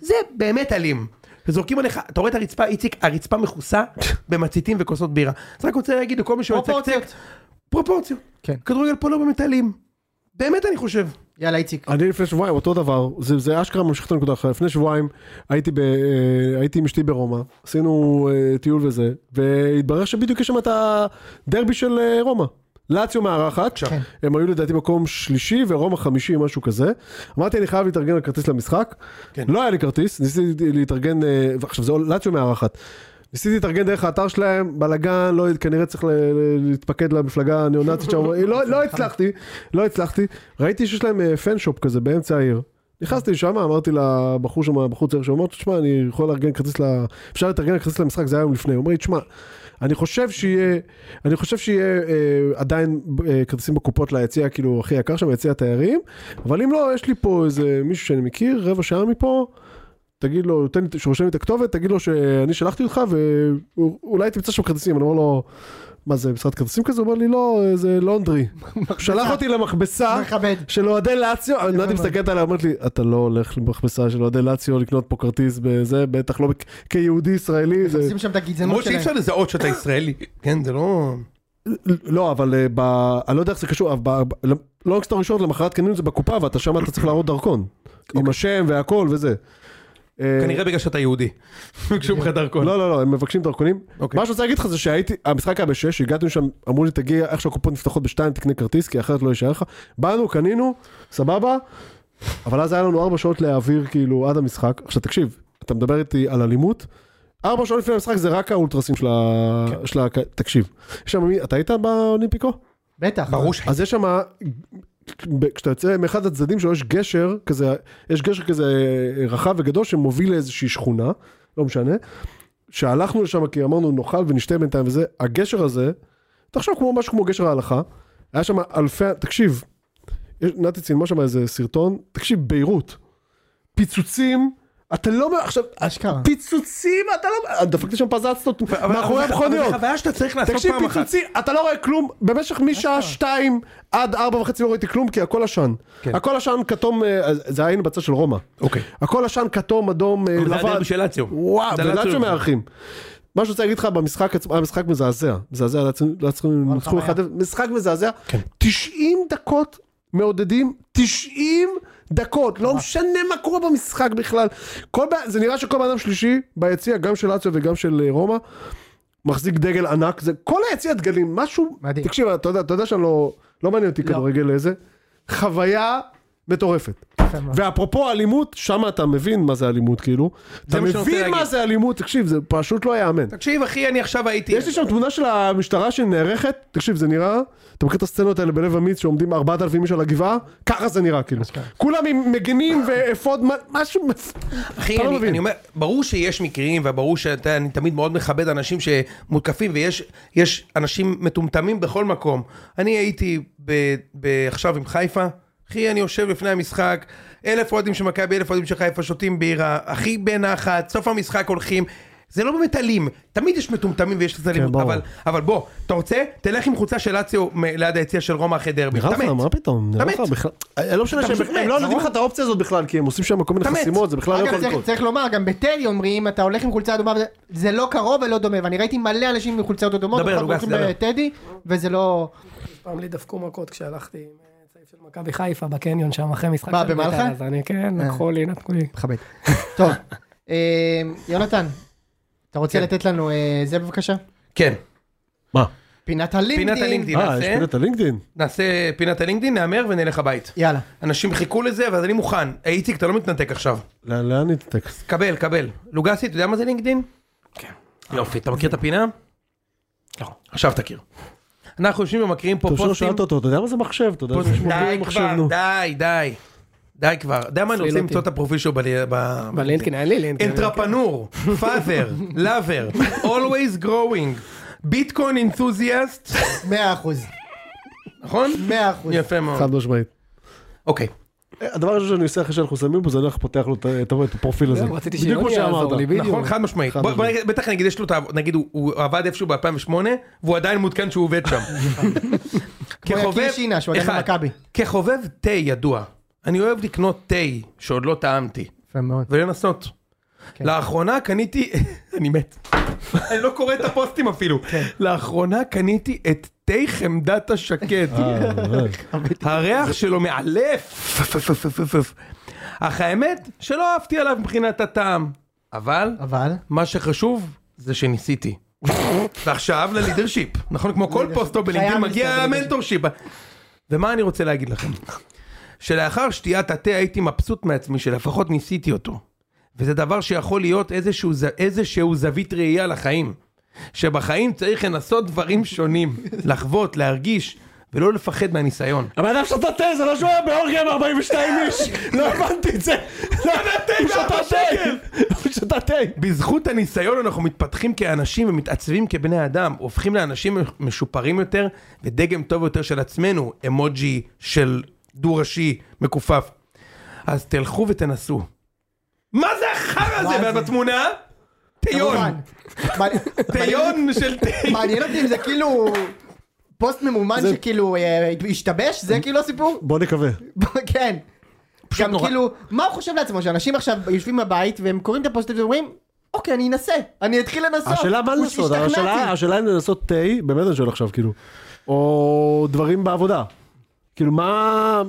S2: זה באמת אלים. וזורקים עליך, אתה רואה את הרצפה, איציק, הרצפה
S1: [LAUGHS]
S2: מכוסה במציתים וכוסות בירה. אז רק רוצה להגיד לכל מי שמצקצק,
S1: פרופורציות.
S2: פרופורציות.
S1: כן.
S2: כדורגל פה לא באמת אלים. באמת אני חושב.
S1: יאללה, איציק.
S3: אני לפני שבועיים אותו דבר, זה, זה אשכרה ממשיך את הנקודה אחרת, לפני שבועיים הייתי, ב, אה, הייתי עם אשתי ברומא, עשינו אה, טיול וזה, והתברר שבדיוק יש שם את הדרבי של אה, רומא. לאציו מארחת,
S2: כן.
S3: הם היו לדעתי מקום שלישי ורומא חמישי, משהו כזה. אמרתי אני חייב להתארגן על כרטיס למשחק,
S2: כן.
S3: לא היה לי כרטיס, ניסיתי להתארגן, אה, ועכשיו זה לאציו מארחת. ניסיתי להתארגן דרך האתר שלהם, בלאגן, לא, כנראה צריך ל- ל- להתפקד למפלגה
S2: [LAUGHS]
S3: הניאו-נאצית שם, לא, לא הצלחתי, לא הצלחתי. ראיתי שיש להם אה, פנשופ כזה באמצע העיר. נכנסתי לשם, אמרתי לבחור שם, הבחור צעיר שם, אמרתי, תשמע, אני יכול לארגן כרטיס ל... אפשר לתארגן כרטיס למשחק, זה היה יום לפני. הוא אומר לי, תשמע, אני חושב שיהיה, אני חושב שיהיה אה, עדיין אה, כרטיסים בקופות ליציע, כאילו, הכי יקר שם, יציע התיירים, אבל אם לא, יש לי פה איזה מישהו שאני מכיר, רבע שעה מפה, תגיד לו, תן לי, שרושם לי את הכתובת, תגיד לו שאני שלחתי אותך ואולי תמצא שם כרטיסים, אני אומר לו, מה זה, משרד כרטיסים כזה? הוא אומר לי, לא, אה, זה לונדרי. שלח אותי למכבסה
S1: מכבד.
S3: של אוהדי לאציו, נתי מסתכלת עליי, אומרת לי, אתה לא הולך למכבסה של אוהדי לאציו לקנות פה כרטיס בזה, בטח לא כ- כיהודי ישראלי. זה-
S1: שים שם את הגזענות
S2: למרות שאי
S1: שלהם.
S2: אפשר לזהות שאתה ישראלי, כן זה לא...
S3: לא, אבל אה, ב... אני לא יודע איך זה קשור, אבל ב- ב- לא רק סתם ראשון, למחרת קנינו את זה בקופה, ואתה שם אתה צריך להראות דרכון. עם השם והכל וזה. אה,
S2: כנראה בגלל שאתה יהודי. [LAUGHS] ביקשו ממך דרכון.
S3: לא, לא, לא, הם מבקשים דרכונים.
S2: אוקיי.
S3: מה שאני רוצה להגיד לך זה שהייתי, המשחק היה בשש, הגעתי שם, אמרו לי תגיע, איך שהקופות נפתחות בשתיים, תקנה כרטיס, כי אחרת לא יישאר לך. באנו, קנינו, סבבה, אבל אז היה לנו ארבע שעות להעביר כאילו עד המשחק. עכשיו תקשיב, אתה מדבר איתי על אלימות, ארבע שעות לפני המשחק זה רק האולטרסים של ה... של ה... תקשיב, יש שם, מי- אתה היית באולימפיקו?
S1: בטח.
S2: ברור ש...
S3: אז יש שם, כשאתה יוצא מאחד הצדדים שלו, יש גשר כזה, יש גשר כזה אה, רחב וגדול שמוביל לאיזושהי שכונה, לא משנה, שהלכנו לשם כי אמרנו נאכל ונשתה בינתיים וזה, הגשר הזה, תחשוב כמו משהו כמו גשר ההלכה, היה שם אלפי, תקשיב, יש- נתי צילמה שם איזה סרטון, תקשיב, ביירות, פיצוצים, אתה לא, מ- עכשיו,
S1: אשכרה.
S3: פיצוצים, אתה לא, דפקתי שם פזצנות מאחורי
S2: אבל
S3: המכוניות.
S2: זה חוויה שאתה צריך לעשות
S3: תקשיב
S2: פעם אחת.
S3: פיצוצי, אתה לא רואה כלום, במשך משעה שתיים עד ארבע וחצי לא ראיתי כלום כי הכל עשן. הכל עשן כתום, אה, זה היינו בצד של רומא.
S2: כן. אוקיי.
S3: הכל עשן כתום, אדום, אה,
S2: אבל זה
S3: לבן.
S2: הדרבי של לאציו.
S3: וואו,
S2: זה לא לאציו.
S3: ולאציו מארחים. מה שאני רוצה להגיד לך במשחק עצמו, היה משחק מזעזע. מזעזע, לא לאציו- לאציו ניצחו אחד, משחק מזעזע. 90 דקות מעודדים, 90 דקות, לא משנה מה קורה במשחק בכלל. כל בן- זה נראה שכל בן אדם שלישי ביציע, גם של לאציו וגם של אה, רומא, מחזיק דגל ענק, זה כל היציע דגלים, משהו,
S1: מדהים.
S3: תקשיב, אתה יודע, אתה יודע שאני לא, לא מעניין אותי כדורגל איזה, חוויה מטורפת.
S1: יפה מאוד.
S3: ואפרופו אלימות, שם אתה מבין מה זה אלימות, כאילו, אתה
S2: מה שאני רוצה
S3: מבין מה
S2: להגיד.
S3: זה אלימות, תקשיב, זה פשוט לא ייאמן.
S2: תקשיב אחי, אני עכשיו הייתי...
S3: יש לי שם תמונה של המשטרה שנערכת, תקשיב, זה נראה, אתה מכיר את הסצנות האלה בלב אמיץ שעומדים 4,000 איש על הגבעה? ככה זה נראה, כאילו.
S2: כן.
S3: כולם עם מגנים [LAUGHS] ואפוד, מה- משהו,
S2: אחי,
S3: אתה לא
S2: אני,
S3: מבין.
S2: אני אומר, ברור שיש מקרים, וברור שאני תמיד מאוד מכבד אנשים שמותקפים, ויש יש אנשים מטומטמים בכל מקום. אני הייתי ב, ב, עכשיו עם חיפה, אחי, אני יושב לפני המשחק, אלף אוהדים של מכבי, אלף אוהדים של חיפה, שותים בירה, אחי בנחת, סוף המשחק הולכים. זה לא באמת אלים, תמיד יש מטומטמים ויש לזה אלימות,
S3: כן, ברור.
S2: אבל, אבל בוא, אתה רוצה? תלך עם חולצה של לאציו מ- ליד היציע של רומא אחרי דרבי,
S3: נראה
S2: אתה
S3: לך,
S2: מת.
S3: מה פתאום? נראה
S2: אתה
S3: לך
S2: מת.
S3: בכלל... לא משנה
S2: אתה
S3: שהם
S2: פשוט
S3: הם
S2: מת,
S3: לא נותנים
S2: נכון?
S3: לך את האופציה הזאת בכלל, כי הם עושים שם כל מיני
S2: אתה מת.
S3: חסימות, זה בכלל לא
S1: אגב,
S3: יכול
S1: צריך-
S3: לקרות.
S1: צריך לומר, גם בטדי אומרים, אם אתה הולך עם חולצה אדומה, וזה- זה לא קרוב ולא דומה, ואני ראיתי מלא אנשים עם חולצות אדומות,
S2: דבר,
S1: אבל
S2: לוגס,
S1: הולכים
S2: דבר.
S1: בטדי, וזה לא...
S7: פעם לי דפקו מכות כשהלכתי עם אה, צעיף של מכבי חיפה בקניון שם אחרי משחק.
S1: מה,
S7: של
S1: במלחה?
S7: בית"ר, אז אני כן,
S3: אה.
S7: לקחו לי, נתקו לי.
S1: מכבד. טוב, אה, יונתן, אתה רוצה לתת לנו אה, זה בבקשה?
S2: כן,
S1: פינת
S2: פינת
S1: הלינקדאין.
S2: הלינקדאין,
S3: אה, יש
S2: נעשה,
S3: פינת הלינקדאין.
S2: נעשה פינת הלינקדאין, נהמר ונלך הביתה.
S1: יאללה.
S2: אנשים חיכו לזה, אבל אני מוכן. היי, איציק, אתה לא מתנתק עכשיו.
S3: לאן לאן נתנתק?
S2: קבל, קבל. לוגסי, אתה יודע מה זה לינקדין? כן. יופי, אתה מכיר את הפינה? לא. עכשיו תכיר. אנחנו יושבים ומכירים פה
S3: טוב שלא
S2: פוסטים.
S3: שאלת אותו, אתה יודע מה זה מחשב? אתה יודע
S2: פוסט-
S3: זה
S2: די
S3: מחשב,
S2: כבר,
S3: נו.
S2: די, די. די כבר. אתה יודע מה, אני רוצה
S7: אפילו
S2: למצוא את
S7: אותי.
S2: הפרופיל שלו ב- ב...
S7: בלינקדאין, אין לי לינקדאין.
S2: אנטרפנור, פאזר, לאבר, always growing, ביטקוין אינתוזיאסט,
S1: 100 אחוז.
S2: [LAUGHS] נכון?
S1: 100 אחוז.
S2: יפה מאוד.
S3: חד משמעית.
S2: אוקיי.
S3: אה, הדבר הראשון שאני עושה אחרי שאנחנו שמים פה זה אני הולך ופותח לו את ה- את ה- את הפרופיל הזה.
S7: זהו, רציתי
S3: בדיוק כמו
S7: שיוני יעזור
S3: שאמרת.
S7: לי, בדיוק.
S2: נכון, חד משמעית.
S3: חד
S2: בוא- בוא
S3: משמעית.
S2: נגיד- בטח נגיד יש לו את ה... נגיד הוא- הוא עבד איפשהו ב-2008, והוא עדיין מעודכן שהוא עובד
S1: [LAUGHS]
S2: שם.
S1: כמו יקיר שינה, שהוא עדיין
S2: אחד,
S1: במכבי.
S2: כחובב תה ידוע, אני אוהב לקנות תה שעוד לא טעמתי,
S1: יפה מאוד.
S2: ולנסות.
S1: כן.
S2: לאחרונה קניתי, [LAUGHS] אני מת, [LAUGHS] אני לא קורא את הפוסטים אפילו,
S1: כן.
S2: לאחרונה קניתי את תה חמדת השקד,
S1: אה,
S3: אה, [LAUGHS]
S2: הריח שלו מאלף, אך האמת שלא אהבתי עליו מבחינת הטעם, אבל
S1: אבל?
S2: מה שחשוב זה שניסיתי. ועכשיו ללידרשיפ, נכון? כמו כל פוסט
S1: חייב
S2: בלינקדאין מגיע
S1: להסתכל בלידרשיפ.
S2: המנטורשיפ. ומה אני רוצה להגיד לכם? שלאחר שתיית התה הייתי מבסוט מעצמי שלפחות ניסיתי אותו. וזה דבר שיכול להיות איזשהו, ז- איזשהו זווית ראייה לחיים. שבחיים צריך לנסות דברים שונים, לחוות, להרגיש, ולא לפחד מהניסיון.
S3: הבן אדם שתה תה, זה לא שהוא היה באורגיה עם 42 איש, [LAUGHS] לא הבנתי [LAUGHS] את זה. לא, הוא שתה תה, [LAUGHS] הוא שתה תה.
S2: בזכות הניסיון אנחנו מתפתחים כאנשים ומתעצבים כבני אדם, הופכים לאנשים משופרים יותר ודגם טוב יותר של עצמנו, אמוג'י של דו ראשי מכופף. אז תלכו ותנסו. מה זה החרא הזה? ואת בתמונה? תה! תיון.
S1: כמובן. מעניין-
S2: טיון של טיון.
S1: מעניין אותי אם זה כאילו פוסט ממומן שכאילו אה, השתבש, זה כאילו הסיפור?
S3: בוא נקווה.
S1: כן. גם כאילו, מה הוא חושב לעצמו, שאנשים עכשיו יושבים בבית והם קוראים את הפוסטים ואומרים, אוקיי, אני אנסה, אני אתחיל לנסות.
S3: השאלה מה
S1: הוא
S3: לעשות,
S1: השתכנעתי.
S3: השאלה השאלה אם לנסות תה, באמת אני שואל עכשיו, כאילו, או דברים בעבודה. כאילו, מה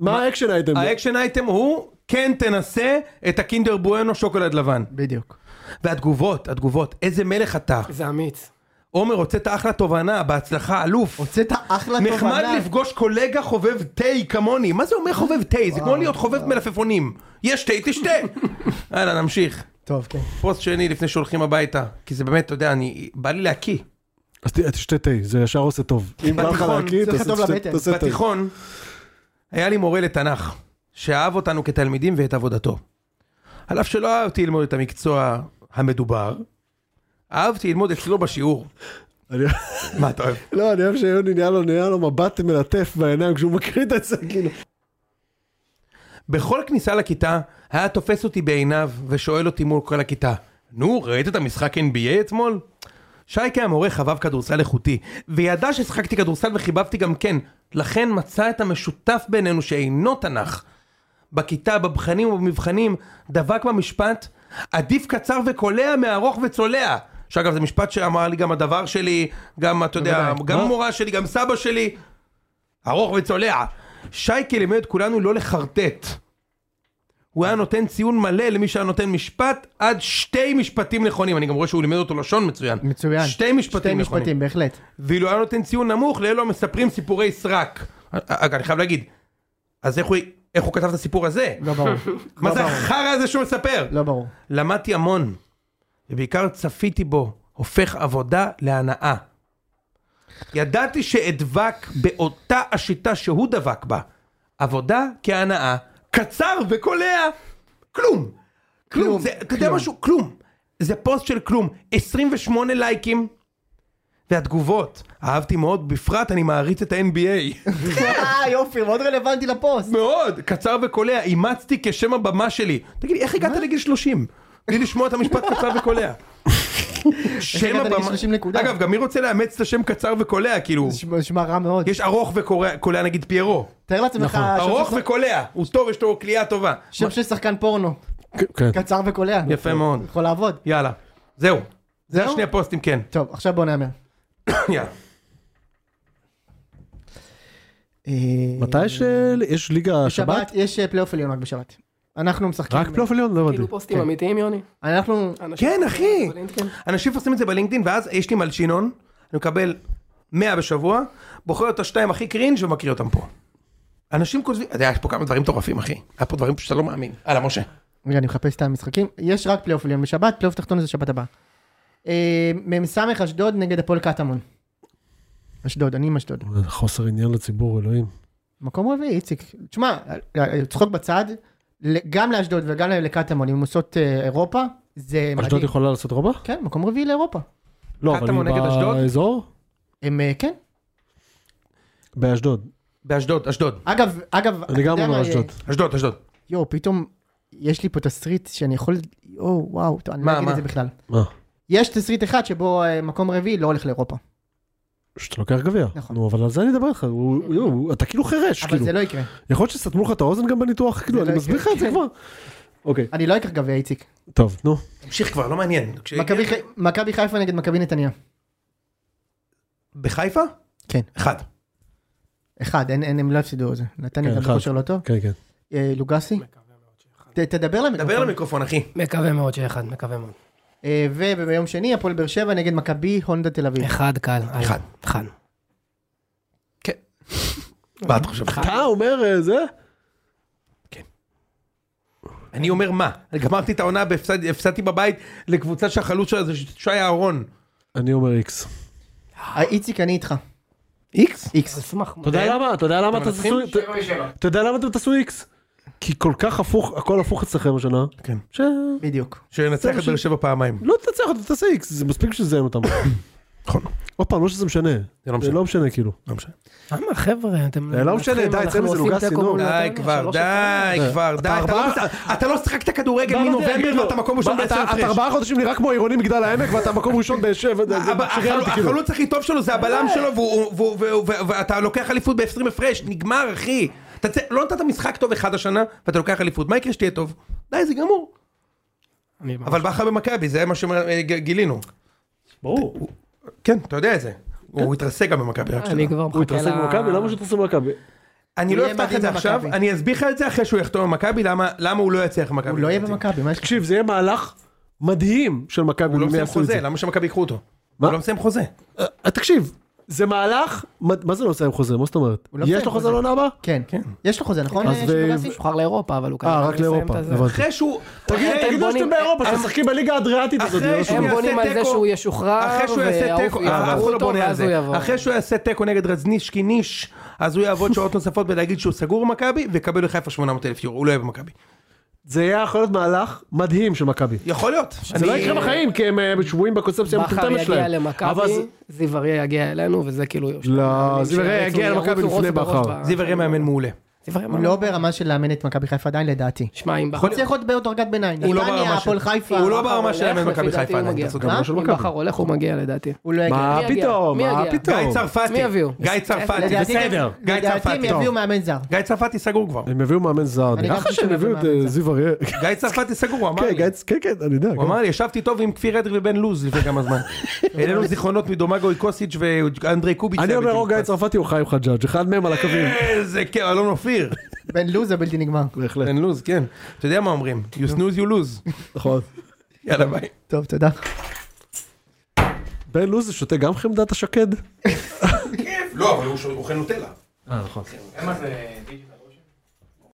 S3: מה האקשן אייטם?
S2: האקשן אייטם הוא, כן תנסה את הקינדר בואנו שוקולד לבן.
S1: בדיוק.
S2: והתגובות, התגובות, איזה מלך אתה.
S7: זה אמיץ.
S2: עומר, הוצאת אחלה תובנה, בהצלחה, אלוף.
S1: הוצאת אחלה תובנה.
S2: נחמד לפגוש קולגה חובב תה כמוני. מה זה אומר חובב תה? זה כמו להיות חובב מלפפונים. יש תה, תשתה.
S1: [LAUGHS]
S2: יאללה, נמשיך.
S1: טוב, כן.
S2: פוסט שני לפני שהולכים הביתה. כי זה באמת, אתה יודע, אני... בא לי להקיא.
S3: אז ת- תשתה תה, זה ישר עושה טוב. אם בא לך
S2: בתיכון,
S3: להקיא,
S1: זה עושה טוב
S3: תעשה-
S1: לבטן.
S3: תעשה תה.
S2: בתיכון, היה לי מורה לתנ"ך, שאהב אותנו כתלמידים ואת עבודתו. על אף שלא אהבתי ללמוד את המקצוע המדובר, אהבתי ללמוד אצלו בשיעור.
S3: אני-
S2: מה אתה אוהב?
S3: לא, אני אוהב שיוני נהיה לו, נהיה לו מבט מלטף בעיניים כשהוא מקריא את זה, כאילו.
S2: בכל כניסה לכיתה, היה תופס אותי בעיניו ושואל אותי מול כל הכיתה, נו, ראית את המשחק NBA אתמול? שייקה המורה חבב כדורסל איכותי, וידע ששחקתי כדורסל וחיבבתי גם כן, לכן מצא את המשותף בינינו שאינו תנ"ך. בכיתה, בבחנים ובמבחנים, דבק במשפט, עדיף קצר וקולע מארוך וצולע. שאגב, זה משפט שאמר לי גם הדבר שלי, גם, אתה יודע, גם המורה שלי, גם סבא שלי, ארוך וצולע. שייקה לימד את כולנו לא לחרטט. הוא היה נותן ציון מלא למי שהיה נותן משפט עד שתי משפטים נכונים. אני גם רואה שהוא לימד אותו לשון מצוין.
S1: מצוין.
S2: שתי משפטים
S1: שתי
S2: נכונים.
S1: משפטים, בהחלט.
S2: ואילו היה נותן ציון נמוך לאלו המספרים סיפורי סרק. אגב, אני חייב להגיד, אז איך הוא, איך הוא כתב את הסיפור הזה?
S1: לא ברור.
S2: מה
S1: לא
S2: זה
S1: ברור.
S2: החרא הזה שהוא מספר?
S1: לא ברור.
S2: למדתי המון, ובעיקר צפיתי בו, הופך עבודה להנאה. ידעתי שאדבק באותה השיטה שהוא דבק בה. עבודה כהנאה, קצר וקולע, כלום. כלום,
S1: כלום,
S2: זה, אתה יודע
S1: כלום.
S2: משהו? כלום. זה פוסט של כלום. 28 לייקים, והתגובות, אהבתי מאוד, בפרט אני מעריץ את ה-NBA.
S1: אה, יופי, מאוד רלוונטי לפוסט.
S2: מאוד, קצר וקולע, אימצתי כשם הבמה שלי. תגיד לי, איך הגעת לגיל 30? בלי לשמוע את
S1: [LAUGHS]
S2: המשפט קצר וקולע. שם
S1: הגעת לגיל
S2: הבמה,
S1: 30 נקודה?
S2: אגב, גם מי רוצה לאמץ את השם קצר וקולע, כאילו,
S1: זה אה, נשמע- נשמע רע מאוד.
S2: יש ארוך וקולע נגיד פיירו,
S1: תאר לעצמך... שם
S2: ארוך
S1: של-
S2: וקולע, הוא טוב, יש לו קליעה טובה.
S1: שם של שחקן פורנו.
S3: כן.
S1: קצר וקולע.
S2: יפה מאוד.
S1: יכול לעבוד.
S2: יאללה, זהו. זה
S1: זהו?
S2: השני הפוסטים, כן. [COUGHS]
S1: טוב, עכשיו בוא נאמר.
S2: יאללה.
S1: אה,
S3: מתי יש, אה, יש ליגה שבת?
S1: שבת יש אה, פלייאוף עליון רק בשבת. אנחנו משחקים.
S3: רק פלייאוף עליון? לא
S7: כאילו
S3: הבנתי.
S7: פוסטים אמיתיים, יוני.
S1: אנחנו...
S7: אנשים-
S2: כן, אחי.
S7: בלינקדאין.
S2: אנשים עושים את זה בלינקדאין, ואז יש לי מלשינון, אני מקבל 100 בשבוע, בוחר את השתיים הכי קרינג' ומקריא אותם פה. אנשים כותבים, אתה יודע, יש פה כמה דברים מטורפים, אחי. היה פה דברים שאתה לא מאמין. הלאה, משה.
S1: רגע, אני מחפש את המשחקים. יש רק פלייאוף עליון בשבת, פלייאוף תחתון זה שבת הבאה. אה, מ"ס אשדוד נגד הפועל קטמון. אשדוד, אני עם אשדוד.
S3: אה, חוסר עניין לציבור, אלוהים.
S1: מקום רביעי, איציק. תשמע, אה, צחוק בצד, ל- גם לאשדוד וגם לקטמון, אם הן עושות אה, אירופה, זה
S3: אשדוד
S1: מדהים.
S3: יכולה לעשות רובה?
S1: כן, מקום רביעי לאירופה.
S3: לא, אבל
S2: קטמון נגד אשדוד?
S3: היא באזור?
S1: הם, אה, כן.
S3: באשדוד.
S2: באשדוד, אשדוד.
S1: אגב, אגב, אתה
S3: אני גם
S1: יודע מה,
S3: אומר
S1: אה,
S3: אשדוד.
S2: אשדוד, אשדוד.
S1: יואו, פתאום יש לי פה תסריט שאני יכול... יואו, וואו, טוב, אני
S2: מה,
S1: לא אגיד
S2: מה?
S1: את זה בכלל.
S3: מה?
S1: יש תסריט אחד שבו אה, מקום רביעי לא הולך לאירופה.
S3: שאתה לוקח גביע.
S1: נכון.
S3: נו, אבל על זה אני אדבר איתך. הוא- הוא- הוא- אתה כאילו חירש,
S1: אבל
S3: כאילו.
S1: זה לא יקרה.
S3: יכול להיות שסתמו לך את האוזן גם בניתוח? כאילו,
S1: זה
S3: אני
S1: לא
S3: מסביר לך את זה
S1: יקרה.
S3: כבר. אוקיי,
S1: אני לא אקח גביע, איציק.
S3: טוב, נו.
S2: תמשיך כבר, לא מעניין. כשהגיע-
S1: מכבי חי- מכבי חיפה נגד מכבי נתניה.
S2: בחיפה?
S1: כן.
S2: אחד.
S1: אחד, אין- אין- הם לא הפסידו את זה. נתניה
S3: כן,
S1: גם
S3: אחד.
S1: בכושר לא טוב.
S3: כן, כן.
S1: אה, לוגסי? ת- תדבר
S2: דבר
S1: למיקרופון.
S2: למיקרופון, אחי.
S7: מקווה מאוד שאחד, מקווה מאוד.
S1: אה, וביום שני הפועל באר שבע נגד מכבי הונדה תל אביב.
S7: אחד קל. אה,
S2: אחד.
S7: אחד.
S2: מה אתה חושב?
S3: אתה אומר אה, זה?
S2: אני אומר מה? אני גמרתי את העונה, בהפסד- הפסדתי בבית לקבוצה שהחלוץ שלה זה שי אהרון.
S3: אני אומר איקס.
S1: אה, איציק, אני איתך.
S2: איקס?
S1: איקס.
S7: אשמח.
S3: אתה יודע למה? אתה יודע למה אתם
S2: מנצחים?
S3: תעשו... אתה יודע למה אתם תעשו איקס? כי כל כך הפוך, הכל הפוך אצלכם השנה.
S2: כן.
S3: ש...
S1: בדיוק.
S2: שנצח את באר שבע פעמיים.
S3: לא תנצח אותם, תעשה איקס, זה מספיק שזיין אותם.
S2: נכון.
S3: עוד פעם, לא שזה משנה.
S2: זה לא
S3: זה
S2: משנה.
S3: לא משנה, כאילו.
S2: לא משנה.
S7: למה חבר'ה, אתם...
S3: לא משנה, די,
S7: אנחנו
S3: אצלנו זה
S7: עושים
S3: לוגסי,
S7: תיקו
S3: נו.
S7: מול
S2: די
S7: נתניה,
S2: כבר,
S7: שלוש
S2: די
S3: אחד.
S2: כבר,
S3: אתה
S2: די. אתה
S3: ארבעה-
S2: לא משחק- אתה לא שיחקת כדורגל מנובמבר ואתה מקום ראשון
S3: אתה-
S2: בעשר
S3: אתה
S2: הפרש.
S3: ארבעה חודשים נראה כמו עירוני מגדל העמק ואתה מקום ראשון בשבע, זה- זה
S2: הבא-
S3: שגע
S2: החלו-
S3: אותי, כאילו.
S2: החלוץ הכי טוב שלו זה הבלם שלו והוא- והוא- והוא- והוא- ואתה לוקח אליפות ב-20 הפרש, נגמר אחי. אתה צא- לא נתת משחק טוב אחד השנה ואתה לוקח אליפות, מה יקרה שתהיה טוב? די זה גמור.
S7: אני-
S2: אבל בכר במכבי זה מה שגילינו.
S4: ברור.
S2: כן, אתה יודע את זה. הוא התרסק גם במכבי רק
S7: אני
S2: שלו.
S7: כבר
S3: הוא
S7: מחכה
S3: התרסק במכבי? למה שהוא התרסק במכבי?
S2: אני לא
S1: יהיה
S2: הבטחתי את זה
S1: בעתיד
S2: עכשיו,
S1: במכבי.
S2: אני אסביר לך את זה אחרי שהוא יחתום במכבי, למה למה הוא לא יצליח במכבי.
S1: הוא לא יהיה
S2: לדעתי.
S1: במכבי, מה יש לך?
S3: תקשיב, זה יהיה מהלך מדהים של מכבי.
S2: הוא לא
S3: אם
S2: מסיים
S3: יעשו את
S2: חוזה,
S3: זה.
S2: למה שמכבי ייקחו אותו?
S3: מה?
S2: הוא לא מסיים חוזה.
S3: אה, תקשיב, זה מהלך... מה מה זה לא מסיים חוזה? מה זאת אומרת?
S1: הוא לא לא
S3: יש
S1: מסיים
S3: לו חוזה
S1: חוזה.
S3: לעונה הבאה?
S1: כן. יש לו חוזה, נכון?
S3: אז ו-
S1: שדורסי?
S7: הוא שוחרר לאירופה, אבל הוא
S3: אה,
S7: כנראה
S3: רק
S7: יסיים
S3: לאירופה,
S7: את הזה.
S3: הבנתי.
S2: אחרי שהוא...
S3: תגיד,
S2: אחרי-
S3: תגידו שאתם באירופה, שאתם משחקים בליגה האדריאטית הזאת. זה לא
S2: אחרי
S3: שום
S2: שהוא
S7: הם
S3: דבר.
S2: יעשה
S7: בונים על זה
S2: תיקו-
S7: שהוא ישוחרר,
S2: אחרי שהוא יעשה
S7: והעוף
S2: תיקו,
S7: יעברו
S2: אף אחד לא
S7: אותו,
S2: בונה על
S7: ואז הוא
S2: זה.
S7: יבוא.
S2: אחרי שהוא יעשה תיקו נגד רזנישקי ניש, אז הוא יעבוד שעות נוספות בלהגיד שהוא סגור במכבי, ויקבל לחיפה 800 אלף יורו, הוא לא יהיה במכבי.
S3: זה יהיה יכול להיות מהלך מדהים של מכבי.
S2: יכול
S7: [LAUGHS]
S2: להיות.
S3: זה לא
S2: אני-
S3: יקרה בחיים, כי הם אה, שבויים בקונספציה
S7: בכר
S3: המטומטמת
S7: יגיע
S3: שלהם.
S7: למכבי,
S3: אבל זה-
S7: זיו אריה יגיע אלינו, וזה כאילו...
S3: לא, זיו אריה
S7: שירוצו,
S3: יגיע למכבי
S7: ירוצו,
S3: לפני
S7: ירוצו
S3: בכר.
S7: בראש ב-
S2: זיו הרי מאמן מעולה.
S7: זיו אריה
S1: הוא לא ברמה של לאמן את מכבי חיפה עדיין לדעתי.
S7: שמע, אם בכר...
S1: הוא צריך עוד בדרגת ביניים.
S2: הוא לא
S1: נתניה,
S2: ברמה של-
S1: הפועל חיפה.
S2: הוא לא
S7: בכר
S2: ברמה
S7: הולך,
S2: של מאמן
S7: לפי
S2: מכבי
S7: דעתי
S2: חיפה
S7: הוא
S2: עדיין,
S7: מגיע.
S2: אתה צודק.
S1: מה?
S3: של
S7: אם
S3: מכבי.
S7: בכר הולך, הוא מגיע לדעתי.
S1: הוא לא יגיע.
S3: מה
S7: מי יגיע?
S3: פתאום,
S7: מי
S3: מה
S7: יגיע?
S3: פתאום.
S2: גיא צרפתי.
S7: מי יביאו?
S2: גיא צרפתי.
S1: לדעתי הם-
S2: בסדר. גיא
S1: לדעתי הם
S2: צרפתי.
S1: יביאו מאמן זר.
S2: גיא צרפתי סגור [LAUGHS] כבר.
S3: הם הביאו מאמן זר,
S1: אני
S3: נראה
S1: גם
S3: לך
S1: חושב
S3: שהם הביאו
S1: מאמן
S3: את אה,
S1: זר.
S3: זיו אריה.
S2: גיא צרפתי סגור, הוא אמר
S3: כן,
S2: לי.
S3: גיא- כן, כן, אני יודע.
S2: הוא
S3: כן.
S2: אמר לי, ישבתי טוב עם כפיר אדרי ובן לוז לפני כמה
S3: [LAUGHS]
S2: זמן. העלינו זיכרונות מדומגו איקוסיץ' ואנדרי קוביץ'.
S3: אני
S2: היה
S3: אומר אוקיי. או
S2: בדיוק.
S3: גיא צרפתי או חיים חג'אג', אחד מהם על הקווים.
S2: איזה כיף, אלון
S3: [LAUGHS]
S2: אופיר.
S1: בן לוז זה בלתי נגמר.
S3: בהחלט,
S2: בן לוז, כן. אתה יודע מה אומרים, you snooze you lose.
S3: נכון.
S2: יאללה ביי.
S1: טוב, תודה.
S3: בן לוז שותה גם חמדת השקד?
S2: לא, אבל הוא אוכל נוטלה.
S3: אה, נכון.